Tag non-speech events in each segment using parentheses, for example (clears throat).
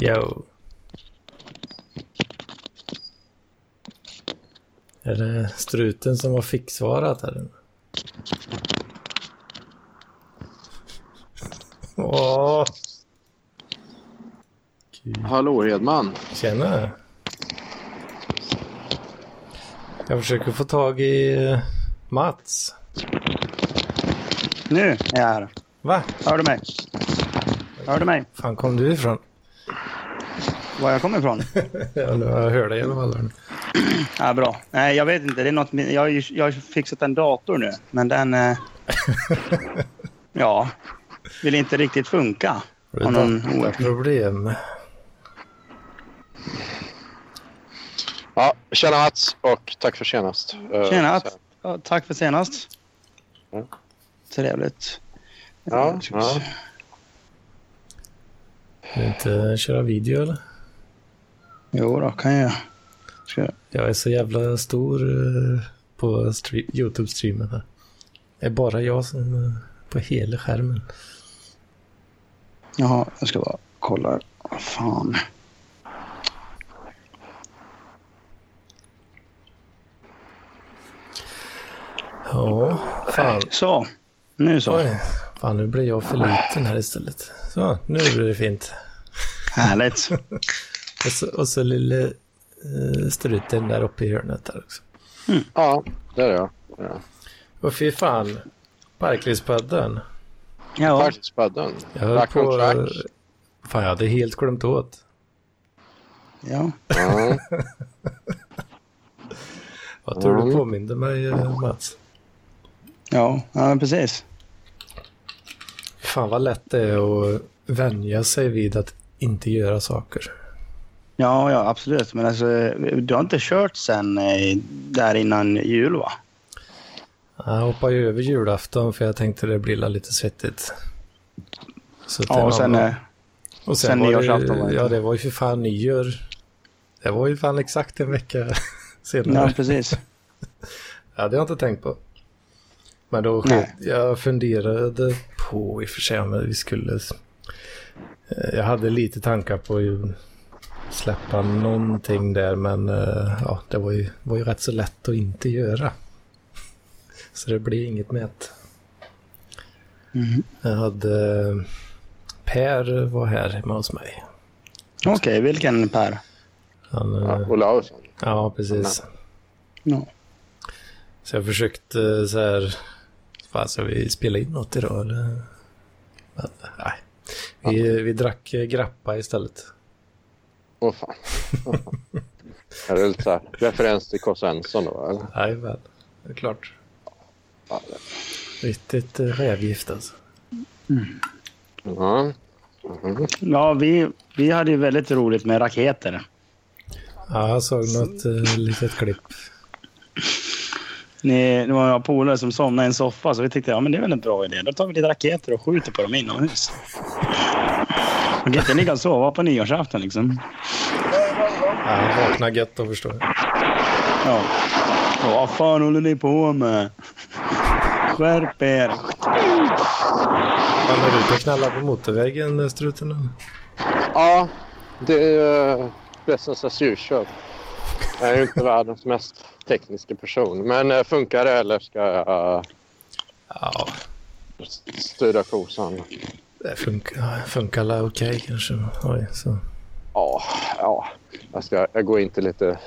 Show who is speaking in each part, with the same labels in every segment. Speaker 1: Yo. Är det struten som har ficksvarat här nu? Åh! Gud,
Speaker 2: Hallå Hedman.
Speaker 1: Tjena! Jag försöker få tag i eh, Mats.
Speaker 3: Nu är jag här.
Speaker 1: Va?
Speaker 3: Hör du mig? Hör du mig?
Speaker 1: fan kom du ifrån?
Speaker 3: Var jag kommer ifrån?
Speaker 1: (laughs) Ja, nu har jag hört dig i alla fall.
Speaker 3: Ja, bra. Nej, jag vet inte. Det är något, med- jag, har ju- jag har ju fixat en dator nu, men
Speaker 1: (laughs)
Speaker 3: den... Eh, ja, vill inte riktigt funka.
Speaker 1: Har du
Speaker 3: Av någon
Speaker 1: ett annat problem?
Speaker 2: Ja, tjena Mats och tack för senast. Eh,
Speaker 3: Tjena!
Speaker 2: sen-
Speaker 3: Ja, tack för senast.
Speaker 2: Ja.
Speaker 3: Trevligt.
Speaker 2: Ja, ja.
Speaker 1: Vill du inte köra video eller?
Speaker 3: Jo då, kan jag. Ska jag-
Speaker 1: Jag är så jävla stor eh, på stre- YouTube-streamen här. Det är bara jag som eh, på hela skärmen.
Speaker 3: Jaha, jag ska bara kolla. här. Vad fan.
Speaker 1: Ja, fan.
Speaker 3: Så, nu så.
Speaker 1: Oj, fan nu blir jag för liten här istället. Så, nu blir det fint.
Speaker 3: Härligt.
Speaker 1: Och så, och så lille eh, struten där uppe i hörnet där också.
Speaker 2: ja, det är jag. Det är jag.
Speaker 1: Och fy fan, Barclays-paddeln.
Speaker 3: Ja,
Speaker 2: Faktiskt paddeln.
Speaker 1: Jag höll
Speaker 2: Rack on
Speaker 1: på...
Speaker 2: track.
Speaker 1: Fan, jag hade helt glömt åt.
Speaker 3: ja.
Speaker 2: Ja.
Speaker 1: Vad tror du
Speaker 2: Mm.
Speaker 1: påminde mig, eh, Mats?
Speaker 3: Ja, ja men precis.
Speaker 1: Fan vad lätt det är att vänja sig vid att inte göra saker.
Speaker 3: Ja, ja, absolut. Men alltså, du har inte kört sen eh, där innan jul, va?
Speaker 1: Jag hoppade ju över julafton för jag tänkte det blir la lite svettigt. Så det
Speaker 3: Ja,
Speaker 1: var
Speaker 3: och sen...
Speaker 1: bra.
Speaker 3: eh,
Speaker 1: och
Speaker 3: sen
Speaker 1: var det ju-
Speaker 3: nyårsafton var det.
Speaker 1: Ja, det var ju för fan nyår. Det var ju fan exakt en vecka (laughs)
Speaker 3: Ja,
Speaker 1: senare.
Speaker 3: precis.
Speaker 1: Det hade jag inte tänkt på. Men då
Speaker 3: Nej.
Speaker 1: jag funderade på i och för sig om vi skulle... eh, Jag hade lite tankar på att ju släppa någonting där men eh, ja, det var ju, var ju rätt så lätt att inte göra. Så det blev inget med att...
Speaker 3: Mhm.
Speaker 1: Jag hade... eh, Per var här hemma hos mig.
Speaker 3: Okej, vilken Per?
Speaker 1: Han, eh,
Speaker 2: Ja, Olausson.
Speaker 1: ja, precis.
Speaker 3: Ja.
Speaker 1: Så jag försökte eh, så här, fan ska vi spela in något idag eller? Men, nej. Vi, vi drack eh, grappa istället. (laughs)
Speaker 2: Åh fan. Är det lite så här, referens till K. Svensson då? Eller?
Speaker 1: Jajamän, det är klart.
Speaker 2: Ja.
Speaker 1: Riktigt eh, rävgift alltså.
Speaker 2: Ja. Mhm.
Speaker 3: Ja, vi, vi hade ju väldigt roligt med raketer.
Speaker 1: Ja, jag såg något eh, litet klipp.
Speaker 3: Ni, det var några polare som somnade i en soffa, så vi tyckte ja, men det är väl en bra idé. Då tar vi lite raketer och skjuter på dem inomhus. Man kan inte ligga och sova på nyårsafton liksom.
Speaker 1: Ja, vakna gött då förstår jag.
Speaker 3: Ja. Ja, Vad fan håller ni på med? Skärp er!
Speaker 1: Han är ute och knallar på motorvägen eh, struten. eller?
Speaker 2: ja, det är eh, Pressens asylköp. Jag är ju inte världens mest tekniska person. Men eh, funkar det eller ska jag
Speaker 1: Ja,
Speaker 2: eh, styra kosan?
Speaker 1: det funkar, funkar alla okej kanske. Oj, så.
Speaker 2: Ja, ja. Jag, ska, jag går in till lite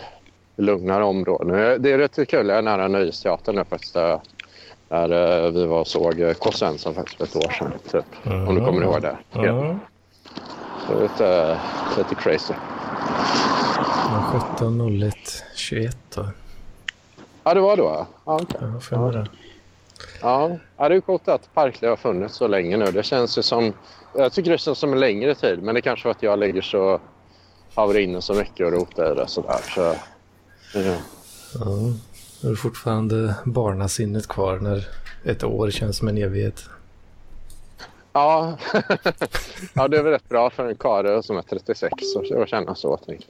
Speaker 2: lugnare områden. Eh, Det är rätt kul. Jag är nära Nöjesteatern nu faktiskt. Där, där eh, vi var och såg eh, K. Svensson faktiskt för ett år sedan. Typ, Om du kommer ihåg det.
Speaker 1: Ja,
Speaker 2: Det är lite, eh, lite crazy.
Speaker 1: 17.01.21 då.
Speaker 2: Ja, det var då. Ja, okej.
Speaker 1: Ja, får jag höra.
Speaker 2: ja. ja det är ju coolt att Parklöv har funnits så länge nu. Det känns ju som... Jag tycker det känns som en längre tid, men det kanske var att jag lägger så... Har varit inne så mycket och rotat i det sådär. Så, ja.
Speaker 1: Ja, då är det fortfarande barnasinnet kvar när ett år känns som en evighet.
Speaker 2: Ja. (laughs) ja, det är väl rätt bra för en karl som är 36 och- och känna så. Tänkte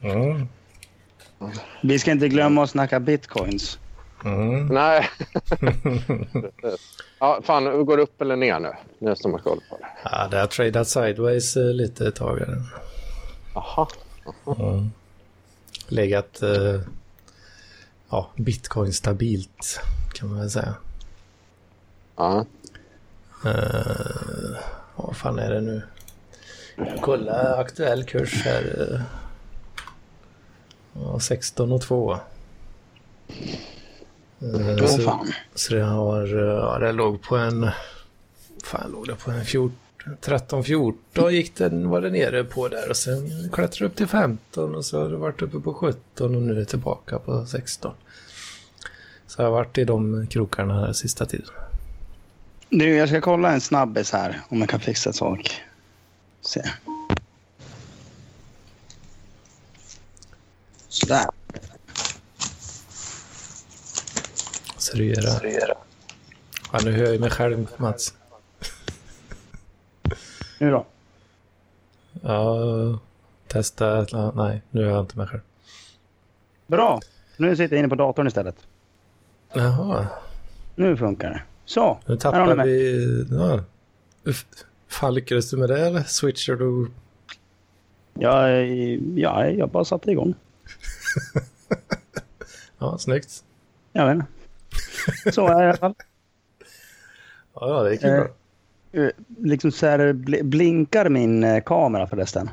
Speaker 2: jag.
Speaker 1: Mm.
Speaker 3: Vi ska inte glömma att snacka bitcoins.
Speaker 1: Mm.
Speaker 2: Nej. ja, fan, går det upp eller ner nu? Nu som man koll på det.
Speaker 1: Ja, det har tradat sideways eh, lite ett tag. här.
Speaker 2: Jaha.
Speaker 1: Mm. Legat eh, ja, bitcoin stabilt kan man väl säga.
Speaker 2: Ja.
Speaker 1: Eh, vad fan är det nu? Jag kollar aktuell kurs här. eh. Ja, 16 och 2. Eh,
Speaker 3: Åh
Speaker 1: så,
Speaker 3: fan.
Speaker 1: så det har, eh, ja, det låg på en, fan låg det på en 14, 13, 14 gick den, var det nere på där och sen klättrade upp till 15 och så har det varit uppe på 17 och nu är det tillbaka på 16. Så jag har varit i de krokarna här sista tiden.
Speaker 3: Du, jag ska kolla en snabbis här om jag kan fixa ett sak. Se. Där.
Speaker 1: Så det är det. Ja, nu hör jag mig själv, Mats.
Speaker 3: Nu då?
Speaker 1: Ja, testa. ett la- Nej, nu hör jag inte mig själv.
Speaker 3: Bra. Nu sitter jag inne på datorn istället.
Speaker 1: Jaha,
Speaker 3: Nu funkar det. Så.
Speaker 1: nu
Speaker 3: Här har ni
Speaker 1: tappar
Speaker 3: mig.
Speaker 1: vi... Ja. Uff, Fan, lyckades du med det eller? Switchar du?
Speaker 3: Jag, ja, jag bara satte igång.
Speaker 1: Ja, snyggt.
Speaker 3: Jag
Speaker 1: (laughs)
Speaker 3: vet inte. Så är det i alla fall.
Speaker 1: Ja, ja, det gick ju bra.
Speaker 3: Eh, Liksom så här, bl- blinkar min eh, kamera förresten?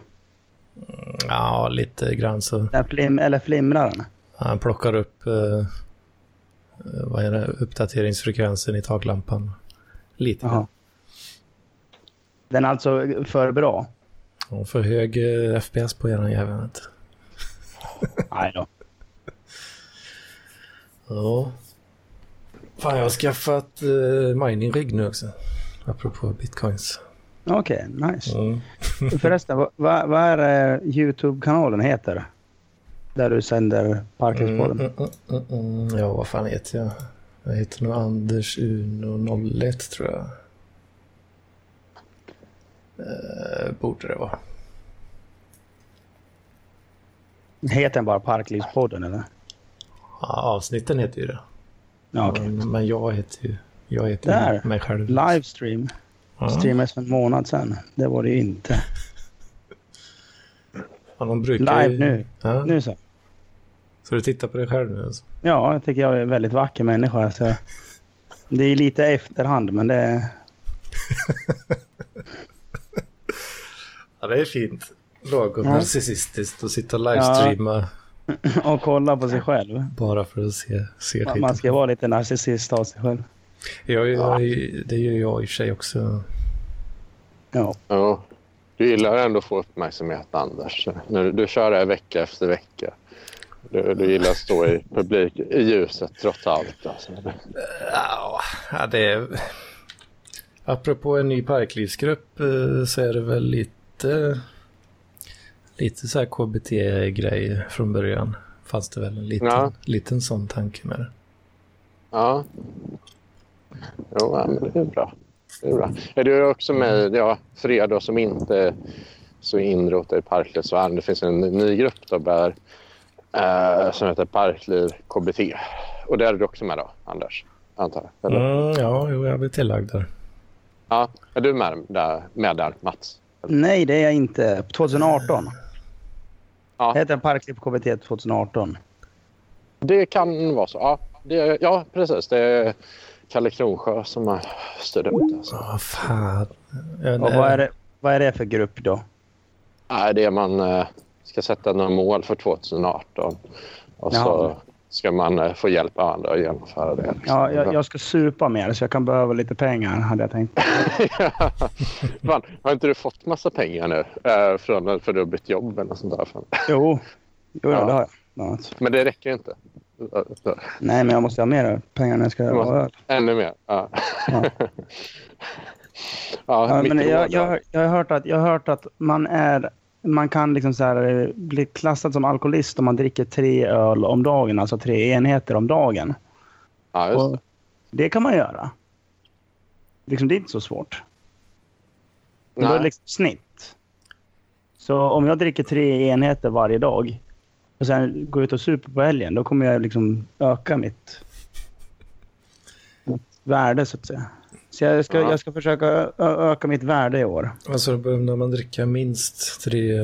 Speaker 1: Ja, lite grann så.
Speaker 3: Där flim- Eller flimrar den?
Speaker 1: Han plockar upp eh, eh, vad är det? uppdateringsfrekvensen i taklampan. Lite.
Speaker 3: Jaha. Den är alltså för bra?
Speaker 1: Och för hög eh, FPS på eran jävel. vet du.
Speaker 3: Nej då.
Speaker 1: Ja. Fan, jag har skaffat eh, mining-rigg nu också. Apropå bitcoins.
Speaker 3: Okej, nice.
Speaker 1: Mm.
Speaker 3: Förresten, vad, vad vad är det YouTube-kanalen heter? Där du sänder Parkinspodden?
Speaker 1: Mm, mm, mm, mm. Ja, vad fan heter jag? Jag heter nog Anders Uno 01 tror jag. Eh, borde det vara.
Speaker 3: Heter den bara Parklivspodden eller?
Speaker 1: Ja, avsnitten heter ju det.
Speaker 3: Ja, okej.
Speaker 1: Men, men jag heter ju jag heter
Speaker 3: Där.
Speaker 1: ju mig själv.
Speaker 3: Livestream
Speaker 1: Ja.
Speaker 3: streamades för en månad sedan. Det var det ju inte.
Speaker 1: Ja, de brukar
Speaker 3: Live
Speaker 1: ju...
Speaker 3: nu.
Speaker 1: Ja.
Speaker 3: Nu så.
Speaker 1: Så du tittar på dig själv nu? Alltså.
Speaker 3: Ja, jag tycker jag är en väldigt vacker människa. Så det är lite efterhand, men (laughs) det...
Speaker 1: Ja, det är fint. Lagom
Speaker 3: Ja.
Speaker 1: narcissistiskt att sitta och livestreama
Speaker 3: Och kolla på sig själv.
Speaker 1: bara för att se, se
Speaker 3: Man-
Speaker 1: skiten.
Speaker 3: Man ska vara lite narcissist av sig själv.
Speaker 1: Jag, jag, det gör jag i och för sig också.
Speaker 3: Ja.
Speaker 2: Jo. Du gillar ändå att få uppmärksamhet, Anders. När du, du kör det här vecka efter vecka. Du, du gillar att stå i publik, i ljuset, trots allt. Alltså.
Speaker 1: Ja, ja, det är... Apropå en ny parklivsgrupp eh, så är det väl lite, lite så här KBT-grej från början. Fanns det väl en liten,
Speaker 2: Ja.
Speaker 1: liten sån tanke med det.
Speaker 2: Ja. Jo, ja, men det är bra. Det är bra. Är du också med i ja, Fredag som inte är så inrotad i Parklivsvärlden? Det finns en ny grupp då, där, eh, som heter Parkliv KBT. Och där är du också med då, Anders? Antar jag. Eller?
Speaker 1: Mm, ja, jo, jag blir tillagd där.
Speaker 2: Ja, är du med där, med där Mats?
Speaker 3: Nej, det är jag inte. 2018.
Speaker 2: Ja.
Speaker 3: Det heter Parkliv KBT 2018.
Speaker 2: Det kan vara så. Ja, det, ja precis. Det är Kalle Kronsjö som har styrt upp det. Alltså.
Speaker 1: Ja, fan. Jag,
Speaker 3: Och vad, är det, vad är det för grupp då?
Speaker 2: Nej, det är man eh, ska sätta några mål för 2018 och
Speaker 3: Jaha.
Speaker 2: så ska man eh, få hjälp av andra att genomföra det. liksom.
Speaker 3: Ja, jag, jag ska supa mer så jag kan behöva lite pengar hade jag tänkt.
Speaker 2: (laughs) Fan, har inte du fått massa pengar nu eh, från, för du har bytt jobb eller något sånt där? Fan.
Speaker 3: (laughs) Jo, jo ja.
Speaker 2: Ja.
Speaker 3: det har jag. Ja, alltså.
Speaker 2: Men det räcker ju inte.
Speaker 3: Nej, men jag måste ha mer pengar när jag ska
Speaker 2: måste-
Speaker 3: ha öl.
Speaker 2: Ännu mer. Ja.
Speaker 3: Ja.
Speaker 2: Ja.
Speaker 3: Ja,
Speaker 2: mitt
Speaker 3: men jag,
Speaker 2: råd, (laughs) ja.
Speaker 3: jag, jag, har hört att, jag har hört att man, är, man kan liksom så här, eh, bli klassad som alkoholist om man dricker tre öl om dagen, alltså tre enheter om dagen.
Speaker 2: Ja, just det.
Speaker 3: Och det kan man göra. Liksom, det är inte så svårt. Men Då är
Speaker 2: Nej.
Speaker 3: det liksom snitt. Så om jag dricker tre enheter varje dag och sen går ut och super på helgen, då kommer jag liksom öka mitt värde så att säga. Så jag ska,
Speaker 2: Ja.
Speaker 3: jag ska försöka ö- ö- öka mitt värde i år.
Speaker 1: Alltså då behöver man dricka minst tre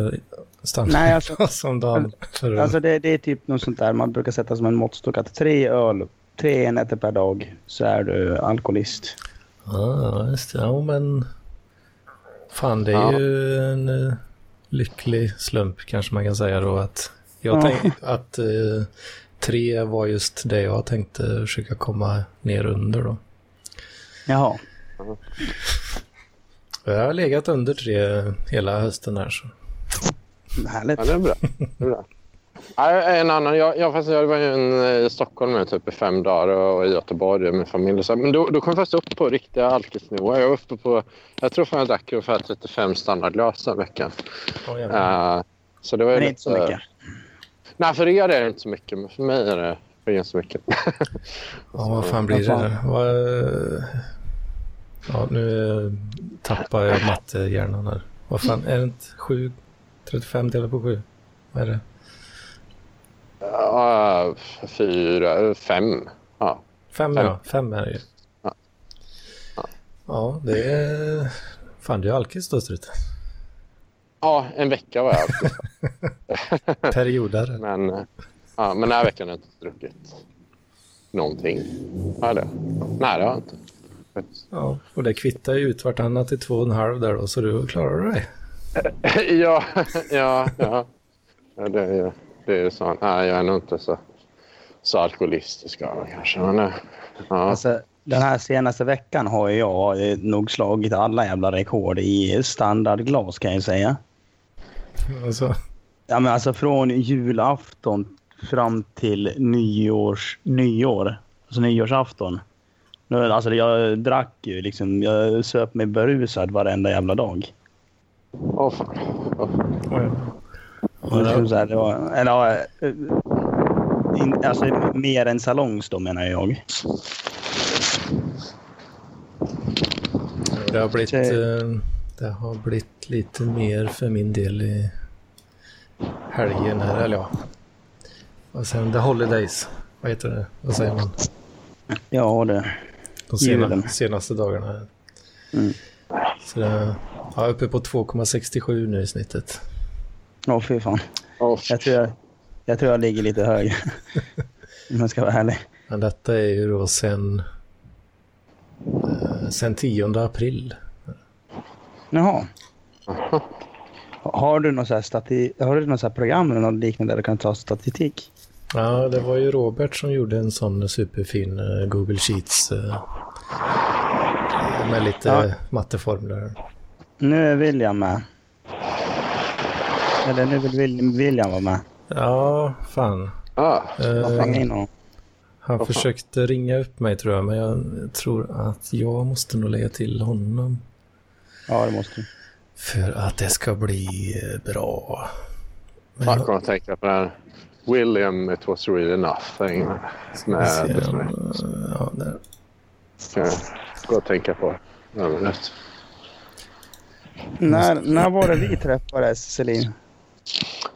Speaker 3: Nej, alltså-
Speaker 1: (laughs) stamglas om dagen. För
Speaker 3: Alltså det, det är typ något sånt där man brukar sätta som en måttstock att tre öl, tre enheter per dag så är du alkoholist.
Speaker 1: ah, just det. Ja, men... Fan, det är
Speaker 2: Ja.
Speaker 1: ju en eh, lycklig slump kanske man kan säga då att... Jag
Speaker 3: Ja.
Speaker 1: tänk, att eh, tre var just det jag tänkte försöka komma ner under då.
Speaker 3: Jaha.
Speaker 1: Jag har legat under tre hela hösten här så.
Speaker 3: Härligt.
Speaker 2: Ja, det är bra. Det är bra. Nej, En annan, jag, jag, fast jag var ju en, i Stockholm nu typ i fem dagar och, och i Göteborg med familj. Och så, här. men då, då kom jag faktiskt upp på riktiga alkisnivåer. Jag var uppe på, jag tror fan jag drack ungefär 35 standardglas den veckan.
Speaker 1: Åh, jävlar.
Speaker 2: Eh, så det var ju
Speaker 3: Men det är inte så
Speaker 2: lite-
Speaker 3: mycket.
Speaker 2: Nej, för er är det inte så mycket, men för mig är det, det är inte så mycket.
Speaker 1: Ja, vad fan blir det?
Speaker 3: Vad
Speaker 1: där? Vad, eh, ja, nu eh, tappar jag mattehjärnan här. Vad fan, är det inte 7? 35 delat på 7? Vad är det?
Speaker 2: Ja, fyra, fem. Ja.
Speaker 1: 5
Speaker 2: Fem.
Speaker 1: ja, 5 är det ju.
Speaker 2: Ja. Ja.
Speaker 1: Ja, det är... Fan, du är alkis då,
Speaker 3: (laughs)
Speaker 1: Strut.
Speaker 2: ja, en vecka var jag alkis.
Speaker 1: Periodare.
Speaker 2: Men, eh, ja, men den här veckan har jag inte druckit någonting. Har jag det? Nej, det har jag inte. (laughs)
Speaker 1: Ja, och det kvittar ju ut vartannat i två och en halv där då, så du klarar dig.
Speaker 2: ja, ja, ja. ja det, är ju- det är ju så. Nej, jag är nog inte så, så alkoholistisk av mig kanske. Men, eh, ja.
Speaker 3: Alltså, den här senaste veckan har ju jag eh, nog slagit alla jävla rekord i standardglas kan jag ju säga.
Speaker 1: Alltså,
Speaker 3: Ja, men alltså från julafton fram till nyårs, nyår, alltså nyårsafton. Nu, alltså jag drack ju liksom, jag söp mig berusad varenda jävla dag.
Speaker 2: Åh, fan.
Speaker 3: Och det, var Liksom så här, det var, eller, ja, eh, in, alltså mer än salongs då menar jag.
Speaker 1: det har blivit...
Speaker 3: Okej.
Speaker 1: eh, Det har blivit lite mer för min del i helgen här, eller ja. Och sen the holidays. Vad heter det? Vad säger man?
Speaker 3: Ja, det.
Speaker 1: De sena,
Speaker 3: Julen.
Speaker 1: senaste dagarna.
Speaker 3: Mm.
Speaker 1: Så det, ja, uppe på 2,67 nu i snittet.
Speaker 3: Åh fy fan.
Speaker 2: Åh,
Speaker 3: Jag tror jag, jag, tror jag ligger lite högre. Om jag ska vara ärlig.
Speaker 1: Men detta är ju då sen, eh, sen 10 april.
Speaker 3: Jaha. Har du något, så här stati- har du något så här program eller något liknande där du kan ta statistik?
Speaker 1: Ja, det var ju Robert som gjorde en sån superfin eh, Google Sheets eh, med lite
Speaker 3: Ja.
Speaker 1: matteformler.
Speaker 3: Nu är William med. Eller nu vill Wil- William vara med.
Speaker 1: Ja, fan.
Speaker 2: ah,
Speaker 1: Eh.
Speaker 3: Vad fan är in honom?
Speaker 1: Han försökte ringa upp mig tror jag, men jag tror att jag måste nog lägga till honom
Speaker 3: Ja, det måste du.
Speaker 1: för att det ska bli eh, bra. Men
Speaker 2: fan, kommer att tänka på den här William, it was really nothing.
Speaker 1: jag
Speaker 2: Med,
Speaker 1: ser
Speaker 2: med,
Speaker 1: om, eh, ja, där.
Speaker 2: ska gå och tänka på. Ja, men rätt.
Speaker 3: När, när var det vi träffades, Celine?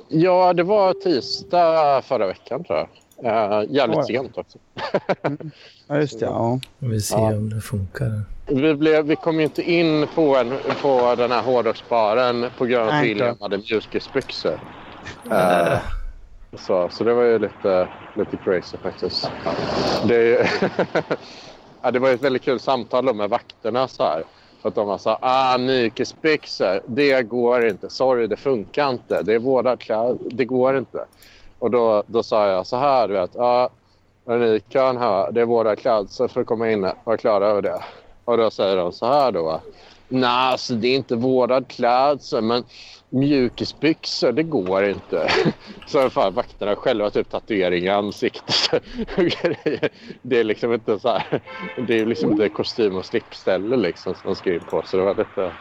Speaker 2: Ja, det var tisdag förra veckan tror jag. Eh, jävligt
Speaker 3: Oj.
Speaker 2: sent också. (laughs)
Speaker 3: Ja, just det. Ja.
Speaker 1: Vi ser
Speaker 2: Ja.
Speaker 1: om det funkar.
Speaker 2: Vi, blev, vi kom ju inte in på, en, på den här hårdrocksbaren på grund av att
Speaker 3: Nej,
Speaker 2: William hade mjukisbyxor. Eh,
Speaker 4: Äh,
Speaker 2: så, så det var ju lite, lite crazy faktiskt. Det, är ju- (laughs) ja, det var ju ett väldigt kul samtal då med vakterna. Så här. För att de var så här, ah, mjukisbyxor, det går inte. Sorry, det funkar inte. Det är våra kläder, det går inte. Och då, då sa jag så här, du vet. Ah, ni kan ha, det är våra klädsel för att komma in här. Var klara över det. Och då säger de så här då. va. Nej, alltså det är inte vårdad klädsel, men mjukisbyxor, det går inte. (laughs) Så har fan vakterna själva typ tatuering i ansiktet (laughs) och grejer. Det är liksom inte så här. Det är liksom inte kostym och slipställe liksom som de skriver på. Så det var lite,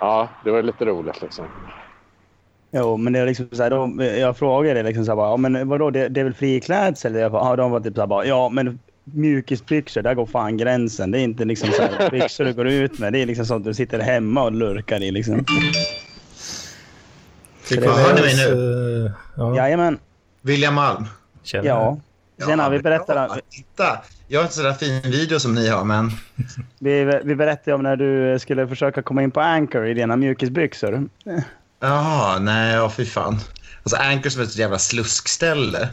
Speaker 2: ja, det var lite roligt liksom.
Speaker 3: Jo, men det är liksom så här, de, jag frågade liksom så här, bara, ja, men vadå, det, det är väl friklädsel? Jag bara, ja, de var typ så här, bara, ja, men mjukisbyxor, där går fan gränsen. Det är inte liksom så här, byxor du går ut med. Det är liksom sånt du sitter hemma och lurkar i. Liksom.
Speaker 1: Tycker
Speaker 3: det-
Speaker 4: Hör ni mig nu?
Speaker 1: eh, Ja,
Speaker 3: Jajamän.
Speaker 4: William Malm.
Speaker 1: Tjena.
Speaker 3: Ja. Tjena, vi
Speaker 4: men
Speaker 3: berättar-
Speaker 4: bra. Titta, jag har inte så där fin video som ni har, men
Speaker 3: Vi, vi berättade om när du skulle försöka komma in på Anchor i dina mjukisbyxor.
Speaker 4: jaha, nej, ja, fy fan. Alltså Anchor som ett jävla sluskställe.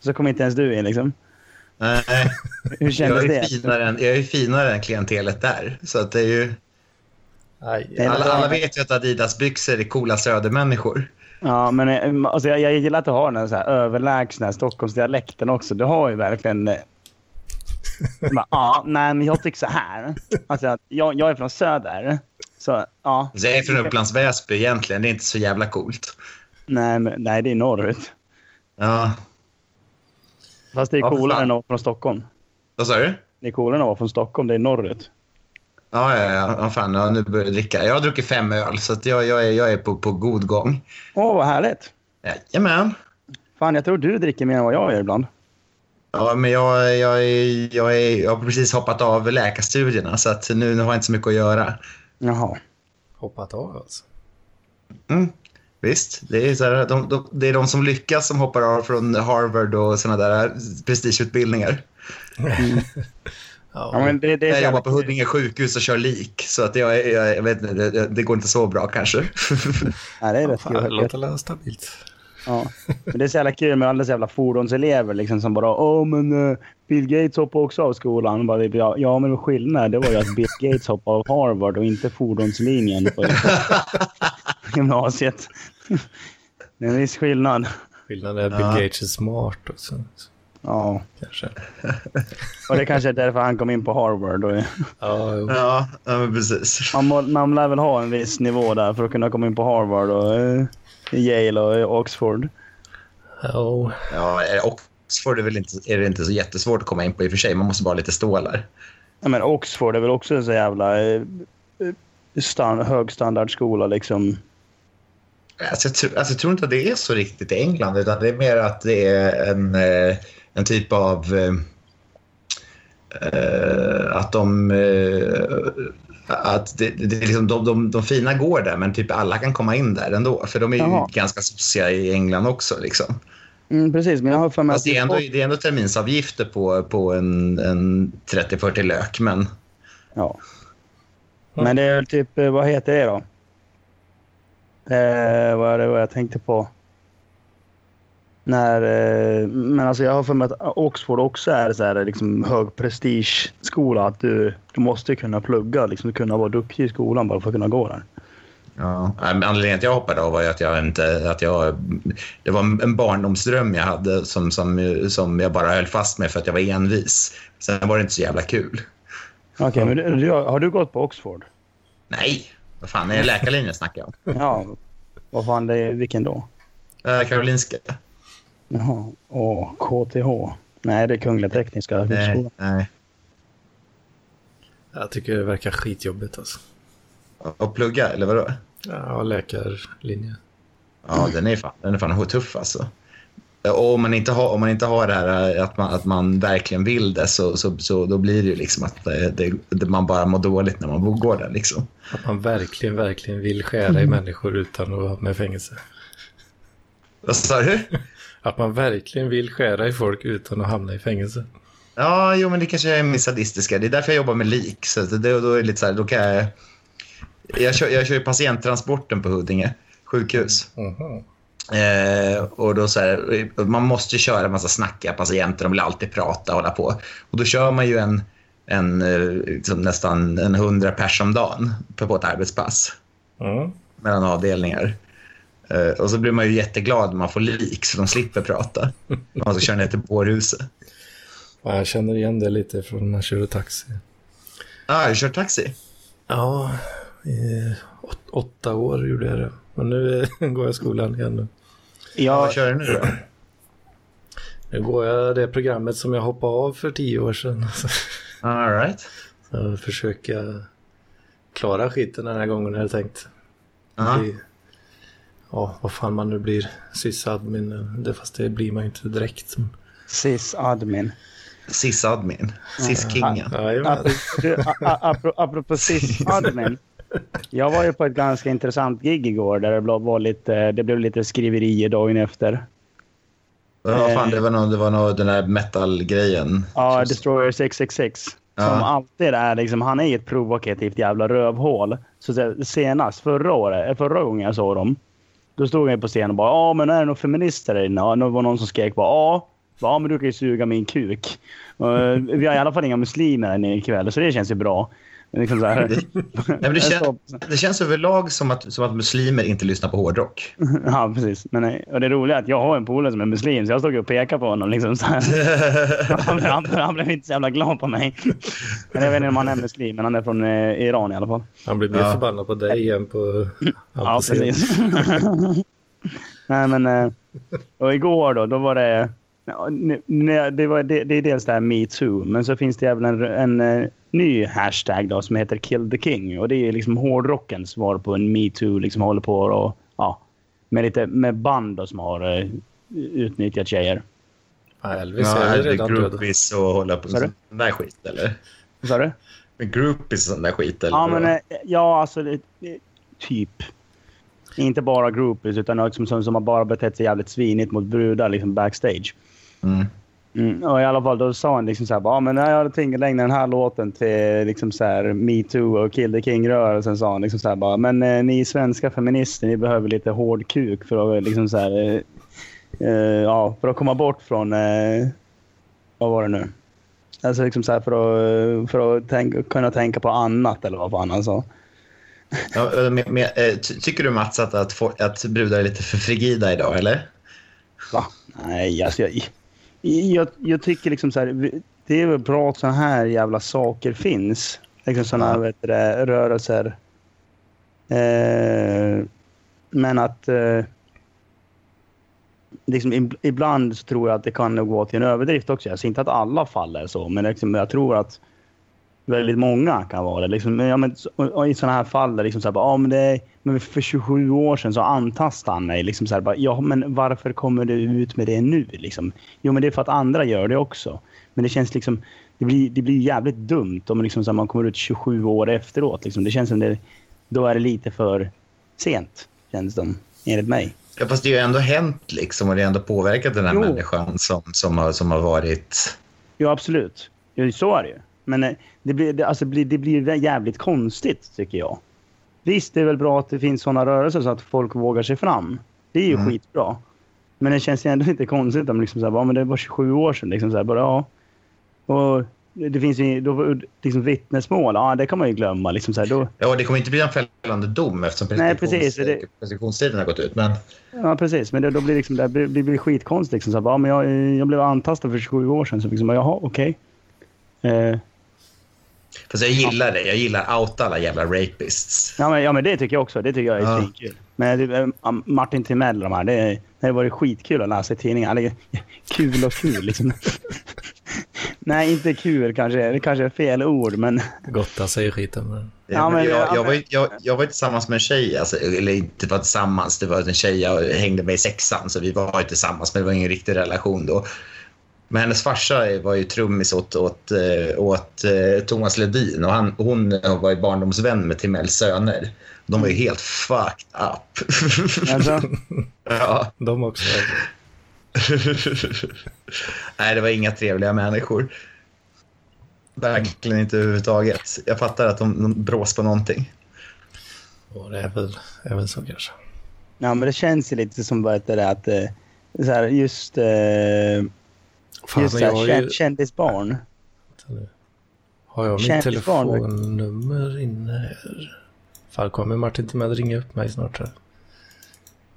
Speaker 3: Så kom inte ens du in liksom.
Speaker 4: (laughs) Nej,
Speaker 3: Hur
Speaker 4: jag
Speaker 3: kändes
Speaker 4: är,
Speaker 3: det?
Speaker 4: finare än, jag är finare än klientelet där. Så att det är ju,
Speaker 1: Aj,
Speaker 3: Nej,
Speaker 4: alla,
Speaker 3: men-
Speaker 4: alla vet ju att Adidas-byxor är coola södermänniskor.
Speaker 3: Ja, men eh, alltså, jag, jag gillar att du har den så här överlägsna Stockholmsdialekten också. Du har ju verkligen... eh, Bara, ja, nej, men jag tycker så här. Alltså, att jag, jag är från söder. Så ja,
Speaker 4: Så jag är från Upplands Väsby egentligen, det är inte så jävla coolt.
Speaker 3: nej, men, nej det är norrut.
Speaker 4: Ja,
Speaker 3: Fast det är
Speaker 4: Ja, för
Speaker 3: coolare
Speaker 4: fan.
Speaker 3: än att vara från Stockholm.
Speaker 4: vad sa du?
Speaker 3: Det är coolare än att vara från Stockholm, det är norrut.
Speaker 4: Ja, ja, ja, ja fan, ja, nu börjar jag dricka. Jag har druckit fem öl, så att jag, jag är, jag är på, på god gång.
Speaker 3: Åh, vad härligt.
Speaker 4: Jajamän.
Speaker 3: Fan, jag tror du dricker mer än vad jag gör ibland.
Speaker 4: Ja, men jag, jag, är- jag, är- jag har precis hoppat av läkarstudierna så att nu, nu har jag inte så mycket att göra.
Speaker 3: Jaha.
Speaker 1: hoppat av alltså.
Speaker 4: Mm. Visst, det är, så här, de, de, det är de som lyckas som hoppar av från Harvard och såna där prestigeutbildningar.
Speaker 3: Ja, men det, det är så
Speaker 4: Jag
Speaker 3: jävla-
Speaker 4: jobbar på Huddinge sjukhus och kör lik så att jag, är- jag, jag vet inte, det, det går inte så bra kanske.
Speaker 3: (laughs) Nej, det är
Speaker 1: Ja,
Speaker 3: rätt
Speaker 1: fan, det
Speaker 3: kul.
Speaker 1: låter väl stabilt.
Speaker 3: Ja. Men det är så jävla kul med alla så jävla fordonselever liksom, som bara Åh, men eh, Bill Gates hoppade också av skolan. Och Bara, ja, ja, men skillnaden det var ju att Bill Gates hoppade av Harvard och inte fordonslinjen på (laughs) gymnasiet. Det är en viss skillnad.
Speaker 1: Skillnaden är att
Speaker 4: Ja.
Speaker 1: Bill Gates är smart och så, så,
Speaker 3: Ja,
Speaker 1: kanske.
Speaker 3: och det kanske är därför han kom in på Harvard. Och
Speaker 1: Ja, jo.
Speaker 4: ja, ja, men precis.
Speaker 3: man, må, man lär väl ha en viss nivå där för att kunna komma in på Harvard och eh, Yale och eh, Oxford.
Speaker 1: Jo.
Speaker 4: Ja, eh, Oxford är, väl inte, är det inte så jättesvårt att komma in på i och för sig. Man måste bara ha lite stålar.
Speaker 3: Ja, men Oxford är väl också en så jävla eh, eh, stan, högstandardskola liksom.
Speaker 4: Alltså jag, tror, alltså jag tror inte att det är så riktigt i England utan det är mer att det är en, eh, en typ av eh, eh, att de eh, att det, det är liksom de, de, de fina går där men typ alla kan komma in där ändå för de är ju
Speaker 3: Jaha.
Speaker 4: ganska sossiga i England också liksom.
Speaker 3: Mm, precis, men jag har för mig
Speaker 4: Fast det är ändå, det är ändå terminsavgifter på, på en, en 30-40 lök men
Speaker 3: Ja. Men det är väl typ, eh, vad heter det då? Eh, vad är det vad jag tänkte på? När, eh, men alltså jag har för mig att Oxford också är så här, liksom hög prestigeskola. Att du, du måste kunna plugga, liksom, kunna vara duktig i skolan bara för att kunna gå där.
Speaker 4: Ja, nej, men anledningen till att jag hoppade av var ju att jag inte... Att jag, det var en barndomsdröm jag hade som, som, som jag bara höll fast med för att jag var envis. Sen var det inte så jävla kul.
Speaker 3: Okej, men du, du, har du gått på Oxford?
Speaker 4: Nej, vad fan är det läkarlinjen snackar jag om?
Speaker 3: Ja. Vad fan, det är, vilken då?
Speaker 4: Eh, Karolinska?
Speaker 3: Jaha, åh, KTH. Nej, det är Kungliga Tekniska Högskolan.
Speaker 4: Nej, Eh, nej.
Speaker 1: Jag tycker det verkar skitjobbigt alltså.
Speaker 4: Och plugga, eller vadå?
Speaker 1: Ja, läkarlinje.
Speaker 4: Ja, den är fan, den är fan tuff alltså. Och om man inte har, om man inte har det här eh, att man, att man verkligen vill det så, så, så då blir det ju liksom att eh, det, det, man bara mår dåligt när man går där liksom.
Speaker 1: Att man verkligen, verkligen vill skära i
Speaker 3: Mm.
Speaker 1: människor utan att hamna i fängelse.
Speaker 4: Vad sa du?
Speaker 1: Att man verkligen vill skära i folk utan att hamna i fängelse.
Speaker 4: Ja, jo, men det kanske är min sadistiska. Det är därför jag jobbar med lik. Så att det, då är det lite så här, då kan jag... Jag kör, jag kör ju patienttransporten på Huddinge sjukhus.
Speaker 1: Mhm.
Speaker 4: Eh, och då så här, man måste ju köra en massa snackiga patienter. De vill alltid prata och hålla på. Och då kör man ju en, en eh, liksom nästan en hundra pers om dagen på, på ett arbetspass
Speaker 1: Mm.
Speaker 4: mellan avdelningar. Eh, och så blir man ju jätteglad när man får lik så de slipper prata. Man ska köra ner till bårhuset.
Speaker 1: Ja, jag känner igen det lite från när jag körde taxi.
Speaker 4: Ah, jag kör taxi.
Speaker 1: Ja, i åt, åtta år gjorde jag det. Men nu (laughs) eh, går jag skolan igen. Nu.
Speaker 4: Vad
Speaker 3: Jag,
Speaker 4: kör du nu då?
Speaker 1: nu går jag det programmet som jag hoppade av för tio år sedan. (laughs) Så
Speaker 4: All right.
Speaker 1: jag försöker klara skiten den här gången hade jag tänkt.
Speaker 4: Ja.
Speaker 1: Bli- Ja, vad fan man nu blir. Sysadmin, det- fast det blir man ju inte direkt.
Speaker 3: SIS admin.
Speaker 4: Sis-admin. Sis-kingen.
Speaker 1: Jajamän.
Speaker 3: Apropå, du, a- a- apro- apropå sysadmin. Jag var ju på ett ganska intressant gig igår där det, blev- var lite, det blev lite skriverier dagen efter.
Speaker 4: Ja, vad fan, det var, någon, det var någon, den där metal-grejen.
Speaker 3: Ja, Destroyer 666. Som
Speaker 4: Ja.
Speaker 3: alltid är liksom, han är ett provokativt jävla rövhål. Så se- senast förra året, eh, förra gången jag såg dem. Då stod han ju på scenen och bara ja men är det några feminister där inne? Ja, det var någon som skrek bara ja. Ja men du kan ju suga min kuk. Eh, vi har i alla fall inga muslimer här inne ikväll så det känns ju bra. Liksom så här.
Speaker 4: Nej, men (laughs) det,
Speaker 3: Jag
Speaker 4: känns,
Speaker 3: såg-
Speaker 4: det känns överlag som att, som att muslimer inte lyssnar på hårdrock.
Speaker 3: Mm. (laughs) Ja, precis. Men, eh, och det roliga är att jag har en polare som är muslim, så jag stod och pekade på honom. Liksom, så här. Han, blev- han, han blev inte så jävla glad på mig. Men jag vet inte om han är muslim, men han är från eh, Iran i alla fall.
Speaker 1: Han blir mer
Speaker 4: Ja.
Speaker 1: förbannad på dig än på...
Speaker 3: Ja, precis. (laughs) Nej, men... eh, Och igår då, då var det... ja, nu- nu- Det, var, det, det är dels det här metoo, men så finns det även en, en eh, ny hashtag då, som heter kill the king. Och Det är liksom hårdrockens svar på en metoo. Liksom håller på och, ja, med, lite, med band då, som har eh, utnyttjat tjejer.
Speaker 1: Ja, Elvis
Speaker 4: Ja,
Speaker 1: är
Speaker 4: är
Speaker 1: ju
Speaker 4: det
Speaker 1: redan död.
Speaker 4: groupies och hålla på med
Speaker 3: Vad är
Speaker 4: sån där skit, eller?
Speaker 3: Vad sa du?
Speaker 4: Med groupies och sån där skit, eller?
Speaker 3: Ja,
Speaker 4: vad?
Speaker 3: men, eh, ja alltså det- det- typ. Inte bara groupies, utan liksom som, som har bara betett sig jävligt svinigt mot brudar liksom backstage.
Speaker 4: Mm.
Speaker 3: Mm. Och I alla fall då sa han liksom så här, bara, "Ja, men jag hade tänkt lägga den här låten till liksom så här, metoo och kill the king-rörelsen. Sa han liksom så här, bara, men eh, ni svenska feminister, ni behöver lite hård kuk för att, liksom så här, eh, eh, ja, för att komma bort från, eh, vad var det nu? Alltså liksom så här för att, eh, för att tänka, kunna tänka på annat eller vad fan han sa.
Speaker 4: Ja, men, men, eh, ty, tycker du, Mats, att, att, få- att brudar är lite för frigida idag, eller?
Speaker 3: Va? Nej, alltså jag, jag, jag tycker liksom så här, vi- det är väl bra att sådana här jävla saker finns. Liksom sådana
Speaker 4: Ja.
Speaker 3: vet du, det, rörelser. Eh, men att eh, liksom ib- ibland så tror jag att det kan nog gå till en överdrift också. Jag ser inte att alla faller så, men liksom, jag tror att väldigt många kan vara det. Liksom, men ja, men, så- och, och I sådana här fall, där liksom så här, bara, ah, men, det, är- men för 27 år sedan så antastade han mig. Liksom så här, bara, ja, men varför kommer du ut med det nu? Liksom? Jo, men det är för att andra gör det också. Men det känns liksom, det blir, det blir jävligt dumt om liksom, så här, man kommer ut 27 år efteråt. Liksom. Det känns som det, då är det lite för sent, känns det som, enligt mig.
Speaker 4: Ja, fast det har ju ändå hänt, liksom, och det har ändå påverkat den här
Speaker 3: Jo.
Speaker 4: människan som, som, har, som har varit...
Speaker 3: Ja, absolut. Ja, så är det ju. Men eh, det blir, det, alltså, blir- det blir vä- jävligt konstigt, tycker jag. Visst, det är väl bra att det finns såna rörelser så att folk vågar sig fram. Det är ju
Speaker 4: Mm.
Speaker 3: skitbra. Men det känns ju ändå (laughs) lite konstigt om liksom så här, bara, men det var 27 år sedan. Liksom så här, bara, ja. Och det finns ju då, var- liksom vittnesmål. Ja, det kan man ju glömma. Liksom så här, då,
Speaker 4: Ja, och det kommer inte bli en fällande dom eftersom
Speaker 3: Nej, precis,
Speaker 4: preskriptions-
Speaker 3: det-
Speaker 4: preskriptionstiden har gått ut. Men,
Speaker 3: ja, precis. Men det, då blir liksom, det blir, det blir skitkonstigt. Liksom så här, bara, ja, men jag, eh, jag blev antastad för 27 år sedan. Så liksom, bara, jaha, okej. Eh,
Speaker 4: fast jag gillar det. Jag gillar out alla jävla rapists.
Speaker 3: Ja men, ja, men det tycker jag också. Det tycker jag är
Speaker 4: Ja.
Speaker 3: svinkul. Men typ, eh, Martin Timell och de här, det, är- det har varit skitkul att läsa i tidningar. Eller, (laughs) kul och kul liksom. (laughs) Nej, inte kul kanske. Det kanske är fel ord, men... (laughs)
Speaker 1: Gotta säger skiten. Men...
Speaker 3: Ja, men-
Speaker 4: jag,
Speaker 3: ja,
Speaker 4: jag, var, ju-
Speaker 3: men-
Speaker 4: jag, jag var ju tillsammans med en tjej, alltså, eller inte var tillsammans, det var en tjej jag hängde med i sexan, så vi var ju tillsammans, men det var ingen riktig relation då. Men hennes farsa var ju trummis åt, åt, eh, åt eh, Thomas Ledin och han, hon var ju barndomsvän med Timells söner. De var ju helt fucked up. (laughs)
Speaker 3: Alltså,
Speaker 4: ja.
Speaker 1: De också.
Speaker 4: (laughs) Nej, det var inga trevliga människor. Verkligen inte överhuvudtaget. Jag fattar att de, de brås på någonting.
Speaker 1: Och det är väl, är väl så kanske.
Speaker 3: ja, men det känns ju lite som vad heter det, att eh, så här, just, eh,
Speaker 1: Fan,
Speaker 3: just så
Speaker 1: jag har
Speaker 3: här,
Speaker 1: ju...
Speaker 3: känd, kändisbarn.
Speaker 1: Har jag mitt
Speaker 3: Kändisbarn.
Speaker 1: telefonnummer inne här? Fan, kommer Martin Timell ringa upp mig snart här?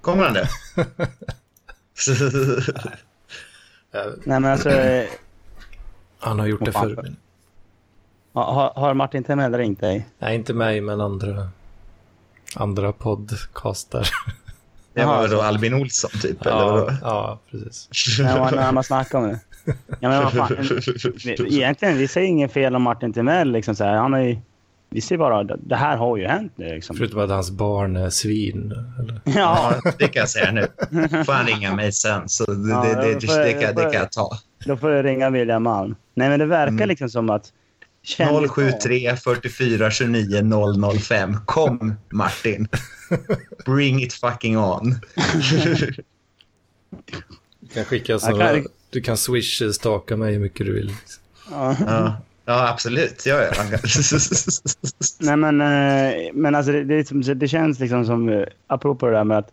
Speaker 4: Kommer
Speaker 3: (laughs)
Speaker 4: han det?
Speaker 3: Nej, men alltså, eh,
Speaker 1: Han har gjort det
Speaker 3: fan.
Speaker 1: förr. men-
Speaker 3: har, har Martin Timell
Speaker 1: (laughs)
Speaker 3: ringt dig?
Speaker 1: Nej, inte mig, men andra, andra podcastar.
Speaker 4: Det
Speaker 3: Jaha,
Speaker 4: var då Albin Olsson typ?
Speaker 1: (laughs)
Speaker 4: Eller
Speaker 1: ja,
Speaker 4: vadå?
Speaker 1: ja, precis.
Speaker 3: När man, när man snackar om det? Ja, men vad fan. Vi- Egentligen, vi säger inget fel om Martin Timell. Liksom, så här. Han är, ju- vi ser bara, det här har ju hänt nu. Liksom.
Speaker 1: Förutom att hans barn är svin. Eller?
Speaker 3: (laughs) Ja,
Speaker 4: (laughs) Ja, det kan jag säga nu. Får han ringa mig sen så det,
Speaker 3: Ja,
Speaker 4: det, det,
Speaker 3: jag
Speaker 4: det,
Speaker 3: får-
Speaker 4: det, kan, det kan
Speaker 3: jag
Speaker 4: jag ta.
Speaker 3: då får jag ringa William Malm. Nej, men det verkar
Speaker 4: Mm.
Speaker 3: liksom som att... kändisbarn-
Speaker 4: 073 44
Speaker 3: (laughs)
Speaker 4: 29 005. Kom
Speaker 3: (laughs)
Speaker 4: Martin. Bring it fucking on.
Speaker 1: kan skicka
Speaker 3: kan-
Speaker 1: sådana, du kan swish-staka mig hur mycket du vill. liksom.
Speaker 3: Ja.
Speaker 4: Ja, ja absolut. Ja,
Speaker 3: (laughs)
Speaker 4: ja.
Speaker 3: Nej, men, eh, men alltså, det, det, är liksom- det känns liksom som, eh, apropå det där med att,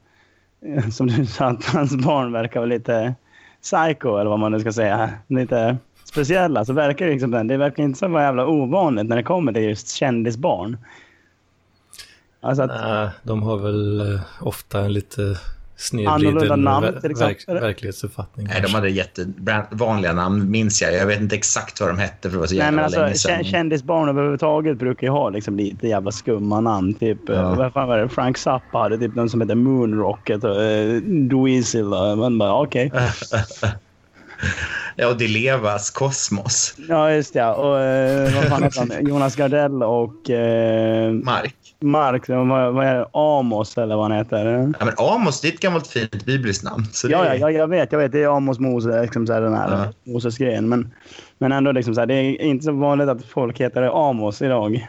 Speaker 3: eh, som du sa, att hans barn verkar vara lite psycho eller vad man nu ska säga. Lite speciella. Så verkar det, liksom, det verkar inte så vara jävla ovanligt när det kommer till just kändisbarn. Alltså att,
Speaker 1: Nej, de har väl eh, ofta en lite
Speaker 3: Annorlunda
Speaker 1: snedvriden
Speaker 3: namn,
Speaker 1: ver-
Speaker 3: till exempel.
Speaker 1: verk- verklighetsuppfattning.
Speaker 4: Nej, de hade jättevanliga namn, minns jag. Jag vet inte exakt vad de hette för det var så
Speaker 3: nej,
Speaker 4: jävla
Speaker 3: men alltså,
Speaker 4: länge sedan.
Speaker 3: kä- kändisbarn överhuvudtaget brukar ju ha liksom, lite jävla skumma namn. Typ,
Speaker 4: Ja.
Speaker 3: ja. vad fan var det? Frank Zappa hade typ någon som hette Moonrocket och eh, Dweezil. och Man bara, okej.
Speaker 4: (laughs) Ja, och Dilevas Kosmos,
Speaker 3: Ja, just det. Och eh, vad fan heter
Speaker 4: (laughs)
Speaker 3: han? Jonas Gardell och eh,
Speaker 4: Mark.
Speaker 3: Mark. eh, Vad, vad är det? Amos eller vad han heter.
Speaker 4: Ja, men Amos, det är ett gammalt fint bibliskt namn. Så det
Speaker 3: Ja, ja,
Speaker 4: är-
Speaker 3: ja, jag vet. Jag vet. Det är Amos Mose, liksom så här, den här Moses-grejen. Men, men ändå, liksom så här, det är inte så vanligt att folk heter Amos idag.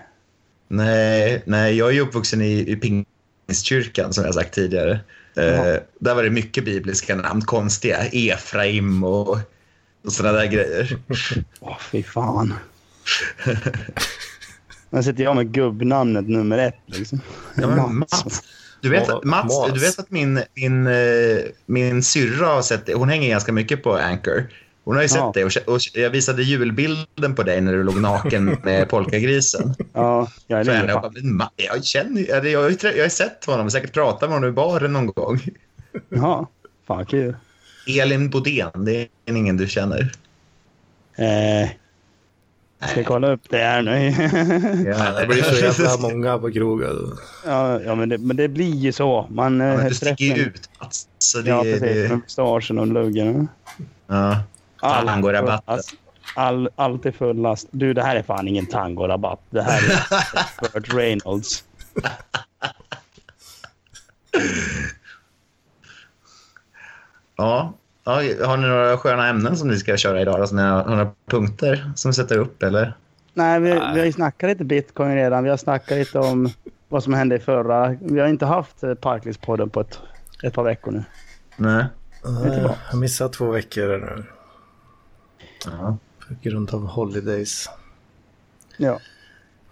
Speaker 4: Nej, nej, jag är ju uppvuxen i, i pingstkyrkan som jag sagt tidigare. Eh, där var det mycket bibliska namn, konstiga. Efraim och, och sådana där grejer.
Speaker 3: Åh, fy fan. Nu sitter jag med gubbnamnet nummer ett. Liksom.
Speaker 4: Ja, men Mats. Du vet, att- Mats,
Speaker 1: Mats.
Speaker 4: du vet att min, min, eh, min syrra har sett det. Hon hänger ganska mycket på Anchor. Hon har ju sett
Speaker 3: Ja.
Speaker 4: det. Och, och jag visade julbilden på dig när du låg
Speaker 3: (laughs)
Speaker 4: naken med polkagrisen.
Speaker 3: Ja, jag är
Speaker 4: Så jag,
Speaker 3: lite
Speaker 4: jag,
Speaker 3: fan.
Speaker 4: bara, men Ma- jag, känner, ju- eller jag, har ju trä- jag har sett honom och säkert pratat med honom i baren någon gång.
Speaker 3: Ja, fan kul.
Speaker 4: Elin Bodén, det är ingen du känner.
Speaker 3: Eh, ska jag kolla upp det här nu? (laughs)
Speaker 4: Ja,
Speaker 1: Det
Speaker 4: (laughs)
Speaker 1: blir så jävla många på krogen.
Speaker 3: Ja, ja men, det, men det blir ju så. Man
Speaker 4: Ja,
Speaker 3: eh,
Speaker 4: men du
Speaker 3: träffar-
Speaker 4: sticker ju ut, Mats. Så det,
Speaker 3: Ja,
Speaker 4: ja,
Speaker 3: precis. Med
Speaker 4: det,
Speaker 3: mustaschen och luggen.
Speaker 4: ja.
Speaker 3: Allt
Speaker 4: Tangorabatten.
Speaker 3: fullast. All, allt är fullast. Du, det här är fan ingen tangorabatt. Det här
Speaker 4: (laughs)
Speaker 3: är Burt Reynolds.
Speaker 4: Ja. Ja, har ni några sköna ämnen som ni ska köra idag? Alltså, några, några punkter som ni sätter upp? Eller?
Speaker 3: Nej, vi, vi har ju snackat lite bitcoin redan. Vi har snackat lite om vad som hände i förra. Vi har inte haft eh, Parklivspodden på ett, ett par veckor nu.
Speaker 4: Nej.
Speaker 1: Jag har missat två veckor nu
Speaker 4: Ja.
Speaker 1: på grund av holidays.
Speaker 3: Ja.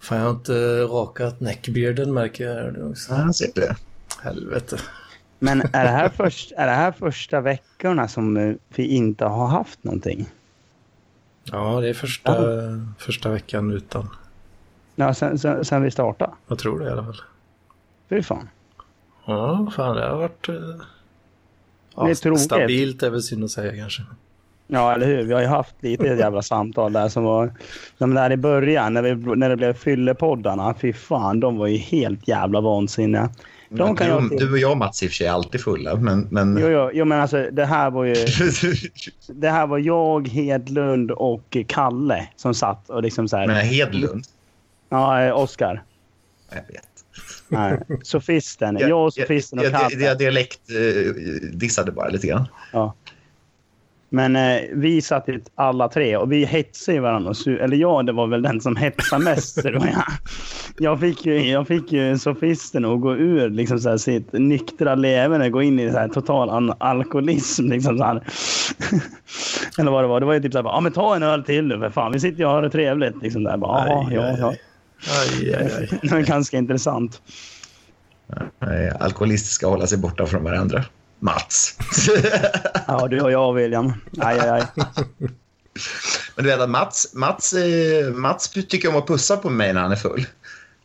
Speaker 1: Fan, jag har inte rakat neckbearden märker jag här nu också.
Speaker 4: Ja, ser du.
Speaker 1: Helvete.
Speaker 3: Men är det, här först, är det här första veckorna som eh, vi inte har haft någonting?
Speaker 1: Ja, det är första, första veckan utan.
Speaker 3: Ja, sen, sen, sen vi startade.
Speaker 1: Jag tror det i alla fall.
Speaker 3: Fy fan.
Speaker 1: Ja, fan det har varit... eh, Ja,
Speaker 3: Det är tråkigt.
Speaker 1: stabilt är väl synd att säga kanske.
Speaker 3: Ja, eller hur? Vi har ju haft lite jävla samtal där som var... De där i början, när, vi, när det blev fyllepoddarna, fy fan, de var ju helt jävla vansinniga. De kan
Speaker 4: du,
Speaker 3: jag...
Speaker 4: du och jag, Mats, i och för sig är alltid fulla, men... men...
Speaker 3: Jo, jo, jo, men alltså det här var ju... Det här var jag, Hedlund och Kalle som satt och liksom så
Speaker 4: (laughs) men
Speaker 3: här...
Speaker 4: Hedlund?
Speaker 3: Ja, eh, Oskar.
Speaker 4: Jag vet.
Speaker 3: Nej,
Speaker 4: (laughs)
Speaker 3: Sofisten. Jag och sofisten och
Speaker 4: jag, jag, jag,
Speaker 3: Kalle.
Speaker 4: jag dialekt eh, dissade bara lite grann.
Speaker 3: Ja. Men eh, vi satt ju alla tre och vi hetsade ju varandra. och su- Eller jag, det var väl den som hetsade mest. så det var jag. Jag, fick ju, jag fick ju sofisten att gå ur liksom, så här, sitt nyktra leverne och gå in i så här, total an- alkoholism. Liksom, så här. (laughs) eller vad det var. Det var ju typ så här, bara, ja men ta en öl till nu för fan. Vi sitter ju och har det trevligt. Liksom, där. Bara, "Ja,
Speaker 1: Aj,
Speaker 3: ja,
Speaker 1: aj,
Speaker 3: ja.
Speaker 1: aj. Aj, aj, aj.
Speaker 3: (laughs) Det var ganska intressant.
Speaker 4: Nej, Alkoholister ska hålla sig borta från varandra. Mats. (laughs)
Speaker 3: Ja, du och jag William. Aj, aj, aj.
Speaker 4: Men du vet att Mats, Mats, eh, Mats tycker om att pussa på mig när han är full.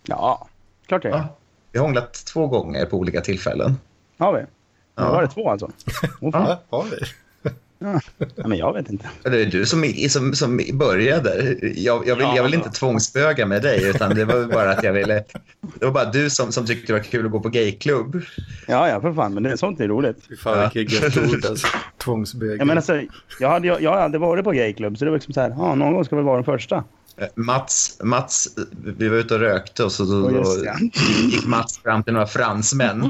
Speaker 3: Ja, klart det
Speaker 4: Ja. Vi har hånglat två gånger på olika tillfällen.
Speaker 3: Har vi.
Speaker 4: Ja.
Speaker 3: Ja. Var det två alltså? Åh, fan.
Speaker 4: Ja, har vi?
Speaker 3: Ja, men jag vet inte.
Speaker 4: Det är du som, som, som började. Jag, jag vill, jag vill inte tvångsböga med dig, utan det var väl bara att jag ville... Det var bara du som, som tyckte det var kul att gå på gayklubb.
Speaker 3: Ja, ja, för fan. Men det, sånt är roligt.
Speaker 1: Fy fan vilket gött ord alltså. Tvångsbög.
Speaker 3: Jag, menar, så, jag, hade, jag, jag har aldrig varit på gayklubb, så det var liksom så här, ja, någon gång ska vi vara den första.
Speaker 4: Eh, Mats, Mats, vi var ute och rökte och så då,
Speaker 3: Och just
Speaker 4: då
Speaker 3: det.
Speaker 4: gick Mats fram till några fransmän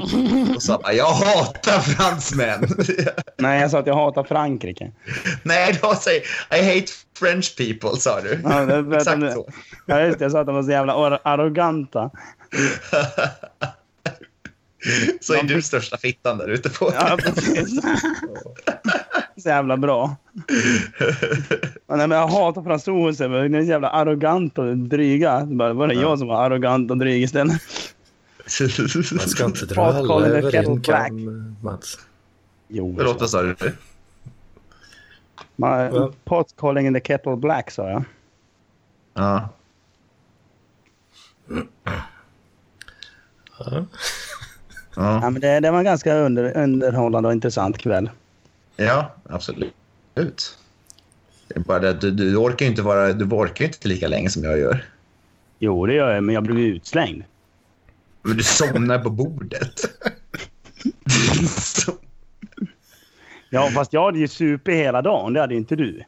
Speaker 4: och sa bara, jag hatar fransmän. (laughs)
Speaker 3: Nej, jag sa att jag hatar Frankrike.
Speaker 4: Nej, då säger I hate French people, sa du.
Speaker 3: Ja, det- det-
Speaker 4: Exakt
Speaker 3: det-
Speaker 4: så.
Speaker 3: Ja, just det. Jag sa att de var så jävla ar- arroganta.
Speaker 4: (laughs) Så är du största fittan där ute på.
Speaker 3: Ja, precis. så jävla bra. Men, nej, men jag hatar fransoser. men De är så jävla arroganta och dryga. Det bara, var det jag som var arrogant och dryg istället?
Speaker 1: Man ska inte dra
Speaker 3: Pat
Speaker 1: alla
Speaker 3: Collin är
Speaker 1: över en
Speaker 3: kettleblack.
Speaker 1: kam, Mats.
Speaker 3: Jo,
Speaker 4: Förlåt, vad sa du?
Speaker 1: Ja.
Speaker 3: man, pot calling in the kettle black sa jag.
Speaker 4: Ja.
Speaker 1: Ja.
Speaker 3: Ja,
Speaker 4: Ja.
Speaker 3: men det, det var en ganska under, underhållande och intressant kväll.
Speaker 4: ja, absolut. Det är bara det att du, du orkar ju inte vara... Du orkar ju inte lika länge som jag gör.
Speaker 3: Jo, det gör jag, men jag blev utslängd.
Speaker 4: Men du somnar på bordet. (laughs) Så-
Speaker 3: Ja, fast jag hade ju super hela dagen. Det hade ju inte du. Du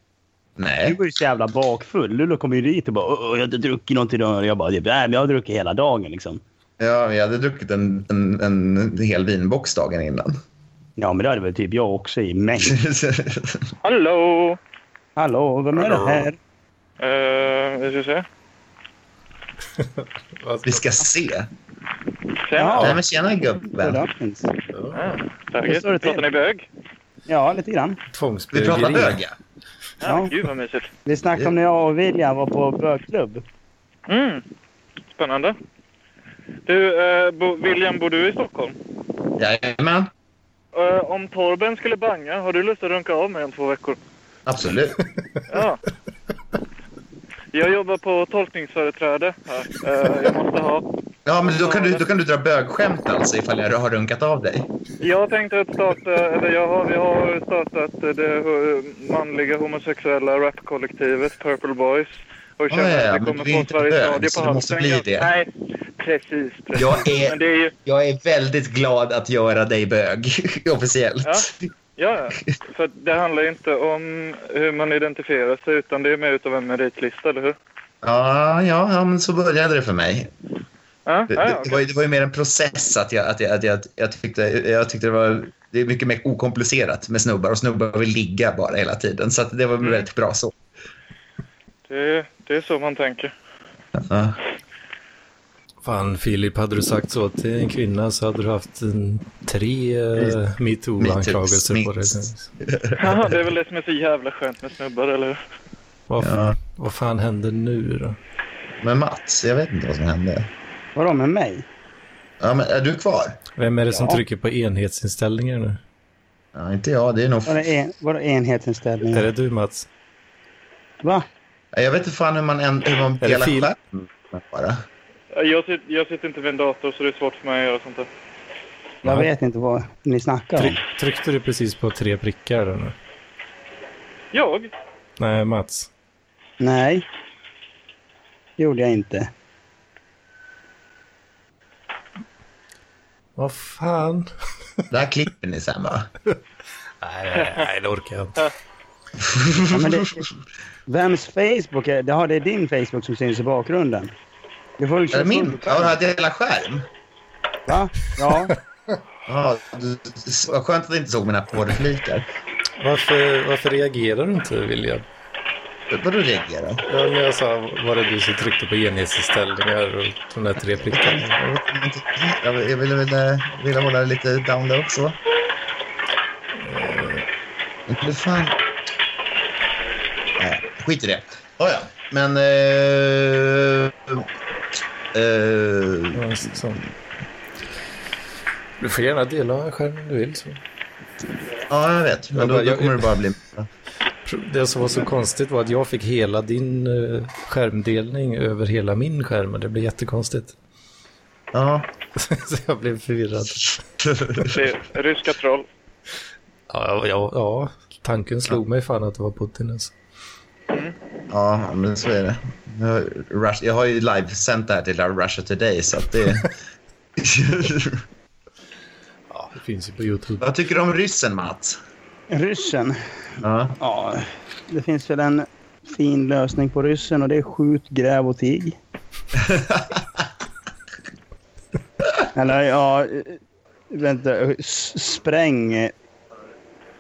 Speaker 4: Nej.
Speaker 3: var ju så jävla bakfull. Lulu kom ju dit och bara "Åh, “Jag har inte druckit någonting idag”. Och Jag bara “Nej, men jag har druckit hela dagen liksom”.
Speaker 4: Ja, jag hade druckit en, en, en hel vinbox dagen innan. (laughs)
Speaker 3: Ja, men det hade väl typ jag också i mängd.
Speaker 5: Hallå!
Speaker 3: Hallå, vem är det här?
Speaker 5: Uh, vi ska se.
Speaker 1: Vad
Speaker 4: Vi ska se.
Speaker 5: Tjena! Ah,
Speaker 4: Nej, men tjena gubben.
Speaker 3: Productions.
Speaker 1: ska-
Speaker 5: Tack.
Speaker 3: står det till?
Speaker 5: Pratar ni bög?
Speaker 3: Ja, lite grann.
Speaker 4: Vi pratar
Speaker 1: Tvångsbögeri.
Speaker 4: öga.
Speaker 5: Ja.
Speaker 3: Ja.
Speaker 5: Gud vad mysigt.
Speaker 3: Vi snackade om när jag och William var på bögklubb.
Speaker 5: Mm. Spännande. Du, eh, bo, William, bor du i Stockholm?
Speaker 4: Jajamän.
Speaker 5: Eh, om Torben skulle banga, har du lust att runka av mig om två veckor?
Speaker 4: Absolut.
Speaker 3: (laughs)
Speaker 5: Ja. Jag jobbar på tolkningsföreträde här. Eh, jag måste ha.
Speaker 4: Ja, men då kan du, då kan du dra bögskämt alltså ifall jag har runkat av dig.
Speaker 5: Jag tänkte att starta, eller jag har, vi har startat eh, det eh, manliga homosexuella rapkollektivet Purple Boys. Och känner
Speaker 4: ja,
Speaker 5: att
Speaker 4: men
Speaker 5: vi kommer
Speaker 4: du är
Speaker 5: få
Speaker 4: inte bög,
Speaker 5: Sveriges Radio
Speaker 4: så
Speaker 5: på
Speaker 4: du måste
Speaker 5: halsen.
Speaker 4: bli det.
Speaker 5: Nej, precis.
Speaker 4: (laughs)
Speaker 5: precis.
Speaker 4: Jag är-
Speaker 5: Men det är ju,
Speaker 4: Jag är väldigt glad att göra dig bög (laughs) officiellt.
Speaker 5: ja, ja. för det handlar ju inte om hur man identifierar sig utan det är mer utav en meritlista, eller hur?
Speaker 4: Ja, ja, ja men så började det för mig.
Speaker 5: Ja,
Speaker 4: Det,
Speaker 5: ja,
Speaker 4: det, det,
Speaker 5: okej.
Speaker 4: var, ju- det var ju mer en process att jag, att jag, att jag, jag, tyckte, jag tyckte det var det är mycket mer okomplicerat med snubbar och snubbar vill ligga bara hela tiden. Så att det var
Speaker 5: Mm.
Speaker 4: väldigt bra så.
Speaker 5: det, det är så man tänker.
Speaker 4: Ja.
Speaker 1: Fan, Filip, hade du sagt så till en kvinna så hade du haft en, tre eh,
Speaker 4: Minst-
Speaker 1: metoo-anklagelser på dig.
Speaker 4: minst.
Speaker 5: Haha, det är väl det som är så jävla skönt med snubbar, eller hur?
Speaker 1: Vad,
Speaker 4: Ja.
Speaker 1: vad fan händer nu då?
Speaker 4: Men Mats, jag vet inte vad som hände.
Speaker 3: Vadå med mig?
Speaker 4: Ja, men är du kvar?
Speaker 1: Vem är det som
Speaker 3: Ja.
Speaker 1: trycker på enhetsinställningar nu?
Speaker 4: Ja, inte jag. Det är nog...
Speaker 3: Var det, en, var det enhetsinställning?
Speaker 1: Är det du Mats?
Speaker 3: Va?
Speaker 4: Jag vet inte fan hur man, en, hur man
Speaker 1: det
Speaker 4: delar
Speaker 1: fil?
Speaker 4: skärmen bara.
Speaker 5: Jag, sit, jag sitter inte vid en dator så det är svårt för mig att göra sånt där.
Speaker 3: Jag
Speaker 1: Jaha.
Speaker 3: vet inte vad ni snackar om.
Speaker 1: Tryck, tryckte du precis på tre prickar där nu?
Speaker 5: Jag?
Speaker 1: Nej, Mats.
Speaker 3: Nej. gjorde jag inte.
Speaker 1: Vad fan?
Speaker 4: Det här klipper ni sen, va?
Speaker 1: Nej, nej, nej, det orkar jag inte.
Speaker 3: Ja, men det, (laughs) vems Facebook är det? Ja, det är din Facebook som syns i bakgrunden. Du får ju
Speaker 4: Är det
Speaker 3: köra
Speaker 4: min?
Speaker 3: fullt själv.
Speaker 4: Ja, jag delar skärm.
Speaker 3: Va? Ja.
Speaker 4: Ja, du- s- vad skönt att du inte såg mina porrflikar.
Speaker 1: Varför, varför reagerar du inte William?
Speaker 4: Vadå reagera?
Speaker 1: Ja, när jag sa var det du som tryckte på enhetsinställningar och de där tre prickarna? Mm.
Speaker 4: Jag vet inte. Jag vill- jag ville väl eh, ville hålla det lite down low också. Eh, Men hur fan... Nej, skit i det. Oh, ja. Men... Eh, eh,
Speaker 1: Ja, Mm, så. Du får gärna dela skärmen om du vill. Så.
Speaker 4: ja, jag vet. Men då, då kommer det bara bli...
Speaker 1: Det som var så konstigt var att jag fick hela din eh, skärmdelning över hela min skärm och det blev jättekonstigt. (laughs)
Speaker 4: Ja. (laughs)
Speaker 1: så jag blev förvirrad.
Speaker 5: Det är ryska troll.
Speaker 1: Ja, ja, ja, tanken slog mig fan att det var Putin. Alltså.
Speaker 4: Ja, men så är det. Jag har, Rush, jag har ju livesänt det här till Russia Today, så att det...
Speaker 3: (laughs)
Speaker 1: Ja, det finns ju på YouTube.
Speaker 4: Vad tycker du om ryssen, Mats?
Speaker 3: Ryssen.
Speaker 4: Ja.
Speaker 3: Ja, det finns väl en fin lösning på ryssen och det är skjut, gräv och tig. Eller ja, eh, vänta, s- spräng,
Speaker 5: Fan,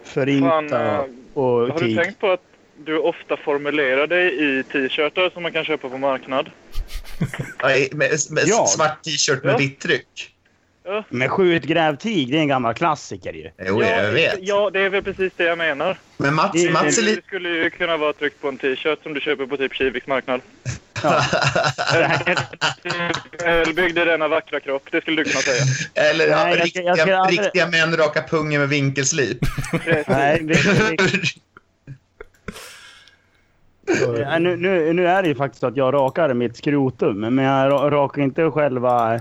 Speaker 3: förinta
Speaker 5: eh,
Speaker 3: och
Speaker 5: Har du
Speaker 3: tig.
Speaker 5: tänkt på att du ofta formulerar dig i t-shirtar som man kan köpa på marknad?
Speaker 4: Med, med
Speaker 3: Ja.
Speaker 4: svart t-shirt med
Speaker 5: Ja.
Speaker 4: vitt tryck.
Speaker 5: Ja.
Speaker 3: Men skjut gräv tig, det är en gammal klassiker
Speaker 5: (laughs)
Speaker 3: ju.
Speaker 4: Jo, jag vet.
Speaker 5: Ja, det är väl precis det jag menar.
Speaker 4: Men Mats,
Speaker 3: Det-
Speaker 4: Mats är
Speaker 5: Det
Speaker 4: lite...
Speaker 5: skulle ju kunna vara tryckt på en t-shirt som du köper på typ Kiviks marknad.
Speaker 3: Det här-
Speaker 5: Välbyggd i denna vackra kropp, det skulle du kunna säga.
Speaker 4: Eller ja,
Speaker 3: Nej, jag ska-
Speaker 4: riktiga,
Speaker 3: jag ska aldrig-
Speaker 4: riktiga män raka pungen
Speaker 3: (laughs)
Speaker 4: med vinkelslip.
Speaker 3: Nej, det, det, det, Eh, nu, nu, nu är det ju faktiskt så att jag rakar mitt skrotum, men jag ra- rakar inte själva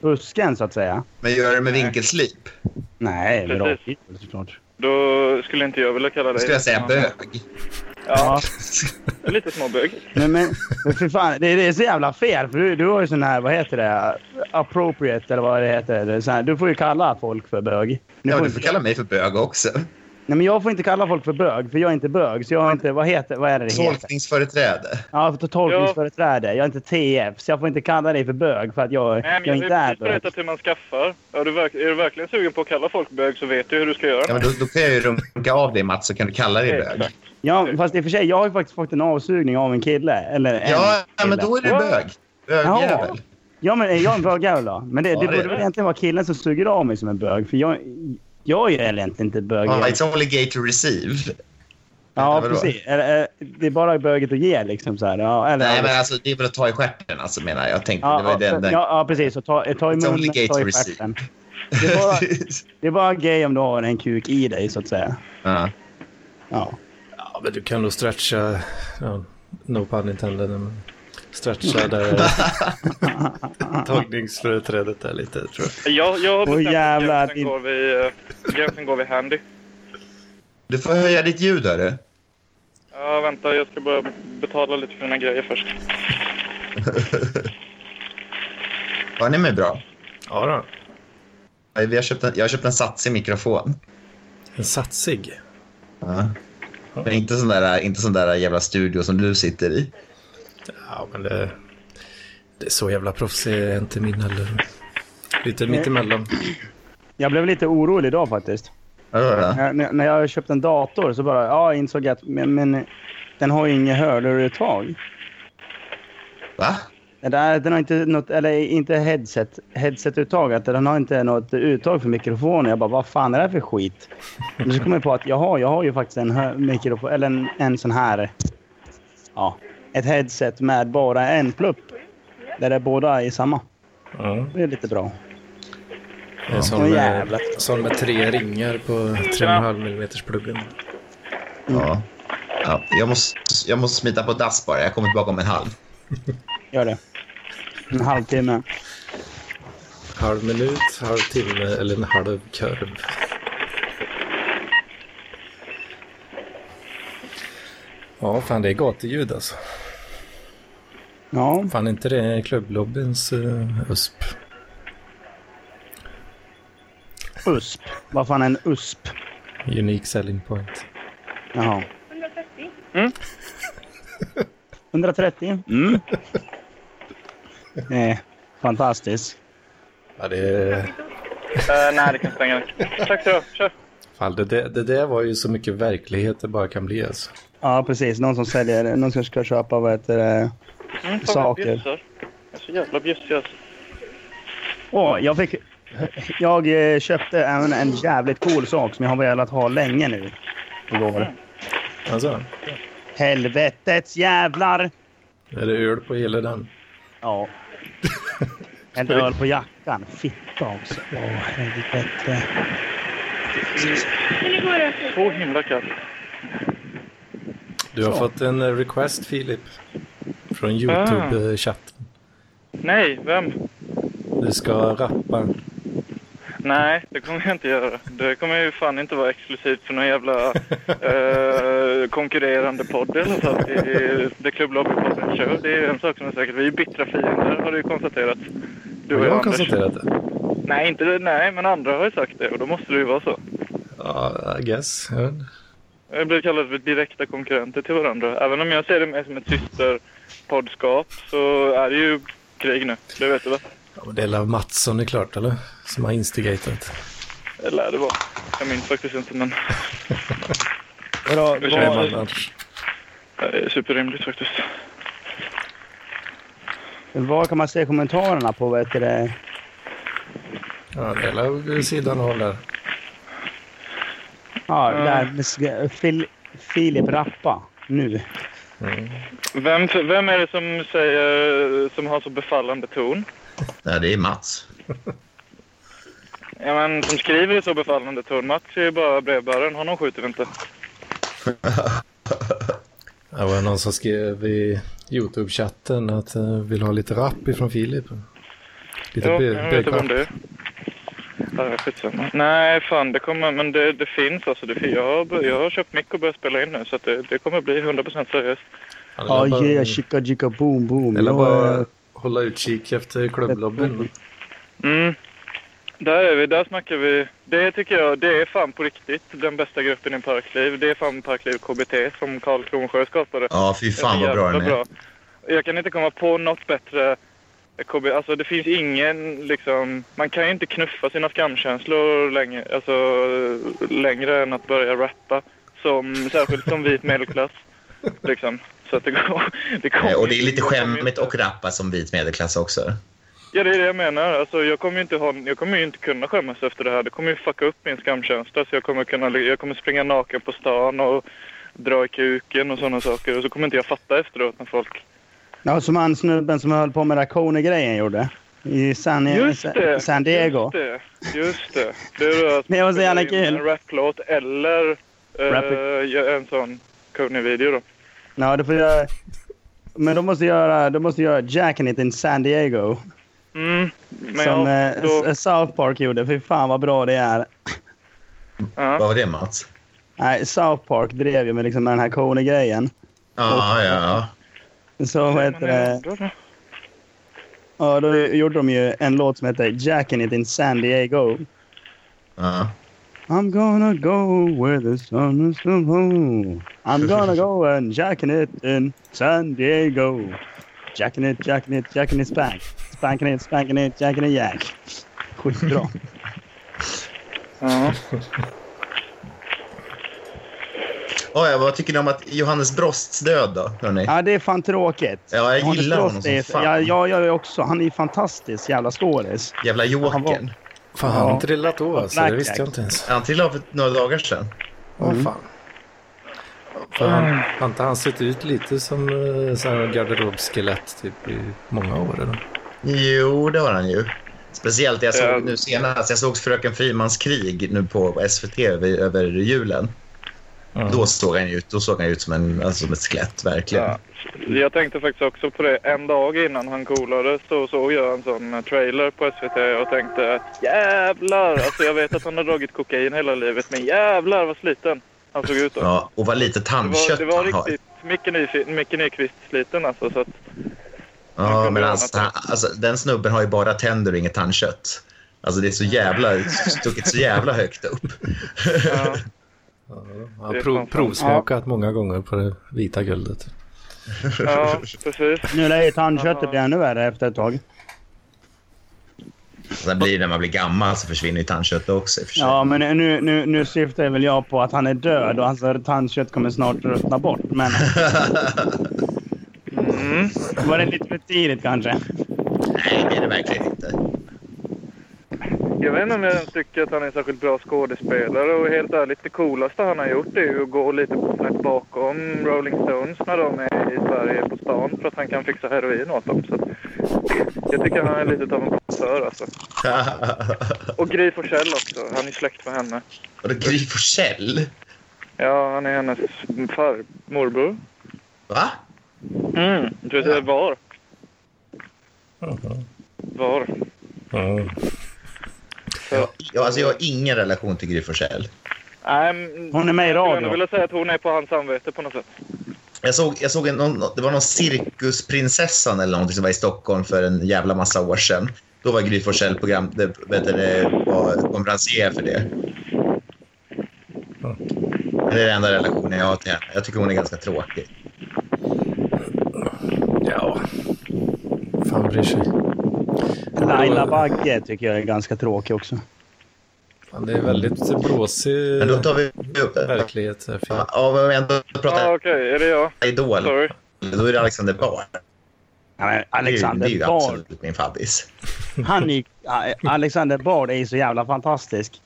Speaker 3: busken så att säga.
Speaker 4: Men gör det med vinkelslip.
Speaker 3: Nej, men
Speaker 5: Precis.
Speaker 3: rakhyvel såklart.
Speaker 5: Då skulle inte jag vilja kalla
Speaker 4: Då
Speaker 5: dig...
Speaker 4: skulle jag säga
Speaker 5: Ja,
Speaker 4: bög. (laughs)
Speaker 3: Ja.
Speaker 5: Lite småbög.
Speaker 3: Men, men, men för fan, det, det är så jävla fel. För du, du har ju sån här, vad heter det, appropriate eller vad det heter. Det är så här, du får ju kalla folk för bög. Nu
Speaker 4: Ja,
Speaker 3: får
Speaker 4: men du
Speaker 3: inte-
Speaker 4: får kalla mig för bög också.
Speaker 3: Nej, men jag får inte kalla folk för bög, för jag är inte bög. Så jag har inte, vad heter, vad är det det heter?
Speaker 4: Tolkningsföreträde.
Speaker 3: Ja, för tolkningsföreträde. Jag är inte TF, så jag får inte kalla dig för bög för att jag,
Speaker 5: Nej, men
Speaker 3: jag
Speaker 5: jag
Speaker 3: inte
Speaker 5: har
Speaker 3: är
Speaker 5: ju precis
Speaker 3: bög.
Speaker 5: berättat hur man skaffar. Är du, verk- är du verkligen sugen på att kalla folk bög så vet du hur du ska
Speaker 4: Ja,
Speaker 5: göra.
Speaker 4: men då, då kan jag ju runka av dig Mats så kan du kalla dig bög.
Speaker 5: Exakt.
Speaker 3: Ja, fast i och för sig, jag har ju faktiskt fått en avsugning av en kille. Eller en
Speaker 4: Ja, ja, men
Speaker 3: kille.
Speaker 4: då är du bög. Bögjävel.
Speaker 3: Ja, men är jag en bögjävel då? Men det, det
Speaker 4: Ja, det
Speaker 3: borde
Speaker 4: är
Speaker 3: väl
Speaker 4: det.
Speaker 3: egentligen vara killen som suger av mig som en bög. För jag, jag är ju egentligen inte bög.
Speaker 4: Ja, it's only gay to receive.
Speaker 3: Ja,
Speaker 4: Eller vadå?
Speaker 3: precis. Eller, eh, Det är bara böget att ge liksom så här. Ja, eller,
Speaker 4: Nej, men alltså det är väl att ta i stjärten alltså menar jag. Jag tänkte
Speaker 3: ja,
Speaker 4: det var ju
Speaker 3: ja,
Speaker 4: den. den.
Speaker 3: ja, ja, precis. Och ta, eh, ta i
Speaker 4: It's only
Speaker 3: munnen,
Speaker 4: gay
Speaker 3: ta
Speaker 4: to
Speaker 3: i
Speaker 4: receive.
Speaker 3: stjärten. Det är, bara, det är bara gay om du har en kuk i dig så att säga.
Speaker 4: (laughs) ja.
Speaker 3: Ja.
Speaker 1: Ja, men du kan nog stretcha, ja, no pun intended, men stretcha där tagningsföreträdet där lite tror jag.
Speaker 5: Jag, jag har
Speaker 3: Åh,
Speaker 5: bestämt att
Speaker 3: jävlar,
Speaker 5: gränsen
Speaker 3: din-
Speaker 5: går vid, eh, gränsen går vid handy.
Speaker 4: Du får höja ditt ljud hörru.
Speaker 5: Ja, vänta, jag ska bara betala lite för mina grejer först.
Speaker 4: Hör ni mig bra?
Speaker 1: Ja då.
Speaker 4: Ja, Vi har köpt en, jag har köpt en satsig mikrofon.
Speaker 1: En satsig.
Speaker 4: Ja. Men inte sån, där, inte sån där jävla studio som du sitter i.
Speaker 1: Ja, men det, det är så jävla proffsig är inte min heller. Lite mittemellan.
Speaker 3: Jag blev lite orolig idag faktiskt.
Speaker 4: Vadå då?
Speaker 3: När- när- När jag köpte en dator så bara, ja, insåg jag att men, men, den har ju inget hörluruttag.
Speaker 4: Va?
Speaker 3: Den, där, den har inte något, eller inte headset, headsetuttag. Att den har inte något uttag för mikrofoner. Jag bara, vad fan är det här för skit? Men så kom jag på att jaha, jag har ju faktiskt en hö- mikrofon, eller en, en sån här, ja, ett headset med bara en plupp. Där det båda är samma.
Speaker 1: Ja.
Speaker 3: Det är lite bra.
Speaker 1: En
Speaker 3: Åh,
Speaker 1: sån med,
Speaker 3: jävlar.
Speaker 1: sån med tre ringar på 3,5 mm pluggen.
Speaker 4: Ja. ja. Jag, måste, jag måste smita på dass bara. Jag kommer tillbaka om en halv.
Speaker 3: Gör det. En halvtimme.
Speaker 1: Halv minut, halv timme eller en halv kurv. Ja, fan det är gatuljud alltså.
Speaker 3: Ja,
Speaker 1: Fan inte det är klubblobbyns uh, USP.
Speaker 3: USP. Vad fan är en USP?
Speaker 1: Unique selling point.
Speaker 3: Jaha.
Speaker 6: 130.
Speaker 3: 130? Mm. Nej, Eh, fantastiskt.
Speaker 1: Ja, det,
Speaker 5: (laughs) Eh, nej, det kan stänga nu. Tack så mycket. Kör.
Speaker 1: fan, det, det, det där var ju så mycket verklighet det bara kan bli alltså.
Speaker 3: Ja, precis. Någon som säljer, någon som ska köpa vad heter det?
Speaker 5: Mm, fan,
Speaker 3: Saker.
Speaker 5: jag bjussar. Jag är så jävla bjussig alltså.
Speaker 3: Åh, jag fick... Jag eh, köpte en, en jävligt cool sak som jag har velat ha länge nu. Igår.
Speaker 1: Alltså,
Speaker 3: Helvetets jävlar!
Speaker 1: är det öl på hela den?
Speaker 3: Ja. En öl på jackan. Fitta också. Åh, helvete.
Speaker 6: Hur går det?
Speaker 5: Så himla kallt.
Speaker 1: Du har
Speaker 3: Så.
Speaker 1: fått en eh, request Filip. Från YouTube-chatten.
Speaker 5: Nej, vem?
Speaker 1: Du ska rappa.
Speaker 5: Nej, det kommer jag inte göra. Det kommer ju fan inte vara exklusivt för någon jävla eh, konkurrerande podd eller så. Det, är- det Klubb Lobbypodden kör, det är en sak som är säker. Vi är bittra fiender har du ju konstaterat. Du
Speaker 1: Har
Speaker 5: och jag,
Speaker 1: jag
Speaker 5: Anders.
Speaker 1: konstaterat det?
Speaker 5: Nej, inte du. Nej, men andra har ju sagt det och då måste det ju vara så.
Speaker 1: Ja, I guess. Jag vet inte.
Speaker 5: Vi blir kallade för direkta konkurrenter till varandra. Även om jag ser det mer som ett systerpoddskap så är det ju krig nu. Det vet du va?
Speaker 1: Ja, men det är väl Mattsson det är klart, eller? Som har instigatat.
Speaker 5: Det lär det vara. Jag minns faktiskt inte men
Speaker 3: Vadå?
Speaker 5: Hur
Speaker 1: Vem
Speaker 5: säger man?
Speaker 3: Vad,
Speaker 1: annars?
Speaker 5: det är superrimligt faktiskt.
Speaker 3: vad kan man se i kommentarerna på vad heter det?
Speaker 1: Ja, det är väl sidan håller.
Speaker 3: Ja,
Speaker 5: Mm.
Speaker 3: lär mig ska- Fil, Filip rappa nu.
Speaker 5: Vem, vem är det som säger, som har så befallande ton?
Speaker 4: Nej, det är Mats.
Speaker 5: Ja, men som skriver i så befallande ton. Mats är ju bara brevbäraren. Honom skjuter vi inte.
Speaker 1: Det var någon som skrev i YouTube-chatten att eh, vill ha lite rap ifrån Filip. Lite
Speaker 5: Jo,
Speaker 1: bö-
Speaker 5: jag vet
Speaker 1: bögrap.
Speaker 5: inte om det är. Ja, skitsamma. Nej, fan det kommer, men det, det finns alltså. Det, jag, har, jag har köpt mick och börjat spela in nu så att det, det kommer bli 100% seriöst.
Speaker 1: Ja,
Speaker 3: Ja,
Speaker 1: det är bara-
Speaker 3: yeah, chicka chicka boom boom.
Speaker 1: det är
Speaker 3: Ja,
Speaker 1: bara hålla utkik efter klubblobbyn.
Speaker 5: Mm. Där är vi, där snackar vi. Det tycker jag, det är fan på riktigt den bästa gruppen i Parkliv. Det är fan Parkliv KBT som Karl Kronsjö skapade.
Speaker 4: Ja, fy fan
Speaker 5: Det
Speaker 4: vad
Speaker 5: är så
Speaker 4: bra den
Speaker 5: jävla
Speaker 4: är.
Speaker 5: Jag kan inte komma på något bättre. KB, alltså det finns ingen liksom, man kan ju inte knuffa sina skamkänslor länge, alltså, längre än att börja rappa. Som, särskilt som vit medelklass. Liksom. Så att det går, (laughs) det kommer
Speaker 4: Eh, Och det är
Speaker 5: ju-
Speaker 4: lite
Speaker 5: jag kommer ju
Speaker 4: skämmigt
Speaker 5: inte-
Speaker 4: att rappa som vit medelklass också.
Speaker 5: Ja, det är det jag menar. Alltså, jag, kommer ju inte ha, jag kommer ju inte kunna skämmas efter det här. Det kommer ju fucka upp min skamkänsla. Så jag, kommer kunna, jag kommer springa naken på stan och dra i kuken och sådana saker. Och så kommer inte jag fatta efteråt när folk
Speaker 3: Ja, som han snubben som höll på med Raccoon-grejen gjorde. I San,
Speaker 5: Just det.
Speaker 3: San Diego.
Speaker 5: Just det. Just det. det är då att
Speaker 3: Men det var så jävla
Speaker 5: spela in
Speaker 3: kul.
Speaker 5: En raplåt eller
Speaker 3: Rap
Speaker 5: eh, göra en sån Kony-video då.
Speaker 3: Ja, det får jag... Men de måste göra, de måste göra Jackanit in San Diego.
Speaker 5: Mm. Men
Speaker 3: som
Speaker 5: ja,
Speaker 3: eh,
Speaker 5: då,
Speaker 3: S- South Park gjorde. Fy fan vad bra det är.
Speaker 5: ja.
Speaker 4: Vad var det Mats?
Speaker 3: Nej, South Park drev ju med, liksom, med den här Kony-grejen.
Speaker 4: Ah, Ja, ja, ja.
Speaker 3: Så vad heter det? Ja, då gjorde de ju en låt som heter Jackanit in San Diego.
Speaker 4: ja.
Speaker 3: I'm gonna go where the sun is from home. I'm gonna go and jacking it in San Diego. Jacking it, jacking it, jacking it spank. Spanking it, spanking it, jacking it jack. Skitbra.
Speaker 5: Ja.
Speaker 4: Oh, ja, vad tycker ni om att Johannes Brosts död då? Hörrni?
Speaker 3: Ja, det är fan tråkigt.
Speaker 4: Ja, jag
Speaker 3: Hans
Speaker 4: gillar
Speaker 3: Brost
Speaker 4: honom som
Speaker 3: är-
Speaker 4: fan.
Speaker 3: Ja, jag gör det också. Han är ju fantastisk jävla skådis.
Speaker 4: Jävla
Speaker 3: Han
Speaker 4: jokern.
Speaker 3: var-
Speaker 1: Fan, han har
Speaker 3: Ja.
Speaker 1: trillat då alltså. Det
Speaker 3: Blackjack.
Speaker 1: visste jag inte ens.
Speaker 4: Han trillade av för några dagar sedan.
Speaker 1: Åh
Speaker 3: Mm.
Speaker 1: fan. För han, har inte han sett ut lite som eh, sån här garderobskelett typ i många år? Eller?
Speaker 4: Jo, det har han ju. Speciellt det jag
Speaker 5: Ja.
Speaker 4: såg nu senast. Jag såg Fröken Frimans krig nu på SVT över, över julen. Då såg han ju ut, då såg han ut som, en, alltså, som ett skelett, verkligen.
Speaker 5: Ja. Jag tänkte faktiskt också på det. En dag innan han coolade så såg jag en sån eh, trailer på SVT och tänkte jävlar. Alltså jag vet att han har dragit kokain hela livet men jävlar vad sliten han såg ut då.
Speaker 4: Ja, och vad lite
Speaker 5: det var,
Speaker 4: tandkött
Speaker 5: det var
Speaker 4: han har.
Speaker 5: riktigt Micke Nyfi- Micke Nyqvist-sliten alltså.
Speaker 4: (laughs)
Speaker 5: Så att,
Speaker 4: Ja, men alltså, han, alltså, den snubben har ju bara tänder och inget tandkött. Alltså det är så jävla, stucket så jävla högt upp.
Speaker 5: ja.
Speaker 1: Han
Speaker 5: Det
Speaker 1: har
Speaker 5: är
Speaker 1: prov,
Speaker 5: fan-
Speaker 1: provsmakat många gånger på det vita guldet.
Speaker 5: Ja, precis.
Speaker 3: Nu lär ju tandköttet bli ännu värre efter ett tag.
Speaker 4: Sen blir det när man blir gammal så försvinner ju tandköttet också i och för sig.
Speaker 3: Ja, men nu, nu, nu syftar väl jag på att han är död och hans tandkött kommer snart ruttna bort.
Speaker 4: (laughs)
Speaker 3: Men
Speaker 5: Mm.
Speaker 3: var det lite för tidigt kanske?
Speaker 4: Nej, det är det verkligen inte. (laughs)
Speaker 5: Jag vet inte om jag ens tycker att han är en särskilt bra skådespelare och helt ärligt det coolaste han har gjort är ju att gå lite på snett bakom Rolling Stones när de är i Sverige på stan för att han kan fixa heroin åt dem. Så att, jag tycker han är lite av en passör alltså. Och Gry Forssell också, han är släkt med henne.
Speaker 4: Och då Gry Forssell?
Speaker 5: Ja, han är hennes far, morbror.
Speaker 4: Va?
Speaker 5: Mm. Du vet, var. Var.
Speaker 1: Mm.
Speaker 5: Så.
Speaker 4: Ja, alltså jag har ingen relation till Gry Forssell.
Speaker 5: Nej, men-
Speaker 3: Hon är med i
Speaker 5: Jag skulle ändå
Speaker 3: radio.
Speaker 5: vilja säga att hon är på hans samvete på något sätt.
Speaker 4: Jag såg, jag såg en, någon, det var någon Cirkusprinsessan eller någonting som var i Stockholm för en jävla massa år sedan. Då var Gry Forssell program, det, vet du, det var konferencier för det. Det är den enda relationen jag har till henne. Jag tycker hon är ganska tråkig.
Speaker 1: Ja, fan bryr sig.
Speaker 3: Laila Bagge tycker jag är ganska tråkig också.
Speaker 1: Fan, det är väldigt bråsig
Speaker 4: Men då tar vi upp...
Speaker 1: verklighet. här, Filip.
Speaker 4: Ja, men om vi ändå
Speaker 5: Ja,
Speaker 4: pratar
Speaker 5: okej. Är det jag?
Speaker 4: Idol,
Speaker 5: Sorry.
Speaker 4: då är det Alexander Bard.
Speaker 3: Ja, men
Speaker 4: det är ju
Speaker 3: Alexander Bard.
Speaker 4: absolut min faddis.
Speaker 3: Han gick, Alexander Bard är ju så jävla fantastisk.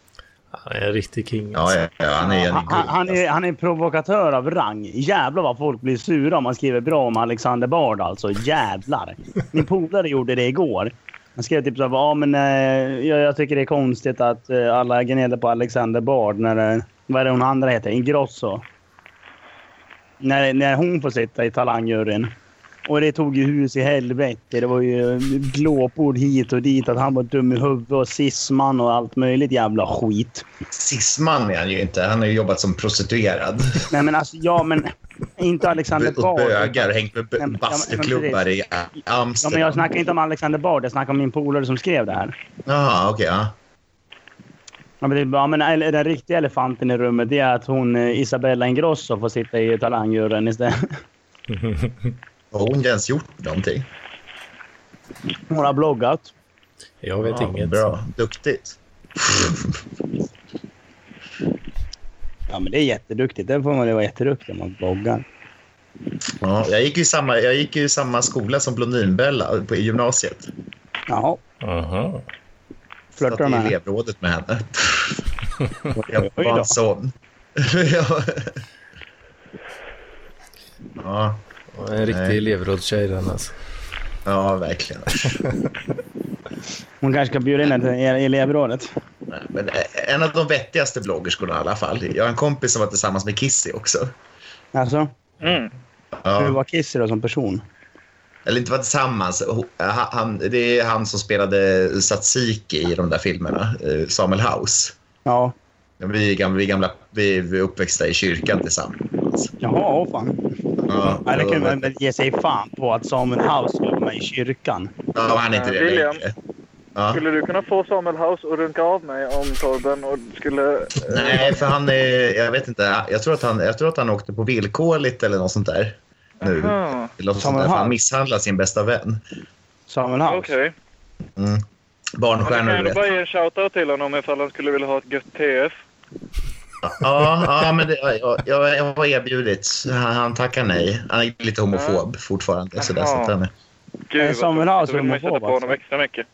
Speaker 1: Han är en riktig king.
Speaker 4: Ja,
Speaker 1: alltså.
Speaker 4: ja, ja, han är en
Speaker 3: Han, han, han, är, han är en provokatör av rang. Jävlar vad folk blir sura om man skriver bra om Alexander Bard alltså. Jävlar. Min polare gjorde det igår. Han skrev typ såhär, ja men eh, jag, jag tycker det är konstigt att eh, alla gnäller på Alexander Bard när, eh, vad är det hon andra heter, Ingrosso. När, när hon får sitta i talangjuryn. Och det tog ju hus i helvete. Det var ju eh, glåpord hit och dit att han var dum i huvudet och sisman och allt möjligt jävla skit.
Speaker 4: Cisman Alltså, är han ju inte. Han har ju jobbat som prostituerad.
Speaker 3: Nej men alltså, ja men inte Alexander
Speaker 4: Och
Speaker 3: Bard.
Speaker 4: bögar, hängt med
Speaker 3: men- ja, men-
Speaker 4: bö- bastuklubbar i
Speaker 3: Ja, men
Speaker 4: Amsterdam.
Speaker 3: jag snackar inte om Alexander Bard, jag snackar om min polare som skrev det här.
Speaker 4: Jaha, okej. ja.
Speaker 3: Ja, men, det, ja, men el- den riktiga elefanten i rummet det är att hon eh, Isabella Ingrosso får sitta i talangjuryn istället. (laughs)
Speaker 4: Har hon inte ens gjort någonting?
Speaker 3: Hon har bloggat.
Speaker 1: Jag vet
Speaker 4: Ja,
Speaker 1: inget.
Speaker 4: Bra. Duktigt.
Speaker 3: Ja men det är jätteduktigt. Det får man ju vara jätteduktig om man bloggar.
Speaker 4: Ja, jag, gick ju i samma, jag gick ju i samma skola som Blondinbella på i gymnasiet.
Speaker 3: Jaha.
Speaker 1: Aha.
Speaker 3: Flörtar du med
Speaker 4: Satt i
Speaker 3: henne?
Speaker 4: elevrådet med henne.
Speaker 3: (laughs) Oj
Speaker 4: Jag
Speaker 3: då.
Speaker 4: var hans son. (laughs) ja. Ja,
Speaker 1: En riktig
Speaker 4: Nej.
Speaker 1: elevrådstjej den alltså.
Speaker 4: ja, verkligen.
Speaker 3: Hon kanske ska bjuda in henne till el- elevrådet.
Speaker 4: Nej, Men eh, en av de vettigaste bloggerskorna i alla fall. Jag har en kompis som var tillsammans med Kissy också.
Speaker 3: Alltså,
Speaker 5: Mm.
Speaker 3: hur
Speaker 4: Ja.
Speaker 3: var Kissy då som person?
Speaker 4: Eller inte var tillsammans. Ho- eh, Han, det är han som spelade Satsiki i de där filmerna. eh, Samuel House.
Speaker 3: Ja.
Speaker 4: Vi är, gamla, vi, är gamla, vi är uppväxta i kyrkan tillsammans.
Speaker 3: Jaha, åh fan.
Speaker 4: Ja,
Speaker 3: Ja, det
Speaker 4: och-
Speaker 3: kunde man väl ge sig fan på att Samuel House skulle vara med i kyrkan.
Speaker 4: Ja, han är inte det
Speaker 5: William.
Speaker 4: längre. Ja.
Speaker 5: Skulle du kunna få Samuel House att runka av mig om Torben och skulle...
Speaker 4: Nej, för han är... Jag vet inte. Jag tror att han, jag tror att han åkte på villkorligt eller något sånt där. Nu.
Speaker 5: Aha,
Speaker 4: Eller något sånt
Speaker 3: Samuel
Speaker 4: där, för han
Speaker 3: Hall.
Speaker 4: misshandlar sin bästa vän.
Speaker 3: Samuel House.
Speaker 5: Okej.
Speaker 4: Mm.
Speaker 5: Men Jag kan
Speaker 4: Barnstjärnor är
Speaker 5: ändå
Speaker 4: rätt.
Speaker 5: bara ge en shoutout till honom ifall han skulle vilja ha ett gött TF.
Speaker 4: Ja, ja, men det, jag, jag, jag har erbjudit. Han, han tackar nej. Han är lite homofob fortfarande. Så där, så att han är
Speaker 5: Gud,
Speaker 3: Nej,
Speaker 5: vad
Speaker 3: Eh, Samuel
Speaker 5: tråkigt.
Speaker 3: House
Speaker 5: Då vill man ju
Speaker 3: homofob,
Speaker 5: sätta på honom
Speaker 3: alltså.
Speaker 5: extra mycket.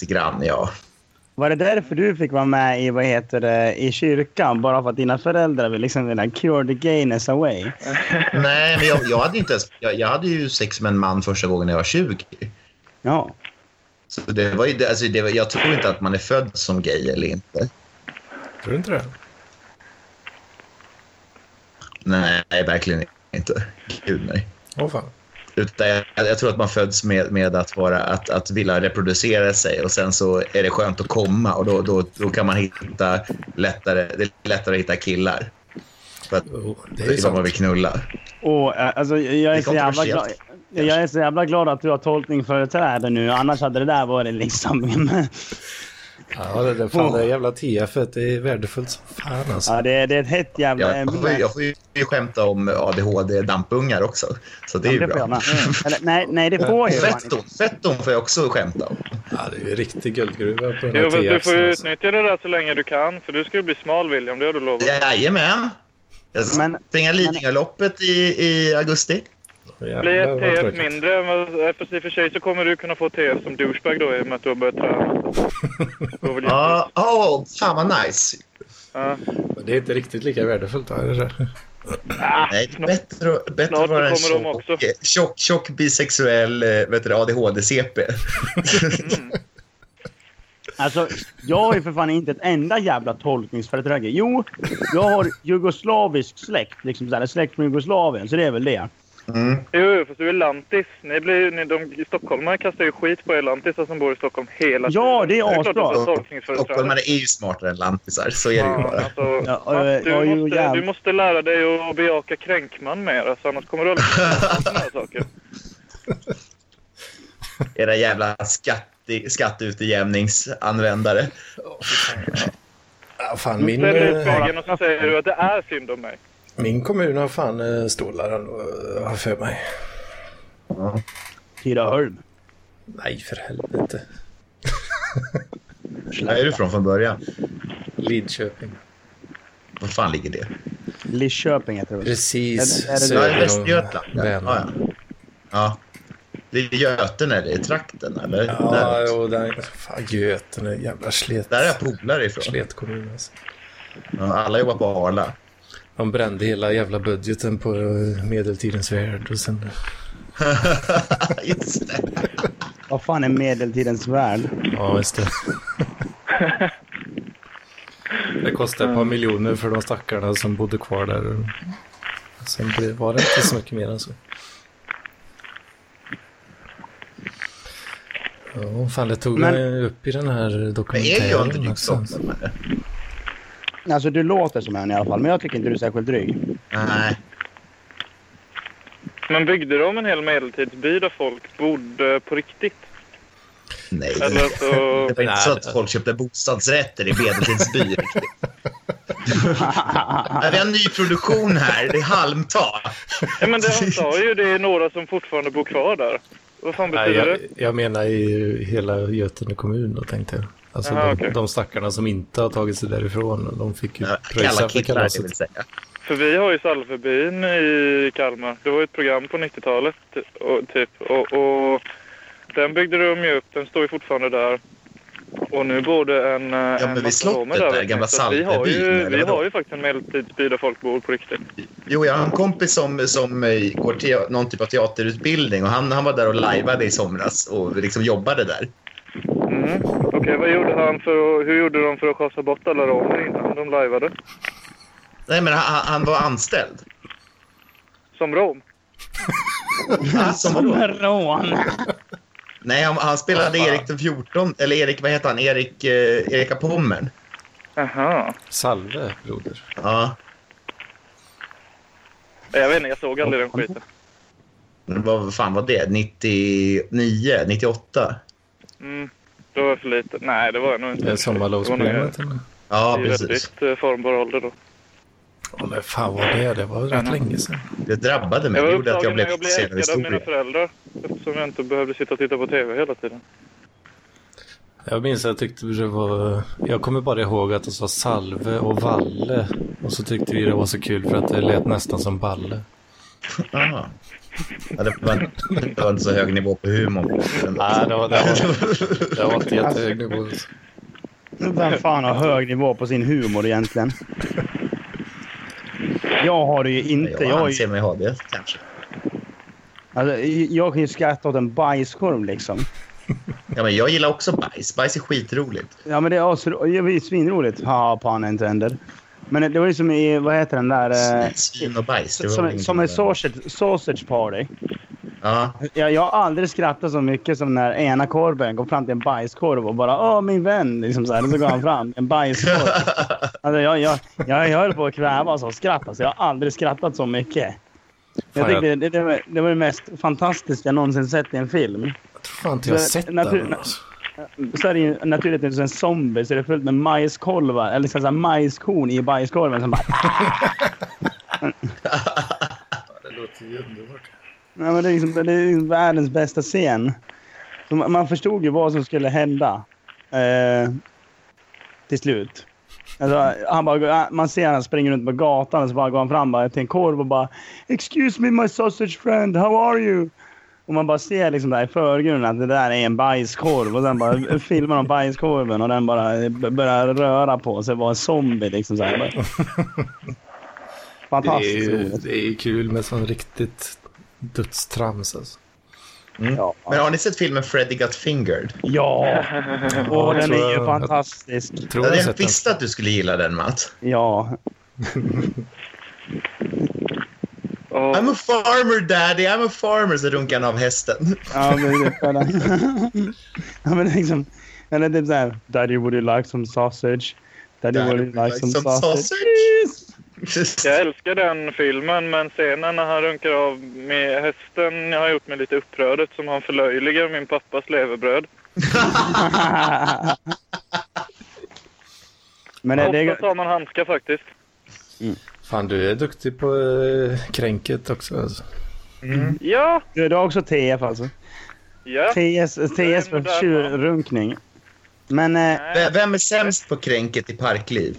Speaker 4: lite grann, ja.
Speaker 3: Var det därför du fick vara med i, vad heter det, i kyrkan? Bara för att dina föräldrar vill liksom vill cure the gayness away?
Speaker 4: Nej, men jag, jag, hade inte ens, jag, jag hade ju sex med en man första gången när jag var 20.
Speaker 3: Ja.
Speaker 4: Så det var ju, det- alltså det var, jag tror inte att man är född som gay eller inte.
Speaker 1: Tror du inte det?
Speaker 4: Nej, verkligen inte. Gud, nej.
Speaker 1: Åh fan.
Speaker 4: Utan jag, jag tror att man föds med, med att, vara, att, att vilja reproducera sig och sen så är det skönt att komma och då, då, då kan man hitta lättare, det är lättare att hitta killar. För att
Speaker 1: Jo, det
Speaker 4: det
Speaker 1: är ju
Speaker 4: är vad man
Speaker 1: sant.
Speaker 4: vill knulla.
Speaker 3: Och, eh, alltså, jag, är
Speaker 4: Det är
Speaker 3: så jävla glad,
Speaker 4: kontroversiellt,
Speaker 3: jag är så jävla glad att du har tolkningsföreträde nu. Annars hade det där varit liksom... (laughs)
Speaker 1: Ja, det, det, fan, det jävla TF et, det är värdefullt som fan alltså.
Speaker 3: ja, det, är- det är ett hett jävla
Speaker 4: Jag får,
Speaker 3: ämne.
Speaker 4: (laughs) ju- jag får ju skämta om ADHD-dampungar också. Så det är
Speaker 3: Ja,
Speaker 4: ju
Speaker 3: får jag med.
Speaker 4: bra.
Speaker 3: Mm. Eller, nej, nej, det får jag ju fan inte.
Speaker 4: Fetton, fetton får jag också skämta om.
Speaker 1: Ja, det är ju en riktig guldgruva på den
Speaker 5: Jo,
Speaker 1: här
Speaker 5: men du
Speaker 1: TF.
Speaker 5: får ju
Speaker 1: Alltså.
Speaker 5: utnyttja det där så länge du kan, för du ska ju bli smal William, det har du lovat.
Speaker 4: Jajamän. Jag ska
Speaker 3: Men-
Speaker 4: springa Lidingöloppet i, i augusti.
Speaker 5: Blir
Speaker 1: Jävlar,
Speaker 5: ett
Speaker 1: vad
Speaker 5: TF
Speaker 1: tråkigt.
Speaker 5: mindre, men fast i och för sig så kommer du kunna få TF som douchebag då i och med att du har
Speaker 4: (laughs)
Speaker 5: börjat träna. Går väl jättebra.
Speaker 4: Ja, åh, fan vad nice.
Speaker 5: Ja.
Speaker 1: Men Det är inte riktigt lika värdefullt. va? Är det så?
Speaker 4: Nej, det är bättre, bättre
Speaker 5: Snart
Speaker 4: att vara en
Speaker 5: så kommer de också.
Speaker 4: tjock, tjock, tjock bisexuell eh, vet du, det, ADHD-CP.
Speaker 3: Alltså, jag har ju för fan inte ett enda jävla tolkningsföreträde. Jo, jag har jugoslavisk släkt. Liksom så här, släkt från Jugoslavien, så det är väl det.
Speaker 4: Mm.
Speaker 5: Jo, jo, fast du är lantis. Ni blir, ni, de, stockholmare kastar ju skit på er lantisar som bor i Stockholm hela tiden.
Speaker 3: Ja, det är
Speaker 5: klart att du har
Speaker 3: asbra.
Speaker 5: tolkningsföreträde.
Speaker 4: Stockholmare är ju smartare än lantisar, så är det ju
Speaker 5: Ja,
Speaker 4: bara.
Speaker 5: alltså,
Speaker 3: Ja, och-
Speaker 5: Mats,
Speaker 3: och- och-
Speaker 5: du, måste,
Speaker 3: jäv-
Speaker 5: du måste lära dig att bejaka kränkman mer, alltså, annars kommer du aldrig kunna
Speaker 4: (laughs)
Speaker 5: sådana här saker.
Speaker 4: Era jävla skatte, skatteutjämningsanvändare.
Speaker 1: Ja, fan, min,
Speaker 5: Ställer dig i
Speaker 1: eh,
Speaker 5: spegeln och så säger du att det är synd om mig.
Speaker 1: min kommun har fan eh, stålar ändå, eh, har för mig.
Speaker 3: Tidaholm.
Speaker 1: Nej, för helvete.
Speaker 4: Var är du från från början?
Speaker 1: Lidköping.
Speaker 4: Var fan ligger det?
Speaker 3: Lidköping heter det väl?
Speaker 1: Precis
Speaker 3: Är det- är det-
Speaker 4: Ja, i
Speaker 1: söder om
Speaker 4: Västergötland. Ja,
Speaker 1: Vänern.
Speaker 4: ja. ja. Det är Göten eller i trakten eller?
Speaker 1: Ja,
Speaker 4: Där,
Speaker 1: jo, den... Fan, Göten är jävla slet...
Speaker 4: där är jag polare ifrån.
Speaker 1: slet kommun alltså.
Speaker 4: Ja, Alla jobbar på Arla. (laughs)
Speaker 1: De brände hela jävla budgeten på eh, medeltidens värld och sen...
Speaker 4: Just det.
Speaker 3: Vad fan är medeltidens värld?
Speaker 1: Ja, just det. (laughs) Det kostade ett par miljoner för de stackarna som bodde kvar där. Sen blev- var det inte så mycket mer än så. Ja, fan det tog
Speaker 3: Men-
Speaker 1: mig upp i den här
Speaker 4: Men är jag inte
Speaker 1: dokumentären.
Speaker 4: dryg
Speaker 1: också.
Speaker 4: Stockholm? eller?
Speaker 3: Alltså du låter som en i alla fall, men jag tycker inte du är särskilt dryg.
Speaker 4: Nej.
Speaker 5: Men byggde de en hel medeltidsby där folk bodde på riktigt?
Speaker 4: Nej.
Speaker 5: Eller så...
Speaker 4: (laughs) Det var inte så
Speaker 1: Nej,
Speaker 4: att folk köpte bostadsrätter i (laughs) medeltidsby. riktigt. Nej, Vi har nyproduktion här. Det är halmtak.
Speaker 5: Ja, men det han sa ju, det är några som fortfarande bor kvar där. Vad fan
Speaker 1: Nej,
Speaker 5: betyder
Speaker 1: jag,
Speaker 5: det?
Speaker 1: jag menar i hela Götene kommun då tänkte jag. Alltså
Speaker 5: Aha,
Speaker 1: de,
Speaker 5: okej.
Speaker 1: de stackarna som inte har tagit sig därifrån. De fick ju
Speaker 4: Kalla
Speaker 1: pröjsa för
Speaker 4: killar, det vill
Speaker 1: kalaset.
Speaker 4: säga.
Speaker 5: För vi har ju Salföbyn i Kalmar. Det var ju ett program på 90-talet och, typ. Och, och den byggde de ju upp. Den står ju fortfarande där. Och nu bor det en, eh,
Speaker 4: men
Speaker 5: en
Speaker 4: vid
Speaker 5: massa
Speaker 4: slottet
Speaker 5: romer
Speaker 4: där,
Speaker 5: vet
Speaker 4: gamla
Speaker 5: ni. Så att Vi har
Speaker 4: Salföbyn,
Speaker 5: ju,
Speaker 4: eller
Speaker 5: vi
Speaker 4: vadå?
Speaker 5: har ju faktiskt en medeltidsby där folk bor på riktigt.
Speaker 4: Jo, jag har en kompis som, som eh, går te- någon typ av teaterutbildning och han, han var där och lajvade i somras och liksom jobbade där.
Speaker 5: Mm. Okej, vad gjorde han för att, hur gjorde de för att schasa bort alla romer innan de lajvade?
Speaker 4: Nej, men han, han var anställd.
Speaker 5: Som rom?
Speaker 3: Alltså,
Speaker 4: Som vadå?
Speaker 3: Rån!
Speaker 4: Nej, han, han spelade Erik den 14, eller Erik, vad heter han? Erik, eh, Erika Pommern.
Speaker 5: Aha.
Speaker 1: Salve, broder.
Speaker 4: Ja,
Speaker 5: Jag vet inte, jag såg aldrig den skiten.
Speaker 4: men vad fan var det? 99, 98?
Speaker 5: Mm. Det var för lite. Nej, det var jag nog inte.
Speaker 1: Det är sommarlovsprogrammet. eller?
Speaker 4: Ja,
Speaker 5: Det är ju
Speaker 4: precis.
Speaker 5: väldigt eh, formbar ålder då.
Speaker 1: Ja, men fan vad det är. Det var rätt länge sedan.
Speaker 4: Det drabbade mig.
Speaker 5: Jag
Speaker 4: Det
Speaker 5: var
Speaker 4: gjorde att jag
Speaker 5: upptagen med
Speaker 4: blev
Speaker 5: att bli
Speaker 4: intresserad av
Speaker 5: älskad av mina
Speaker 4: historia.
Speaker 5: föräldrar eftersom jag inte behövde sitta och titta på TV hela tiden.
Speaker 1: Jag minns att jag tyckte det var... Jag kommer bara ihåg att det sa Salve och Valle. Och så tyckte vi det var så kul för att det lät nästan som Balle.
Speaker 4: Aha. Ja, det, var, det var inte så hög nivå på humorn.
Speaker 1: Nej, det
Speaker 4: (laughs)
Speaker 1: var, det var, Alltså, det var inte jättehög nivå.
Speaker 3: Vem fan har hög nivå på sin humor egentligen? Jag har det ju inte.
Speaker 4: Jag
Speaker 3: Jag, har
Speaker 4: anser
Speaker 3: ju,
Speaker 4: mig ha det, kanske.
Speaker 3: alltså, jag kan ju skratta åt en bajskorv liksom.
Speaker 4: Ja, men jag gillar också bajs. Bajs är skitroligt.
Speaker 3: Ja men det är, asro- det är ju svinroligt. Ha, pun intended. Men det var ju som i, vad heter den där... Eh,
Speaker 4: Svin och bajs. det var
Speaker 3: som,
Speaker 4: väl
Speaker 3: som en
Speaker 4: inget-
Speaker 3: sausage, sausage party.
Speaker 4: Ja,
Speaker 3: Jag, jag har aldrig skrattat så mycket som när ena korven går fram till en bajskorv och bara ”Åh, min vän!” liksom så, här, och så går han fram. En bajskorv. Alltså, jag, jag, jag, jag höll på att kvävas av skratt. Alltså, jag har aldrig skrattat så mycket. Jag
Speaker 1: Fan, jag-
Speaker 3: tyckte det, det, var, det var det mest fantastiska jag någonsin sett i en film.
Speaker 1: Jag tror fan inte jag har sett
Speaker 3: Natur-
Speaker 1: den. Alltså.
Speaker 3: Så är det ju naturligtvis en zombie så det är fullt med majskolvar, eller liksom så här majskorn i bajskorven som bara...
Speaker 1: Det låter ju underbart.
Speaker 3: Nej, men det, är liksom, det är liksom världens bästa scen. Så man, man förstod ju vad som skulle hända. Eh, till slut. Alltså, han bara, man ser han springer runt på gatan och så bara går han fram bara, till en korv och bara “Excuse me my sausage friend, how are you?” Och man bara ser liksom där i förgrunden att det där är en bajskorv och sen bara (laughs) filmar de bajskorven och den bara b- börjar röra på sig och vara en zombie liksom så
Speaker 1: (laughs)
Speaker 3: här.
Speaker 1: Det är,
Speaker 3: Fantastiskt
Speaker 1: ju,
Speaker 3: roligt.
Speaker 1: det är ju kul med sån riktigt dödstrams. Alltså.
Speaker 3: Ja.
Speaker 4: men har ni sett filmen Freddy Got Fingered?
Speaker 3: Ja! Åh, den
Speaker 1: tror
Speaker 3: är ju
Speaker 1: jag-
Speaker 3: fantastisk.
Speaker 1: Tror jag har
Speaker 4: Jag
Speaker 1: sett den.
Speaker 4: visste att du skulle gilla den, Matt.
Speaker 3: Ja.
Speaker 5: Och,
Speaker 4: I'm a farmer daddy, I'm a farmer, så runkar han av hästen.
Speaker 3: Ja, men typ sådär. ja, men liksom... Eller typ såhär... Daddy, would you like some sausage? Daddy, would you like some, sausage?
Speaker 5: jag älskar den filmen men scenen när han runkar av med hästen har gjort mig lite upprörd som han förlöjligar min pappas levebröd.
Speaker 3: men det, det,
Speaker 5: Ofta tar man handskar faktiskt.
Speaker 1: Fan, du är duktig på eh, kränket också. Alltså.
Speaker 5: Ja!
Speaker 3: du har också TF alltså?
Speaker 5: Ja!
Speaker 3: TS, TS
Speaker 5: modern
Speaker 3: för tjurrunkning. Men... Eh,
Speaker 5: Nej,
Speaker 4: V- Vem är sämst på kränket i parkliv?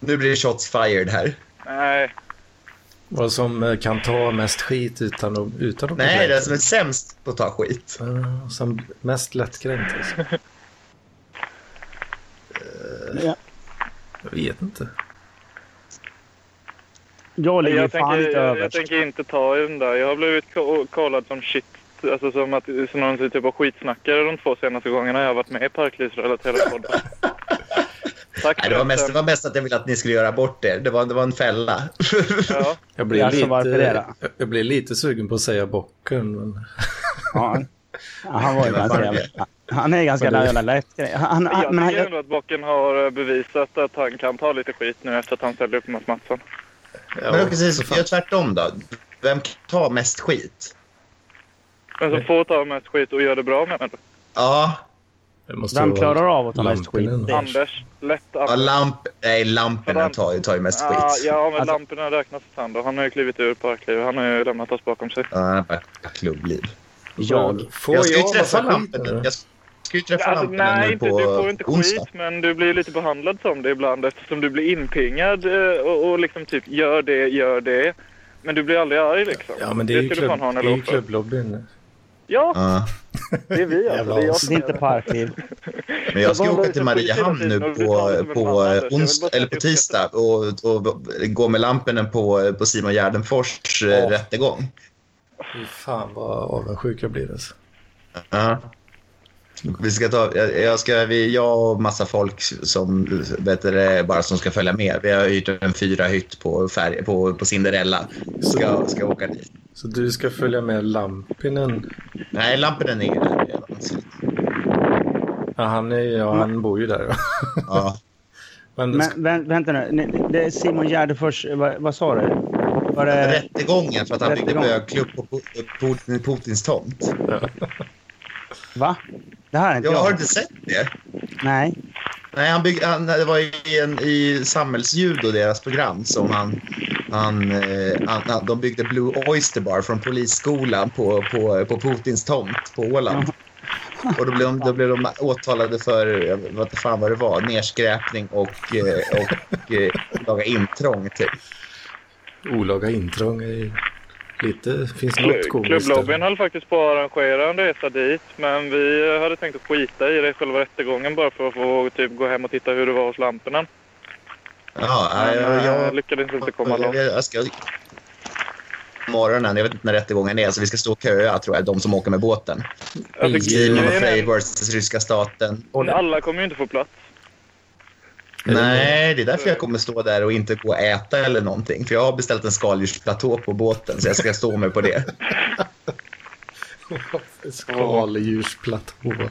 Speaker 4: Nu blir det shots fired här.
Speaker 5: nej.
Speaker 1: Vad som eh, kan ta mest skit utan att... Utan att
Speaker 4: Nej,
Speaker 1: bli
Speaker 4: den
Speaker 1: kränkt.
Speaker 4: som är sämst på att ta skit.
Speaker 1: Ja, Som mest lättkränkt alltså. Eh,
Speaker 3: Ja.
Speaker 1: Jag vet inte.
Speaker 3: Jag ligger
Speaker 5: Jag
Speaker 3: jag fan
Speaker 5: tänker,
Speaker 3: inte
Speaker 5: jag, jag
Speaker 3: överst.
Speaker 5: tänker inte ta i den där. Jag har blivit ko- kallad som shit. Alltså som att som någon typ av skitsnackare de två senaste gångerna jag har varit med i
Speaker 4: (laughs)
Speaker 5: Parklivsrelaterade poddar. Tack
Speaker 4: Nej, det, var mest, det
Speaker 5: förresten.
Speaker 4: var mest att jag ville att ni skulle göra bort er. Det var, det var en fälla.
Speaker 5: Ja.
Speaker 1: Jag blir,
Speaker 3: Alltså, varför är
Speaker 1: lite,
Speaker 3: det?
Speaker 1: jag- jag blir lite sugen på att säga bocken. Men...
Speaker 3: Ja. Ja, Han var ju ganska jävla... Han är ganska
Speaker 1: Men du-
Speaker 3: jävla lätt. Han,
Speaker 5: Jag
Speaker 3: han, men han,
Speaker 5: tycker ändå att Bocken har eh, bevisat att han kan ta lite skit nu efter att han ställde upp mot Mattsson.
Speaker 1: Ja,
Speaker 4: Men precis,
Speaker 1: fan.
Speaker 4: gör tvärtom då. Vem kan ta mest skit?
Speaker 5: Men som får ta mest skit och gör det bra menar du?
Speaker 4: Ja,
Speaker 1: Det måste
Speaker 3: vem
Speaker 1: vara
Speaker 3: klarar av att ta mest skit?
Speaker 1: Lampinen.
Speaker 3: Det är-
Speaker 5: Anders. Lätt
Speaker 4: ja
Speaker 5: Anders.
Speaker 4: lamp, nej, lamporna tar, ju- tar ju mest
Speaker 5: Ah,
Speaker 4: skit.
Speaker 5: ja, men
Speaker 3: Alltså-
Speaker 5: lamporna räknas för han då. Han har ju klivit ur parklivet. Han har ju lämnat oss bakom sig.
Speaker 4: Ja, det är bara klubbliv.
Speaker 3: Jag.
Speaker 1: Får
Speaker 4: Jag ska ju träffa
Speaker 1: massa skit
Speaker 4: lampen.
Speaker 1: nu?
Speaker 4: Jag ska ju träffa
Speaker 5: Ja, Alltså,
Speaker 4: lampen
Speaker 5: nej,
Speaker 4: nu
Speaker 5: inte,
Speaker 4: på
Speaker 5: du får inte
Speaker 4: onsdag.
Speaker 5: skit, men du blir lite behandlad som det ibland eftersom du blir inpingad eh, och, och liksom typ gör det, gör det. Men du blir aldrig arg liksom.
Speaker 1: Ja, men det är ju,
Speaker 5: ska du
Speaker 1: klubb,
Speaker 5: fan ha en
Speaker 1: det är ju
Speaker 5: eloge för.
Speaker 1: klubblobbyn.
Speaker 5: Ja,
Speaker 4: Ja,
Speaker 5: det är vi alltså.
Speaker 1: Jävla
Speaker 5: Det är jag
Speaker 1: as.
Speaker 5: som
Speaker 3: Det är
Speaker 5: är
Speaker 3: inte
Speaker 5: det.
Speaker 3: parkliv.
Speaker 4: men jag ska
Speaker 5: Jag bara
Speaker 4: åka
Speaker 5: lite
Speaker 4: till Mariehamn
Speaker 5: skit hela
Speaker 4: nu
Speaker 5: tiden och
Speaker 4: på,
Speaker 5: du tar det som en
Speaker 4: på
Speaker 5: fan, Anders. Jag vill bara
Speaker 4: ons,
Speaker 5: säga
Speaker 4: eller
Speaker 5: att
Speaker 4: på
Speaker 5: jag
Speaker 4: tisdag
Speaker 5: uppskattar
Speaker 4: och, och, gå med lampen på, på Simon Gärdenfors eh,
Speaker 1: Ja.
Speaker 4: rättegång.
Speaker 1: Fy fan vad avundsjuk jag blir. Alltså.
Speaker 4: Ja. Vi ska ta, jag, jag ska, vi, jag och massa folk som, vet du, det, bara som ska följa med. Vi har hyrt en fyra hytt på, färg, på, på Cinderella. Ska, ska åka dit.
Speaker 1: Så du ska följa med Lampinen.
Speaker 4: Nej, Lampinen är där redan. så-
Speaker 1: Ja, han, är, ja, han bor ju där. ja.
Speaker 4: Ja.
Speaker 1: Men,
Speaker 3: Mm. Men vänt, vänta nu. Ni- ni- Det är Simon Gärdefors, eh, vad, vad sa du? Var det...
Speaker 4: Rättegången för att han byggde
Speaker 3: Eh, Rättegång.
Speaker 4: bögklubb på Pu- eh, Putin, Putins tomt.
Speaker 3: Va? Det här är inte
Speaker 4: Jag
Speaker 3: jag.
Speaker 4: har inte sett det.
Speaker 3: Nej.
Speaker 4: Nej, han bygg, han, det var i, en, i Samhällsljud och deras program som han, han, eh, han, han... De byggde Blue Oyster Bar från polisskolan på, på, på Putins tomt på Åland. Och då blev, de, då blev de åtalade för, jag vet inte fan vad det var, nedskräpning och, eh, och eh, laga intrång. Typ.
Speaker 1: olaga intrång är ju lite... Finns något
Speaker 5: Klu-
Speaker 1: komiskt
Speaker 5: Klubblobbyn
Speaker 1: där.
Speaker 5: höll faktiskt på att arrangera en resa dit, men vi eh, hade tänkt att skita i det i själva rättegången bara för att få typ, gå hem och titta hur det var hos lamporna.
Speaker 4: Ah, Ja,
Speaker 5: Men
Speaker 4: jag, jag,
Speaker 5: eh, lyckades inte komma långt.
Speaker 4: jag, jag ska... Morgonen, jag vet inte när rättegången är, så vi ska stå och köa tror jag, de som åker med båten.
Speaker 5: Alltså,
Speaker 4: Simon
Speaker 5: grejen
Speaker 4: Frey
Speaker 5: är-
Speaker 4: versus ryska staten.
Speaker 1: (laughs)
Speaker 5: Alla kommer ju inte få plats.
Speaker 4: Nej, det är därför jag kommer stå där och inte gå och äta eller någonting. För jag har beställt en skaldjursplatå på båten så jag ska stå mig på
Speaker 5: (laughs)
Speaker 4: det.
Speaker 1: Skaldjursplatå.
Speaker 5: Fan,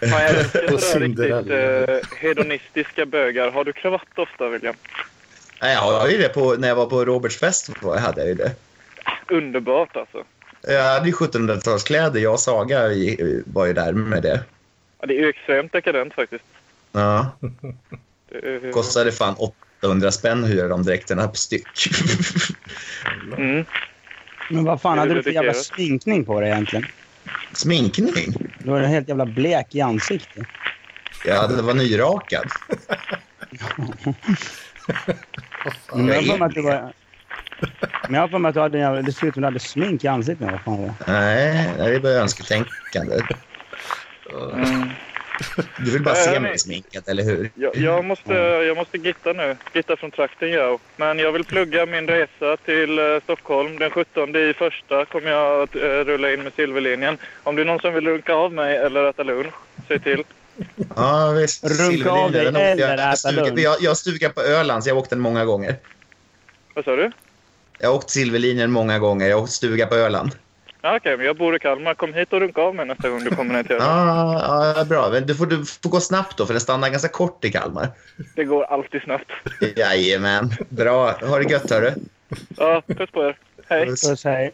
Speaker 5: jag
Speaker 4: (laughs)
Speaker 5: älskar
Speaker 1: Och
Speaker 5: sådana riktigt
Speaker 1: Cinderella.
Speaker 5: eh, hedonistiska bögar. Har du kravatt ofta, William?
Speaker 4: Nej, jag har ju det på, när jag var på Roberts fest var- hade jag ju det.
Speaker 5: Underbart alltså.
Speaker 4: Jag hade ju 1700-talskläder. Jag och Saga vi var ju där med det.
Speaker 5: Ja, det är ju extremt dekadent faktiskt.
Speaker 4: Ja,
Speaker 5: Det är-
Speaker 4: kostade fan 800 spänn att hyra de dräkterna på styck. (laughs)
Speaker 5: Mm.
Speaker 3: Men vad fan
Speaker 5: Är det
Speaker 3: hade du för jävla
Speaker 5: dedikerat?
Speaker 3: sminkning på dig egentligen?
Speaker 4: Sminkning?
Speaker 3: Du var helt jävla blek i ansiktet.
Speaker 4: Ja, den var nyrakad.
Speaker 3: Men jag har för
Speaker 4: är
Speaker 3: mig att du var... Men jag har för mig att du hade en jävla... Det ser ut som du hade smink i ansiktet. Vad fan var det?
Speaker 4: Nej, nej, det är bara önsketänkande.
Speaker 5: Mm.
Speaker 4: Du vill bara
Speaker 5: Nej,
Speaker 4: se
Speaker 5: nej.
Speaker 4: mig sminkad, eller hur?
Speaker 5: Jag, jag, måste, jag måste gitta nu. Gitta från trakten, jag. Men jag vill plugga min resa till eh, Stockholm. Den 17 i första kommer jag att eh, rulla in med silverlinjen. Om det är någon som vill runka av mig eller äta lunch, säg till.
Speaker 4: Ja, visst.
Speaker 3: Runka av
Speaker 4: Silverlinjen,
Speaker 3: dig
Speaker 4: den åkte jag-
Speaker 3: eller äta
Speaker 4: jag stuga-
Speaker 3: lunch.
Speaker 4: Jag, jag har stugat på Öland, så jag har åkt den många gånger.
Speaker 5: Vad sa du?
Speaker 4: Jag har åkt Silverlinjen många gånger. Jag har åkt stuga på Öland.
Speaker 5: Ja, Okej, men jag bor i Kalmar. Kom hit och runka av mig nästa gång du
Speaker 4: (laughs)
Speaker 5: kommer ner till Öland.
Speaker 4: Ja, ja, bra. Men du får, du får gå snabbt då, för den stannar ganska kort i Kalmar.
Speaker 5: Det går alltid snabbt.
Speaker 4: Jajamän. Bra. Ha det gött, hörru.
Speaker 5: Ja, puss på er. Hej.
Speaker 4: Alltså.
Speaker 3: Så säg.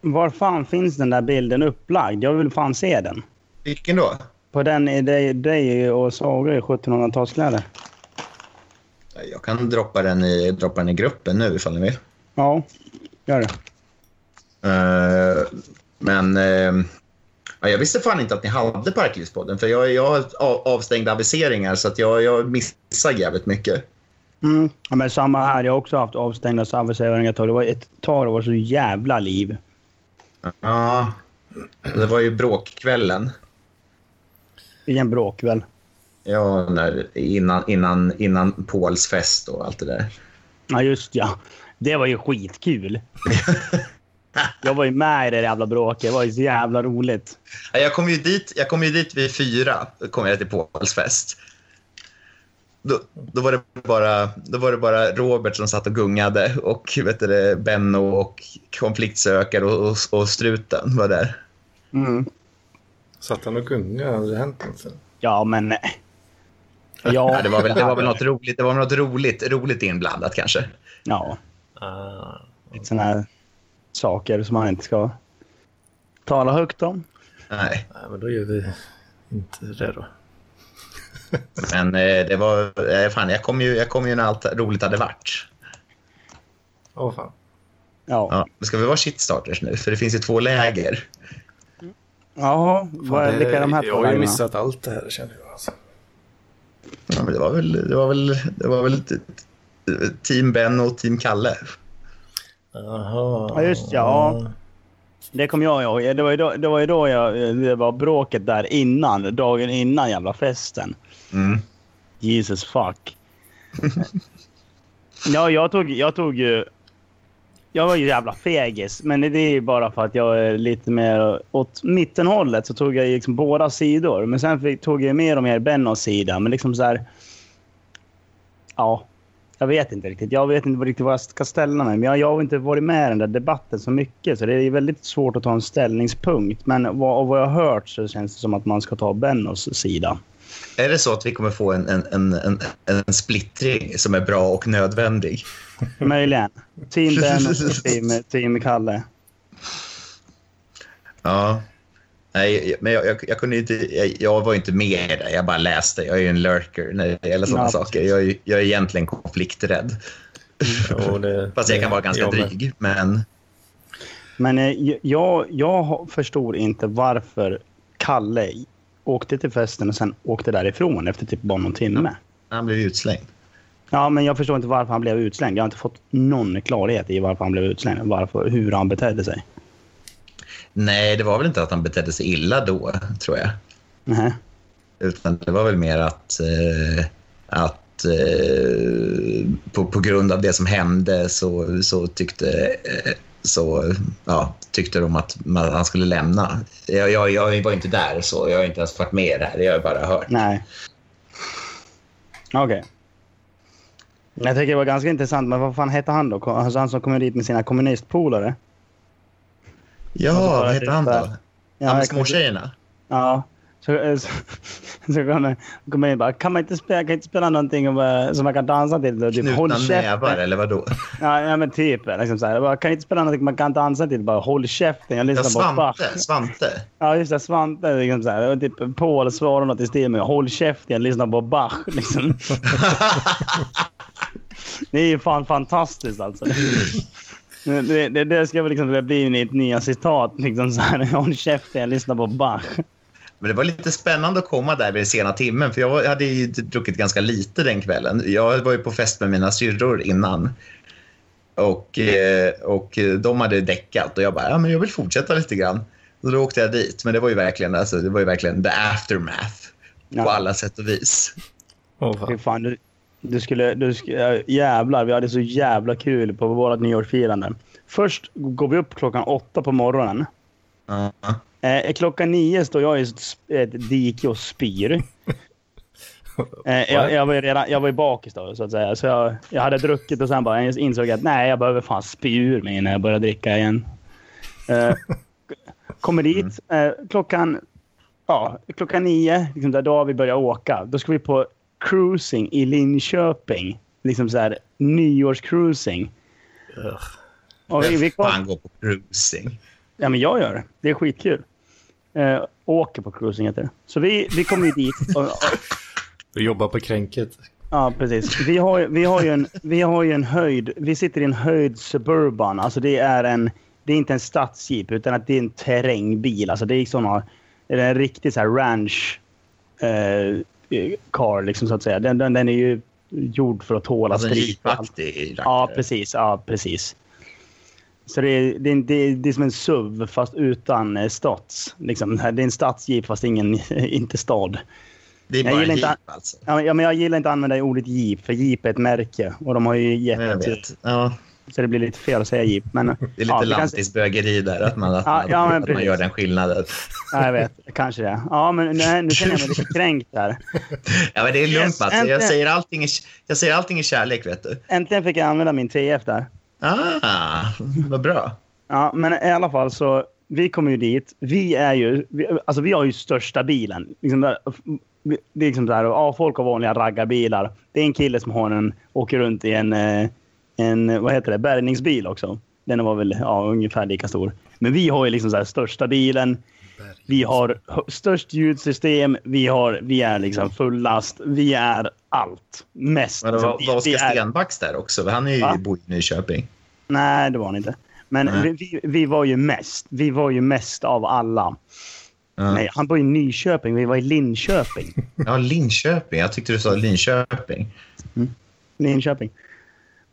Speaker 3: Var fan finns den där bilden upplagd? Jag vill fan se den.
Speaker 4: Vilken då?
Speaker 3: På den är dig, dig och Saga i 1700-talskläder.
Speaker 4: Jag kan droppa den i, droppa den i gruppen nu, ifall ni vill.
Speaker 3: Ja, gör det.
Speaker 4: Eh, men eh, ja, jag visste fan inte att ni hade Parklivspodden. För jag, jag har av, avstängda aviseringar så att jag, jag missar jävligt mycket.
Speaker 3: Mm. Ja, men samma här. Jag har också haft avstängda servicehöringar ett tag. Det var ett tag det var så jävla liv.
Speaker 4: Ja, det var ju bråkkvällen.
Speaker 3: Vilken bråkväll.
Speaker 4: Ja, när, innan, innan, innan Pauls fest och allt det där.
Speaker 3: Ja, just ja. Det var ju
Speaker 4: (laughs)
Speaker 3: skitkul. jag var ju med i det jävla bråket. Det var ju så jävla roligt.
Speaker 4: Ja, Jag kom ju dit, jag kom ju dit vid fyra, kom jag till Pauls fest. Då, då, var det bara, då var det bara Robert som satt och gungade och vet du, det, Benno och konfliktsökare och, och, och struten var där.
Speaker 3: Mm.
Speaker 1: Satt han och gungade? Hade det hänt något sen?
Speaker 3: Ja, men... nej. Ja,
Speaker 4: Ja, det, var väl, det var väl något roligt, det var väl något roligt, roligt inblandat kanske.
Speaker 3: Ja, Ah. lite sådana här saker som man inte ska tala högt om.
Speaker 4: Nej,
Speaker 1: Nej, men då gör vi inte det då.
Speaker 4: men eh, det var, eh, fan, jag kom ju, jag kom ju när allt roligt hade varit.
Speaker 1: Åh fan.
Speaker 3: Ja.
Speaker 4: Ja, ska vi vara shitstarters nu? För det finns ju två läger.
Speaker 3: Jaha, vad är, vilka är de här
Speaker 1: jag har ju
Speaker 3: frågorna?
Speaker 1: missat allt det här känner jag. Alltså.
Speaker 4: Ja, men det var väl, det var väl, det var väl t- t- team Ben och team Kalle.
Speaker 1: Jaha.
Speaker 3: Ja, just ja. Det kommer jag ihåg. Det var ju då, det var ju då jag, det var bråket där innan, dagen innan jävla festen.
Speaker 4: Mm.
Speaker 3: Jesus fuck. ja, jag tog, jag tog ju... Jag var ju jävla fegis, men det är ju bara för att jag är lite mer åt mittenhållet. Så tog jag ju liksom båda sidor. Men sen fick, tog jag mer och mer Bennos sida. Men liksom så här... Ja, jag vet inte riktigt. Jag vet inte riktigt vad jag ska ställa mig. Men jag, jag har inte varit med i den där debatten så mycket. Så det är väldigt svårt att ta en ställningspunkt. Men vad, av vad jag har hört så känns det som att man ska ta Bennos sida.
Speaker 4: Är det så att vi kommer få en, en, en, en, en splittring som är bra och nödvändig?
Speaker 3: Möjligen. Team Ben och team, team Kalle.
Speaker 4: Ja. Nej, men jag, jag, jag kunde ju inte, jag, jag var ju inte med i det. Jag bara läste. Jag är ju en lurker när det gäller sådana
Speaker 3: Ja,
Speaker 4: saker. Jag, är ju- jag är egentligen konflikträdd.
Speaker 1: Jo, det,
Speaker 4: Fast jag kan vara
Speaker 1: men-
Speaker 4: ganska dryg. Men
Speaker 3: Men eh, j- jag, jag har- förstod inte varför Kalle åkte till festen och sen åkte därifrån efter typ bara någon timme.
Speaker 4: han blev ju utslängd.
Speaker 3: Ja, men jag förstår inte varför han blev utslängd. Jag har inte fått någon klarhet i varför han blev utslängd. Varför, hur han betedde sig.
Speaker 4: Nej, det var väl inte att han betedde sig illa då, tror jag.
Speaker 3: Nej.
Speaker 4: Utan det var väl mer att, eh, att eh, på, på grund av det som hände så, så tyckte eh, så, ja, tyckte de att man, han skulle lämna. Jag, jag, jag var inte där, så jag har inte ens varit med i det här. Jag har bara hört.
Speaker 3: Nej. Okej. Jag tycker det var ganska intressant. Men vad fan hette han då? Ko- Alltså han som kom dit med sina kommunistpolare?
Speaker 4: Ja,
Speaker 3: Alltså, bara
Speaker 4: vad hette han då?
Speaker 3: typ,
Speaker 4: Han
Speaker 3: Ja, jag
Speaker 4: med
Speaker 3: kommer inte-
Speaker 4: småtjejerna?
Speaker 3: Ja. Så, eh, så, (laughs) så kommer kom in och bara, kan man inte spela, kan jag inte spela någonting om, eh, som man kan dansa till? Och typ,
Speaker 4: Knutna
Speaker 3: håll
Speaker 4: nävar,
Speaker 3: käften.
Speaker 4: eller vad då?
Speaker 3: Ja, ja, men typ. Liksom så här. Jag Bara, kan jag inte spela någonting man kan dansa till? Bara håll käften. Jag
Speaker 4: Ja,
Speaker 3: lyssnar på Bach.
Speaker 4: Svante. Svante.
Speaker 3: Ja, just det. Svante. Liksom så här. Och typ, Paul svarar något i stil med håll käften. Jag lyssnar på Bach.
Speaker 4: (laughs)
Speaker 3: Liksom. det är ju fan fantastiskt alltså. Det, det, det ska väl liksom bli mitt nya citat. Liksom så här, håll käften, jag lyssnar på Bach.
Speaker 4: Men det var lite spännande att komma där vid den sena timmen för jag var- hade ju druckit ganska lite den kvällen. Jag var ju på fest med mina syrror innan. Och, eh, och de hade däckat och jag bara, ja men jag vill fortsätta lite grann. Så då åkte jag dit, men det var ju verkligen, alltså, det var ju verkligen the aftermath på
Speaker 3: Ja.
Speaker 4: alla sätt och vis.
Speaker 1: Åh, fan.
Speaker 3: Fy fan, du, du skulle... Du sk, äh, jävlar, vi hade så jävla kul på vårt nyårsfirande. Först går vi upp klockan åtta på morgonen.
Speaker 4: Ja.
Speaker 3: Eh, klockan nio står jag i ett, sp- ett dike och spyr. Eh, jag, jag, var ju redan, jag var ju bakis då, så att säga. Så jag, jag hade druckit och sen bara insåg jag att nej, jag behöver fan spy ur mig innan jag börjar dricka igen. Eh, kommer dit. Eh, klockan, ja, klockan nio, liksom där dag vi börjar åka, då ska vi på cruising i Linköping. Liksom så här nyårscruising. Och vi, vi kom,
Speaker 4: Fan gå på cruising.
Speaker 3: Ja, men jag gör det. Det är skitkul. Eh, åker på cruising heter det. Så vi, vi kommer ju dit. Och, och,
Speaker 1: Du jobbar på kränket.
Speaker 3: ja, precis. Vi har, ju- vi, har ju en, vi har ju en höjd. Vi sitter i en höjd suburban. Alltså det är en... Det är inte en stadsjeep utan att det är en terrängbil. Alltså det är såna... Det är en riktig så här ranch eh, car liksom så att säga. Den, den, den är ju gjord för att tåla
Speaker 4: Alltså en
Speaker 3: strid.
Speaker 4: jeepaktig rackare.
Speaker 3: Ja, precis. Ja, precis. Så det är, det, är, det, är, det är som en SUV fast utan eh, stads. Liksom, det är en stadsjeep fast ingen, (laughs) inte stad.
Speaker 4: Det är
Speaker 3: Jag
Speaker 4: bara en
Speaker 3: gillar inte-
Speaker 4: jeep alltså.
Speaker 3: Ja, men- Ja, men jag gillar inte att använda ordet jeep, för jeep är ett märke. Och de har ju
Speaker 4: Ja, Jag
Speaker 3: gett...
Speaker 4: vet. Ja,
Speaker 3: Så det blir lite fel att säga jeep. Men,
Speaker 4: (laughs) det är lite
Speaker 3: vi kan-
Speaker 4: lantisbögeri där, att man, att,
Speaker 3: Ja,
Speaker 4: man-
Speaker 3: ja, men
Speaker 4: att man
Speaker 3: precis.
Speaker 4: gör den skillnaden.
Speaker 3: Ja, jag vet. Kanske det. Ja, men nu, nu känner jag mig
Speaker 4: (laughs)
Speaker 3: lite kränkt där.
Speaker 4: Ja, men det är lugnt,
Speaker 3: Yes,
Speaker 4: Mats. Jag
Speaker 3: äntligen.
Speaker 4: säger, allting i, jag säger allting i kärlek, vet du.
Speaker 3: Äntligen fick jag använda min TF där.
Speaker 4: Ah, vad bra.
Speaker 3: Ja, men i alla fall så, vi kommer ju dit. Vi är ju, vi, alltså vi har ju största bilen. Liksom där, vi- det är liksom så här, ja, folk har vanliga raggarbilar. Det är en kille som har en, åker runt i en, eh, en vad heter det, bärgningsbil också. Den var väl ja, ungefär lika stor. Men vi har ju liksom så här största bilen. Vi har hö- störst ljudsystem. Vi, har, vi är liksom fullast. Vi är allt. Mest.
Speaker 4: Men det
Speaker 3: Alltså,
Speaker 4: var,
Speaker 3: vi-
Speaker 4: var
Speaker 3: vi
Speaker 4: Oskar
Speaker 3: är-
Speaker 4: Stenbacks där också? Han är ju,
Speaker 3: Va?
Speaker 4: bor ju i Nyköping.
Speaker 3: Nej, det var han inte. Men
Speaker 4: Nej.
Speaker 3: vi, vi, vi var ju mest. Vi var ju mest av alla.
Speaker 4: Ja.
Speaker 3: Nej, han var i Nyköping. Vi var i
Speaker 4: (laughs)
Speaker 3: Linköping.
Speaker 4: Ja, Linköping. Jag tyckte du sa Linköping.
Speaker 3: Linköping.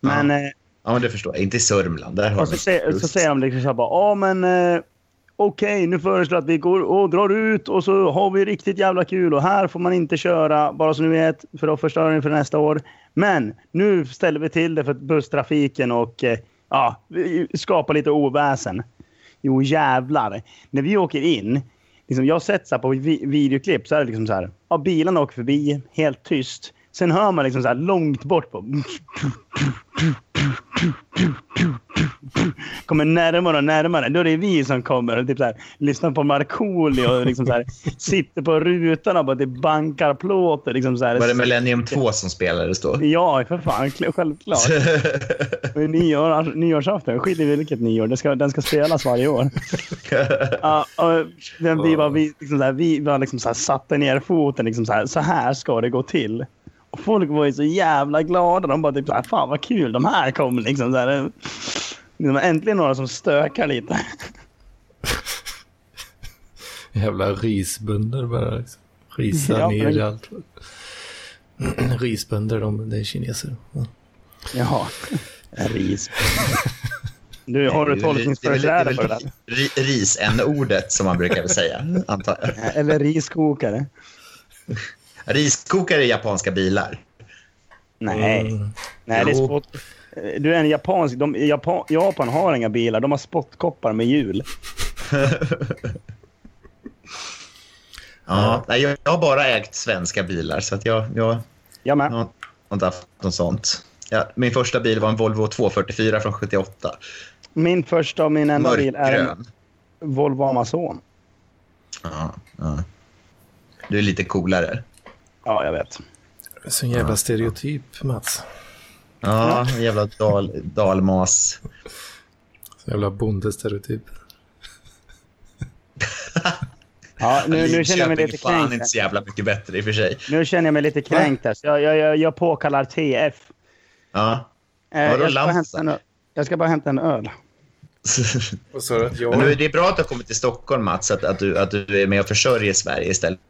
Speaker 3: Men,
Speaker 4: Ja.
Speaker 3: eh,
Speaker 4: Ja, men det förstår jag. Inte i Sörmland. Där har
Speaker 3: och
Speaker 4: de
Speaker 3: så, säger- så säger de liksom så här bara, ja men eh, okej, nu föreslår jag att vi går och drar ut och så har vi riktigt jävla kul och här får man inte köra, bara så ni vet, för då förstör ni för nästa år. Men nu ställer vi till det för busstrafiken och eh, ja, vi skapar lite oväsen. Jo jävlar. När vi åker in, liksom, jag har sett så här på vi- videoklipp så är det liksom så här. Ja, bilarna åker förbi helt tyst. Sen hör man liksom så här långt bort på... Kommer närmare och närmare. Då är det vi som kommer och typ så här, lyssnar på Markoolio och liksom så här, sitter på rutan och bara det bankar plåter. Liksom så här.
Speaker 4: Var det Millennium 2 som spelades då?
Speaker 3: Ja, för fan.
Speaker 4: (laughs)
Speaker 3: Självklart. Och i Nyår, nyårsafton, skit i vilket nyår. Den ska, den ska spelas varje år. Ja, och den, vi var, vi, liksom så här, vi var liksom så här, satte ner foten. Liksom så, här, så här ska det gå till. Och folk var ju så jävla glada. De bara typ så här, fan vad kul de här kom. Liksom, så här, liksom, äntligen några som stökar lite.
Speaker 1: Jävla risbönder bara. Liksom. Risar
Speaker 3: Ja,
Speaker 1: ner
Speaker 3: men-
Speaker 1: allt. (clears throat) risbönder, de, det är kineser. Ja.
Speaker 3: Jaha. Ris. Du, har du
Speaker 4: Det
Speaker 3: tolkningsföreträde
Speaker 4: är
Speaker 3: på det
Speaker 4: väl-
Speaker 3: där?
Speaker 4: det är väl ri- Ris-n-ordet som man brukar säga, antar jag.
Speaker 3: Eller riskokare?
Speaker 4: Riskokare är japanska bilar.
Speaker 3: Nej.
Speaker 1: Mm.
Speaker 3: Nej, det är
Speaker 4: Jo.
Speaker 3: spott... Du är en japansk... De, Japan, Japan har inga bilar. De har spottkoppar med hjul.
Speaker 4: Ja, nej, jag, jag har bara ägt svenska bilar, så att jag, jag,
Speaker 3: Jag
Speaker 4: jag
Speaker 3: med.
Speaker 4: har inte haft något sånt. Ja, min första bil var en Volvo 244 från 78.
Speaker 3: Min första och min enda bil är en
Speaker 4: Mörkgrön.
Speaker 3: Volvo Amazon.
Speaker 4: Ja, ja. Du är lite coolare.
Speaker 3: Ja, jag vet.
Speaker 1: Så en jävla stereotyp, Mats.
Speaker 4: Ja, en jävla dal, dalmas.
Speaker 1: Så jävla bondestereotyp.
Speaker 3: Ja, nu, nu känner jag mig lite
Speaker 4: Linköping är fan
Speaker 3: kränkt.
Speaker 4: inte så jävla mycket bättre i och för sig.
Speaker 3: Nu känner jag mig lite kränkt. här, så Jag, jag, jag, jag påkallar TF.
Speaker 4: Ja.
Speaker 3: Eh,
Speaker 4: Vadå,
Speaker 3: jag, ska bara
Speaker 4: Lansen?
Speaker 3: hämta en, ö- jag ska bara hämta en öl.
Speaker 1: Vad sa du? Att
Speaker 4: Men nu,
Speaker 1: jag...
Speaker 4: det är bra att du har kommit till Stockholm, Mats, att, att, du, att du är med och försörjer Sverige istället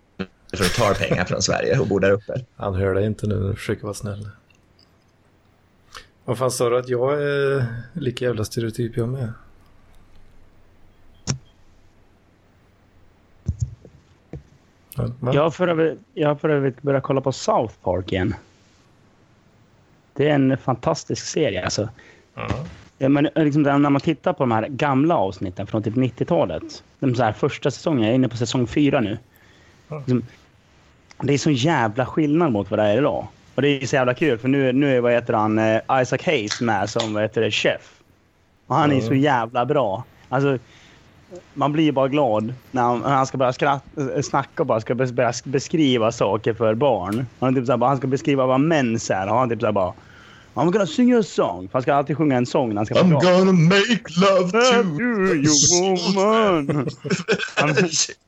Speaker 4: för att ta pengar från Sverige och bor där uppe.
Speaker 1: Han hör dig inte nu när du försöker vara snäll. Vad fan sa du att jag är lika jävla stereotyp jag med? Ja, va?
Speaker 3: Jag har för övrigt- jag har för övrigt börjat kolla på South Park igen. Det är en fantastisk serie. Alltså. Ja, men liksom där, när man tittar på de här gamla avsnitten från typ 90-talet. De så här första säsongen, jag är inne på säsong fyra nu. Liksom, det är så jävla skillnad mot vad det är idag. Och det är så jävla kul för nu, nu är vad heter han, eh, Isaac Hayes med som vad heter det, chef. Och han är så jävla bra. Alltså, man blir bara glad när han, när han ska börja skratt, eh, snacka och bara ska bes- börja beskriva saker för barn. Han, är typ så här, bara, han ska beskriva vad mens är och han typ så här bara I'm gonna sing you a song. För han ska alltid sjunga en sång när han ska
Speaker 4: I'm
Speaker 3: prata.
Speaker 4: gonna make love
Speaker 3: Love
Speaker 4: to...
Speaker 3: you, you woman. (laughs)
Speaker 4: (laughs)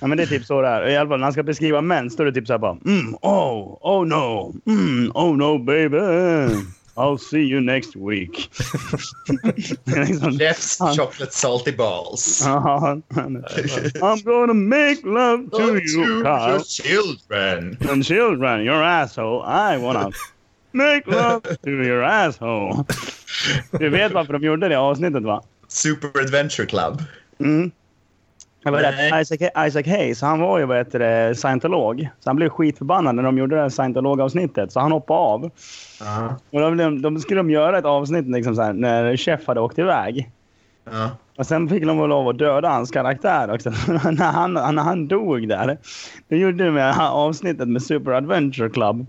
Speaker 3: Ja, men det är typ så där. I alla fall när han ska beskriva män står det typ så här bara mm, oh, oh no, mm, oh no baby. I'll see you next week. (laughs) Det är
Speaker 4: (laughs)
Speaker 3: liksom,
Speaker 4: Left chocolate salty balls.
Speaker 3: ja, I'm gonna make love to
Speaker 4: To
Speaker 3: you, Kyle.
Speaker 4: your children.
Speaker 3: And children, your asshole. I wanna Make love to your
Speaker 4: (laughs)
Speaker 3: asshole. Du vet varför de gjorde det avsnittet va?
Speaker 4: Super Adventure Club.
Speaker 3: Mm. Jag vet
Speaker 4: Nej.
Speaker 3: att Isaac, Isaac Hayes, han var ju vad heter det, scientolog. Så han blev skitförbannad när de gjorde det här scientologavsnittet. Så han hoppade av.
Speaker 4: Ja,
Speaker 3: Och då, blev de- då skulle de göra ett avsnitt liksom så här, när Chef hade åkt iväg.
Speaker 4: ja.
Speaker 3: Och sen fick de väl lov att döda hans karaktär också. (laughs) när, han, när han dog där. Då gjorde de det här avsnittet med Super Adventure Club.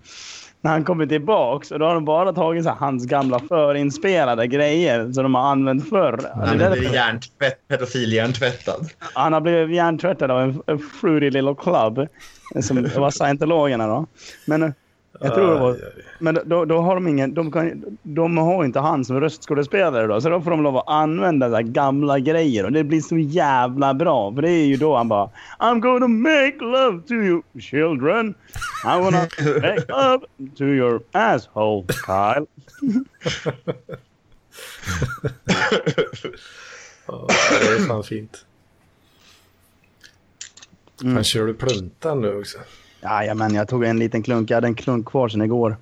Speaker 3: När han kommer tillbaks och då har de bara tagit så här, hans gamla förinspelade grejer som de har använt förr.
Speaker 4: Han
Speaker 3: Det är
Speaker 4: blev
Speaker 3: därför-
Speaker 4: hjärntvätt, (laughs) pedofiljärntvättad.
Speaker 3: han har blivit hjärntvättad av en, en fruity little club. Som det var scientologerna då. Men eh, jag tror det var...
Speaker 1: Aj, aj.
Speaker 3: Men då, då har de ingen... De, kan, de har inte han som röstskådespelare då. Så då får de lov att använda så här gamla grejer. Och det blir så jävla bra. För det är ju då han bara... I'm gonna make love to you children. I'm gonna make love to your asshole Kyle.
Speaker 1: Ja, det är fan fint.
Speaker 3: Mm.
Speaker 1: Fan, kör du pluntan nu också?
Speaker 3: Jajamän, jag tog en liten klunk. Jag hade en klunk kvar sen igår.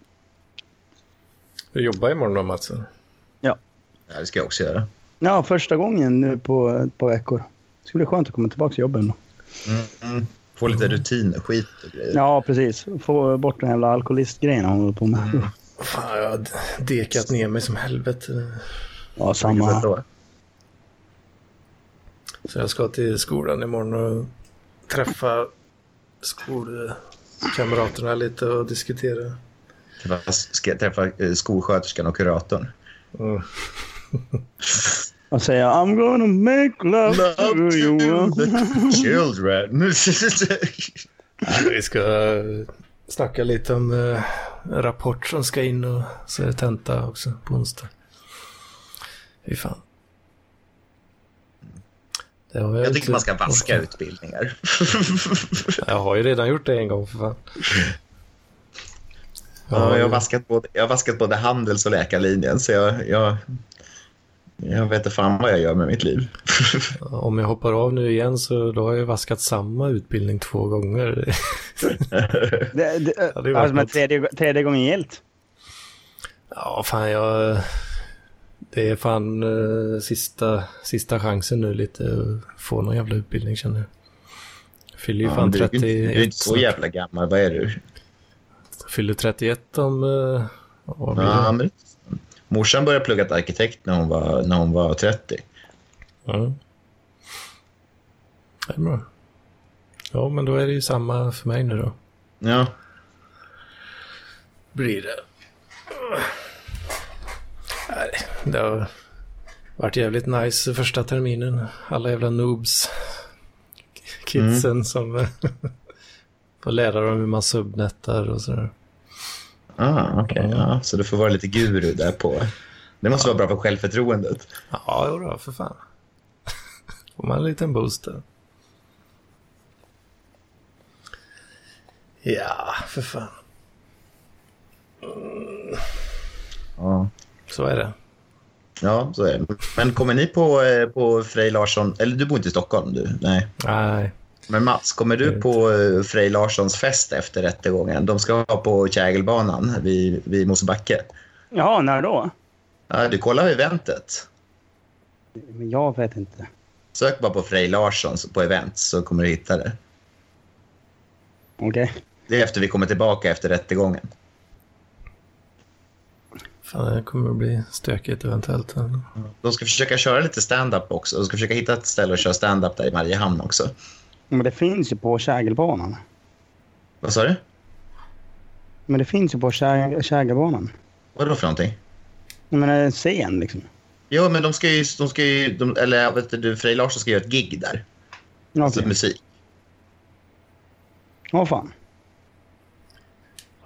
Speaker 1: Du jobbar imorgon då Matsen?
Speaker 4: Ja, det ska jag också göra.
Speaker 3: Ja, första gången nu på ett par veckor. Det skulle bli skönt att komma tillbaka till jobbet.
Speaker 4: Få lite rutin och skit och grejer.
Speaker 3: Mm. Ja, precis. Få bort den jävla alkoholistgrejen han håller på med.
Speaker 1: Fan, jag har d- dekat ner mig som helvete.
Speaker 3: Ja,
Speaker 4: Vilket
Speaker 3: samma här.
Speaker 4: då?
Speaker 1: Så jag ska till skolan imorgon och träffa skolkamraterna lite och diskutera.
Speaker 4: Träffa- Ska jag träffa eh, skolsköterskan och kuratorn.
Speaker 1: Mm.
Speaker 3: Och säga I'm gonna make love, to you. (laughs)
Speaker 4: children. (laughs)
Speaker 1: Vi ska eh, snacka lite om eh, en rapport som ska in och så är det tenta också på onsdag. Fy fan. Det har
Speaker 4: jag
Speaker 1: inte
Speaker 4: tycker man ska vaska
Speaker 1: orkat.
Speaker 3: (laughs)
Speaker 4: utbildningar.
Speaker 1: Jag har ju redan gjort det en gång för fan.
Speaker 4: Ja, jag, har vaskat både, jag har vaskat både Handels och läkarlinjen, så jag, jag, jag vet inte fan vad jag gör med mitt liv.
Speaker 1: Om jag hoppar av nu igen så då har jag vaskat samma utbildning två gånger.
Speaker 3: Det, det,
Speaker 1: Ja, det är
Speaker 3: alltså, men
Speaker 1: vackert.
Speaker 3: tredje, tredje gången gillt.
Speaker 1: Ja, fan jag... Det är fan eh, sista, sista chansen nu lite att få någon jävla utbildning känner jag. Jag Fyller ju fan
Speaker 4: du, är ju inte- du är ju
Speaker 1: 31
Speaker 4: inte så
Speaker 1: snart.
Speaker 4: jävla gammal. Vad är du?
Speaker 1: Jag Fyller 31 om... eh, ja, vad blir det?
Speaker 4: Ja, men, morsan började plugga till arkitekt när hon var, när hon var 30.
Speaker 1: Ja. Det är bra. Ja, men då är det ju samma för mig nu då.
Speaker 4: Ja,
Speaker 1: Blir det. Nej, det har varit jävligt nice första terminen. Alla jävla noobs. Kidsen
Speaker 3: Mm.
Speaker 1: som (laughs) får lära dem hur man subnettar och sådär.
Speaker 4: ah, okej. ja. Så du får vara lite guru där på... Det måste vara bra för självförtroendet.
Speaker 1: Ja, jodå, för fan. (laughs) Får man en liten boost där. Ja, för fan.
Speaker 4: Ja.
Speaker 1: Så är det.
Speaker 4: Ja, så är det. Men kommer ni på, eh, på Frej Larsson... Eller du bor inte i Stockholm, du? Nej.
Speaker 1: Nej.
Speaker 4: Men Mats, kommer
Speaker 1: Jag
Speaker 4: du
Speaker 1: vet
Speaker 4: på eh, Frej Larssons fest efter rättegången? De ska vara på Kägelbanan vid, vid Mosebacke.
Speaker 3: Jaha, när då?
Speaker 4: Ja, du kollar eventet.
Speaker 3: Men jag vet inte.
Speaker 4: Sök bara på Frej Larsson på event så kommer du hitta det.
Speaker 3: Okej.
Speaker 4: Det är efter vi kommer tillbaka efter rättegången.
Speaker 1: Fan, det här kommer att bli stökigt eventuellt.
Speaker 4: De ska försöka köra lite stand-up också. De ska försöka hitta ett ställe att köra stand-up där i Mariehamn också.
Speaker 3: Men det finns ju på Kägelbanan.
Speaker 4: Vad sa du?
Speaker 3: Men det finns ju på Kä- Kägelbanan.
Speaker 4: Vad då för någonting?
Speaker 3: Jag menar en scen liksom.
Speaker 4: Jo, men de ska ju... De ska ju de, eller vet du, Frej Larsson ska göra ett gig där.
Speaker 3: Okej.
Speaker 4: Alltså musik.
Speaker 3: Ja, fan.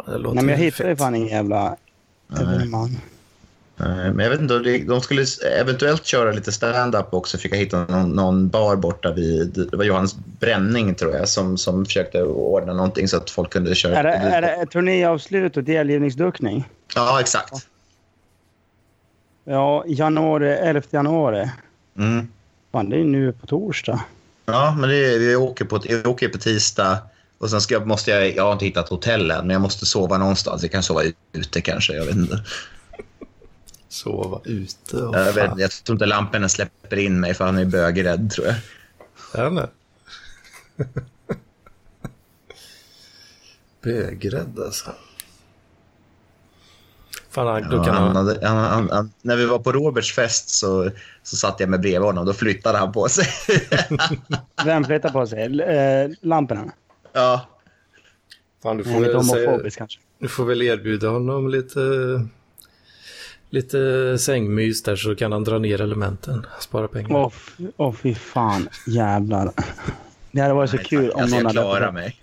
Speaker 1: Det låter
Speaker 3: Nej, men jag
Speaker 1: ju
Speaker 3: hittar ju
Speaker 1: fett.
Speaker 3: fan ingen jävla evenemang.
Speaker 4: Nej, Eh, Men jag vet inte, det- de skulle eventuellt köra lite stand-up också. Fick jag hitta någon, någon bar borta vid, det var Johannes Bränning tror jag, som, som försökte ordna någonting så att folk kunde köra.
Speaker 3: Är det, är det ett turnéavslut och delgivningsduckning?
Speaker 4: Ja, exakt.
Speaker 3: Ja, januari, 11 januari.
Speaker 4: Mm.
Speaker 3: Fan, det är ju nu på torsdag.
Speaker 4: Ja, men det, vi åker på, vi åker på tisdag Och sen ska, jag- måste jag, jag har inte hittat hotell än, men jag måste sova någonstans. Jag kan sova ute kanske, jag vet inte.
Speaker 1: Sova ute och
Speaker 4: Jag, vet,
Speaker 1: fan.
Speaker 4: jag tror inte Lampinen släpper in mig för han är bögrädd tror jag.
Speaker 1: Är han
Speaker 4: (laughs)
Speaker 1: det? Bögrädd alltså. Fan, han- då
Speaker 4: Ja,
Speaker 1: kan
Speaker 4: han,
Speaker 1: han...
Speaker 4: hade- han, han, han, när vi var på Roberts fest så, så satt jag med bredvid honom. Då flyttade han på sig. (laughs)
Speaker 3: Vem flyttar på sig? L- eh, Lamporna?
Speaker 4: ja.
Speaker 1: Fan, du får,
Speaker 3: Han är
Speaker 1: väl
Speaker 3: lite
Speaker 1: säga,
Speaker 3: homofobisk kanske.
Speaker 1: du får väl erbjuda honom lite... Lite sängmys där så kan han dra ner elementen. Spara pengar.
Speaker 3: Åh, f- åh fy fan. Jävlar. Det hade varit så kul om
Speaker 4: alltså,
Speaker 3: någon
Speaker 4: jag
Speaker 3: hade...
Speaker 4: klarar mig.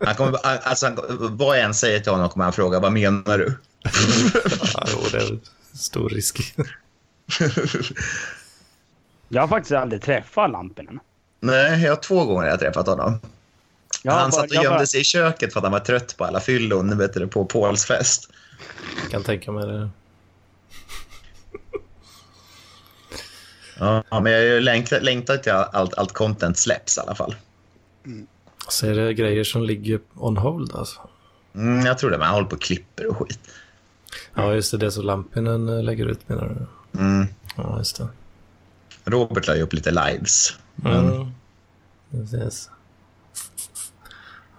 Speaker 4: Han kommer, alltså, han, vad jag än säger till honom kommer han fråga vad menar du?
Speaker 1: Ja, jo, det är stor risk.
Speaker 3: Jag har faktiskt aldrig träffat Lampinen.
Speaker 4: Nej, jag har två gånger jag har träffat honom.
Speaker 3: Jag har
Speaker 4: han
Speaker 3: bara-
Speaker 4: satt och
Speaker 3: jag har
Speaker 4: gömde
Speaker 3: bara-
Speaker 4: sig i köket för att han var trött på alla fyllon vet du, på Pauls fest.
Speaker 1: kan tänka mig det.
Speaker 4: Ja, men jag har ju längtat, längtat till allt, allt content släpps i alla fall.
Speaker 1: Så är det grejer som ligger on hold alltså.
Speaker 4: Mm, jag tror det, men han håller på och klipper och skit.
Speaker 1: Ja, just det. Det som Lampinen eh, lägger ut menar du?
Speaker 4: Mm.
Speaker 1: Ja, just det.
Speaker 4: Robert la ju upp lite lives.
Speaker 1: Mm. Precis.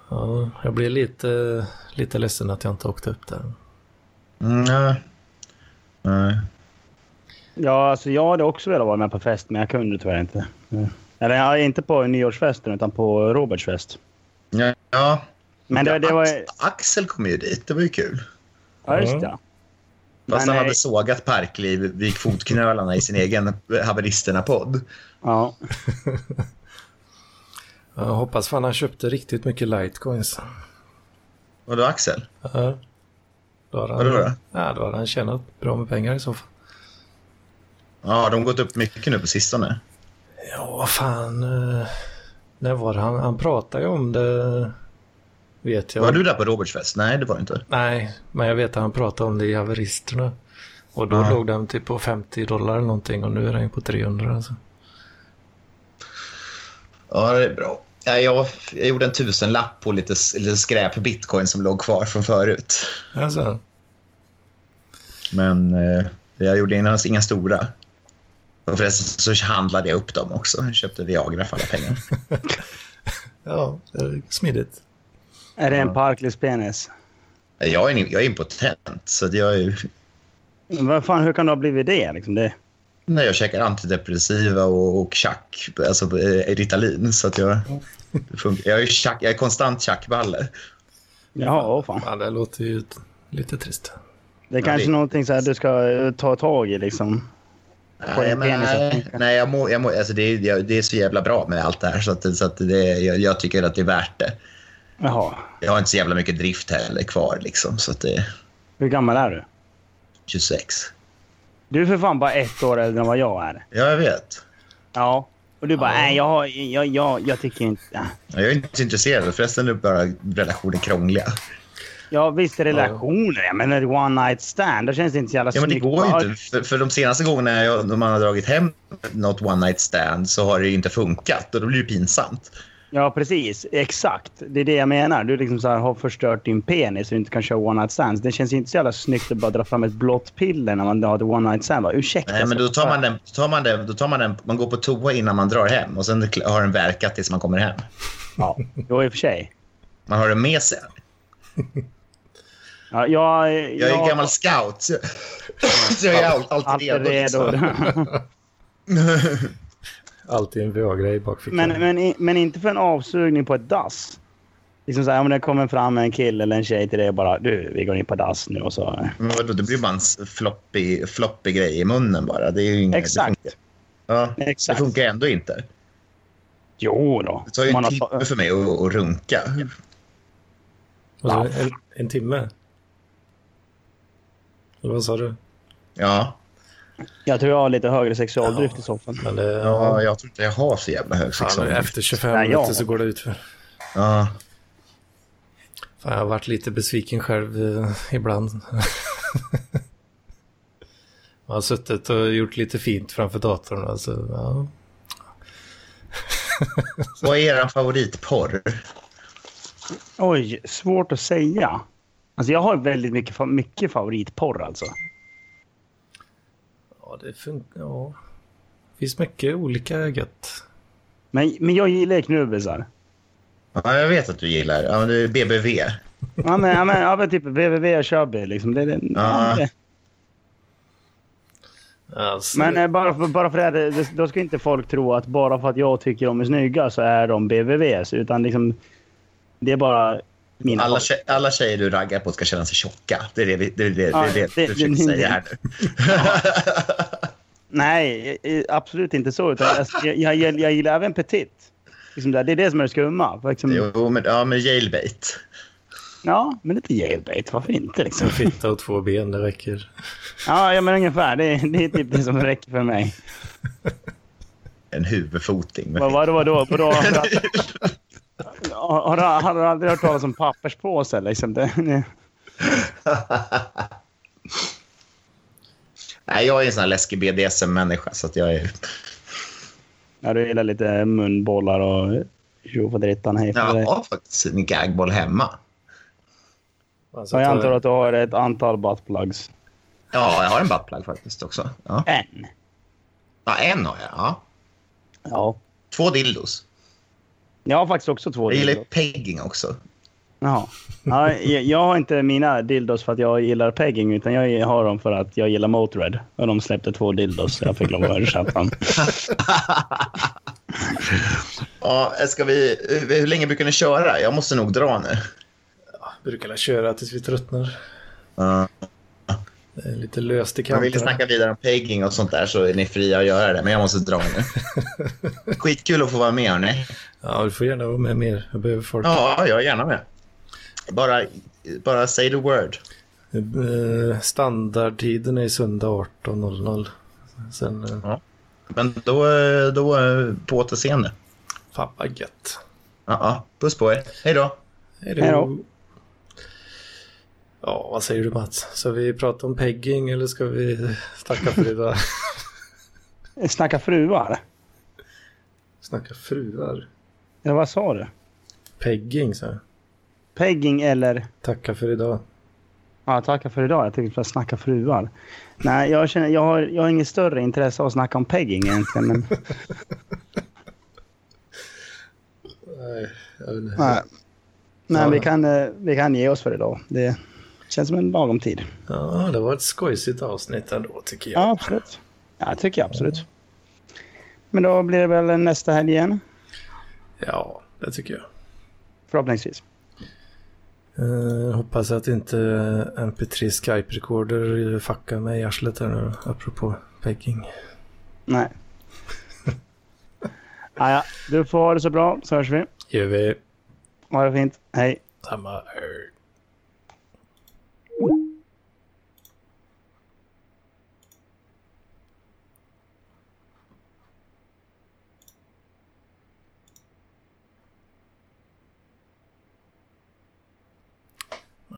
Speaker 1: Ja, jag blir lite, lite ledsen att jag inte åkte upp där.
Speaker 4: Mm, nej. Nej.
Speaker 3: Ja, alltså jag hade också velat vara med på fest, men jag kunde tyvärr inte. Mm. Eller jag är inte på nyårsfesten, utan på Roberts fest.
Speaker 4: Ja, ja.
Speaker 3: Men det, det var...
Speaker 4: Ax- Axel kom ju dit, det var ju kul.
Speaker 3: Ja, just det.
Speaker 4: Fast
Speaker 3: Men,
Speaker 4: han
Speaker 3: eh,
Speaker 4: hade sågat Parkliv vid fotknölarna i sin egen Haveristerna-podd.
Speaker 3: Ja.
Speaker 1: Jag hoppas fan han köpte riktigt mycket litecoins.
Speaker 4: Vadå Axel?
Speaker 1: Ja. Då har han,
Speaker 4: Vadå då?
Speaker 1: Ja, då har han tjänat bra med pengar i så fall.
Speaker 4: Ja, de har gått upp mycket nu på sistone.
Speaker 1: Ja, vad fan. eh, När var det han? Han pratade ju om det. Vet jag.
Speaker 4: Var du där på Roberts fest? Nej, det var du inte.
Speaker 1: Nej, men jag vet att han pratade om det i haveristerna. Och då
Speaker 4: Ja.
Speaker 1: låg den typ på 50 dollar eller någonting och nu är den ju på 300 alltså.
Speaker 4: Ja, det är bra. Ja, jag, jag gjorde en tusenlapp på lite, lite skräp bitcoin som låg kvar från förut.
Speaker 1: Alltså,
Speaker 4: Men eh, jag gjorde inga, inga stora. Och förresten så handlade jag upp dem också. Jag köpte Viagra för alla (laughs) pengar.
Speaker 1: ja, det är smidigt.
Speaker 3: Är det en Parklys penis?
Speaker 4: Jag är, jag är impotent, så att jag, är,
Speaker 3: Vad fan, hur kan du ha blivit det? Liksom det?
Speaker 4: när jag käkar antidepressiva och, och chack, alltså eh, Ritalin. Så att jag, det funkar. jag, är, chack, jag är konstant tjackballe.
Speaker 3: Ja, åh fan.
Speaker 1: Ja, det låter ju t- lite trist.
Speaker 3: Det är kanske
Speaker 4: det-
Speaker 3: någonting så här du ska eh, ta tag i liksom. På
Speaker 4: Nej,
Speaker 3: din
Speaker 4: men,
Speaker 3: penis, jag
Speaker 4: nej,
Speaker 3: tänker.
Speaker 4: nej jag må, jag må, alltså det, är- jag, det är så jävla bra med allt det här så, att, så att det, jag, jag tycker att det är värt det.
Speaker 3: Jaha.
Speaker 4: Jag har inte så jävla mycket drift heller kvar liksom, så att det är
Speaker 3: Hur gammal är du?
Speaker 4: 26.
Speaker 3: Du är för fan bara ett år äldre än vad jag är.
Speaker 4: Ja, jag vet.
Speaker 3: Ja. Och du bara, nej, jag, har- jag, jag, jag tycker inte...
Speaker 4: Jag är inte så intresserad. Förresten är bara relationer krångliga.
Speaker 3: Ja, visst är relationer. Jag menar one night stand. Det känns inte så jävla
Speaker 4: Ja, men det
Speaker 3: snyggt.
Speaker 4: går ju inte. För, för de senaste gångerna jag, när man har dragit hem något one night stand så har det ju inte funkat och då blir det pinsamt.
Speaker 3: Ja, precis. Exakt. Det är det jag menar. Du liksom så här, har förstört din penis och inte kan köra one night stands. Det känns inte så jävla snyggt att bara dra fram ett blått piller när man har ett one night stand. Bara, Ursäkta.
Speaker 4: Nej, men
Speaker 3: så-
Speaker 4: då tar man den, då tar man den, då tar man den, man går på toa innan man drar hem och sen har den verkat tills man kommer hem.
Speaker 3: Ja, jo, i och för sig.
Speaker 4: Man har den med sig.
Speaker 3: Ja, jag,
Speaker 4: Jag är en gammal scout. Så så jag är all, alltid,
Speaker 3: alltid
Speaker 4: redo.
Speaker 3: redo. (laughs)
Speaker 4: liksom.
Speaker 1: Alltid en Viagra i bakfickan.
Speaker 3: men, men, i- men inte för en avsugning på ett dass. Liksom så här, om det kommer fram en kille eller en tjej till dig och bara du, vi går in på dass nu och så. eh.
Speaker 4: Men vadå, det blir bara en s- floppy, floppy grej i munnen bara. Det är ju inget,
Speaker 3: Exakt.
Speaker 4: Det funkar, ja,
Speaker 3: Exakt.
Speaker 4: Det funkar ändå inte.
Speaker 3: Jo då.
Speaker 4: Det tar ju
Speaker 3: Man
Speaker 4: en
Speaker 3: har
Speaker 4: timme
Speaker 3: ta-
Speaker 4: för mig att, att runka.
Speaker 1: Och så en, en timme? Eller vad sa du?
Speaker 4: Ja,
Speaker 3: Jag tror jag har lite högre sexualdrift i soffan.
Speaker 1: Men det,
Speaker 4: ja, jag tror inte jag har så jävla hög
Speaker 1: fan,
Speaker 4: sexual.
Speaker 1: efter 25
Speaker 3: Nej, jag-
Speaker 1: minuter så går det ut för.
Speaker 4: Ja.
Speaker 1: Fan, jag har varit lite besviken själv eh, ibland. (laughs) Man har suttit och gjort lite fint framför datorn. Alltså, ja.
Speaker 4: Vad är er favoritporr?
Speaker 3: Oj, svårt att säga. Alltså jag har väldigt mycket, fa- mycket favoritporr alltså.
Speaker 1: Ja, det funkar. Ja. Det finns mycket olika gött.
Speaker 3: Men, men jag gillar ju knubbisar.
Speaker 4: Ja, jag vet att du gillar. Ja, men det är BBV.
Speaker 3: Ja men, ja, men, ja, men typ www Chubby liksom. Det, det,
Speaker 4: Ja.
Speaker 3: det.
Speaker 1: Alltså,
Speaker 3: Men eh, bara, för- bara för det, här, det- det, då ska inte folk tro att bara för att jag tycker de är snygga så är de BVVs. Utan liksom, det är bara mina
Speaker 4: Alla, tje- alla tjejer du raggar på ska känna sig tjocka. Det är det, vi- det, är det, det,
Speaker 3: Ja,
Speaker 4: är det,
Speaker 3: det-
Speaker 4: du försöker
Speaker 3: det-
Speaker 4: säga här nu.
Speaker 3: Nej, eh, absolut inte så. Utan jag, jag, jag, jag gillar även petit. Liksom det, det är det som är det skumma. För Liksom,
Speaker 4: Jo, men, ja, men jailbait.
Speaker 3: ja, men lite jailbait. Varför inte? (laughs) Liksom?
Speaker 1: En fitta och två ben, det räcker.
Speaker 3: Ja, ja, men ungefär. Det, är- det är typ det som räcker för mig.
Speaker 4: En huvudfoting. med
Speaker 3: Vad vadå? vadå? (laughs) vadå? Har, har, har du aldrig hört talas om papperspåse? Liksom? Det, det.
Speaker 4: Nej, jag är en sån här läskig BDSM-människa. Så att jag är...
Speaker 3: Ja, du gillar lite munbollar och tjofaderittan. hej för
Speaker 4: Jag
Speaker 3: dig.
Speaker 4: har faktiskt en gagboll hemma.
Speaker 1: Alltså,
Speaker 3: Så jag antar
Speaker 1: ta-
Speaker 3: att du har ett antal buttplugs.
Speaker 4: Ja, jag har en buttplug faktiskt också. Ja.
Speaker 3: En?
Speaker 4: Ja, en har jag. Ja.
Speaker 3: Ja.
Speaker 4: Två dildos.
Speaker 3: Jag har faktiskt också två
Speaker 4: Jag gillar
Speaker 3: dildos.
Speaker 4: ju pegging också.
Speaker 3: Jaha. Ja, jag, jag har inte mina dildos för att jag gillar pegging, utan jag har dem för att jag gillar Motörhead. Och de släppte två dildos, så jag fick lov att översätta dem.
Speaker 4: Ja, ska vi, hur länge brukar ni köra? Jag måste nog dra nu.
Speaker 1: brukar väl köra tills vi tröttnar.
Speaker 4: Ja.
Speaker 1: Det är Eh, lite löst i
Speaker 4: Om ni vill
Speaker 1: kanterna.
Speaker 4: snacka vidare om pegging och sånt där så är ni fria att göra det, men jag måste dra nu. Skitkul att få vara med, hörni.
Speaker 1: Ja, du får gärna vara med mer. Jag behöver folk.
Speaker 4: Ja, jag är gärna med. Bara, bara say the word.
Speaker 1: Eh, Standardtiden är söndag 18.00. Sen, eh,
Speaker 4: Men då, eh, då eh, på återseende.
Speaker 1: fan vad gött.
Speaker 4: Ja, ja. puss på er. Hej då.
Speaker 3: Hej då.
Speaker 1: Ja, vad säger du Mats? Ska vi prata om pegging eller ska vi snacka för
Speaker 3: (laughs)
Speaker 1: idag?
Speaker 3: (laughs) Snacka fruar.
Speaker 1: snacka fruar?
Speaker 3: Eller vad sa du?
Speaker 1: Pegging så här.
Speaker 3: Pegging eller?
Speaker 1: Tacka för idag.
Speaker 3: Ja, tacka för idag. Jag tänkte bara snacka fruar. Nej, jag, känner, jag, har, jag har inget större intresse av att snacka om pegging egentligen. Men,
Speaker 1: Nej, jag vet inte.
Speaker 3: nej. Men vi kan, eh, vi kan ge oss för idag. Det känns som en lagom tid.
Speaker 1: Ja, det var ett skojsigt avsnitt ändå tycker jag.
Speaker 3: Ja, absolut. Ja, det tycker jag absolut. Men då blir det väl nästa helg igen.
Speaker 1: Ja, det tycker jag.
Speaker 3: Förhoppningsvis.
Speaker 1: Eh, hoppas att inte MP3 Skype Recorder fuckar mig i arslet här nu apropå pegging.
Speaker 3: Nej. ah, ja. Du får ha det så bra, så hörs vi.
Speaker 1: Gör vi.
Speaker 3: Ha det fint. Hej.
Speaker 1: Samma.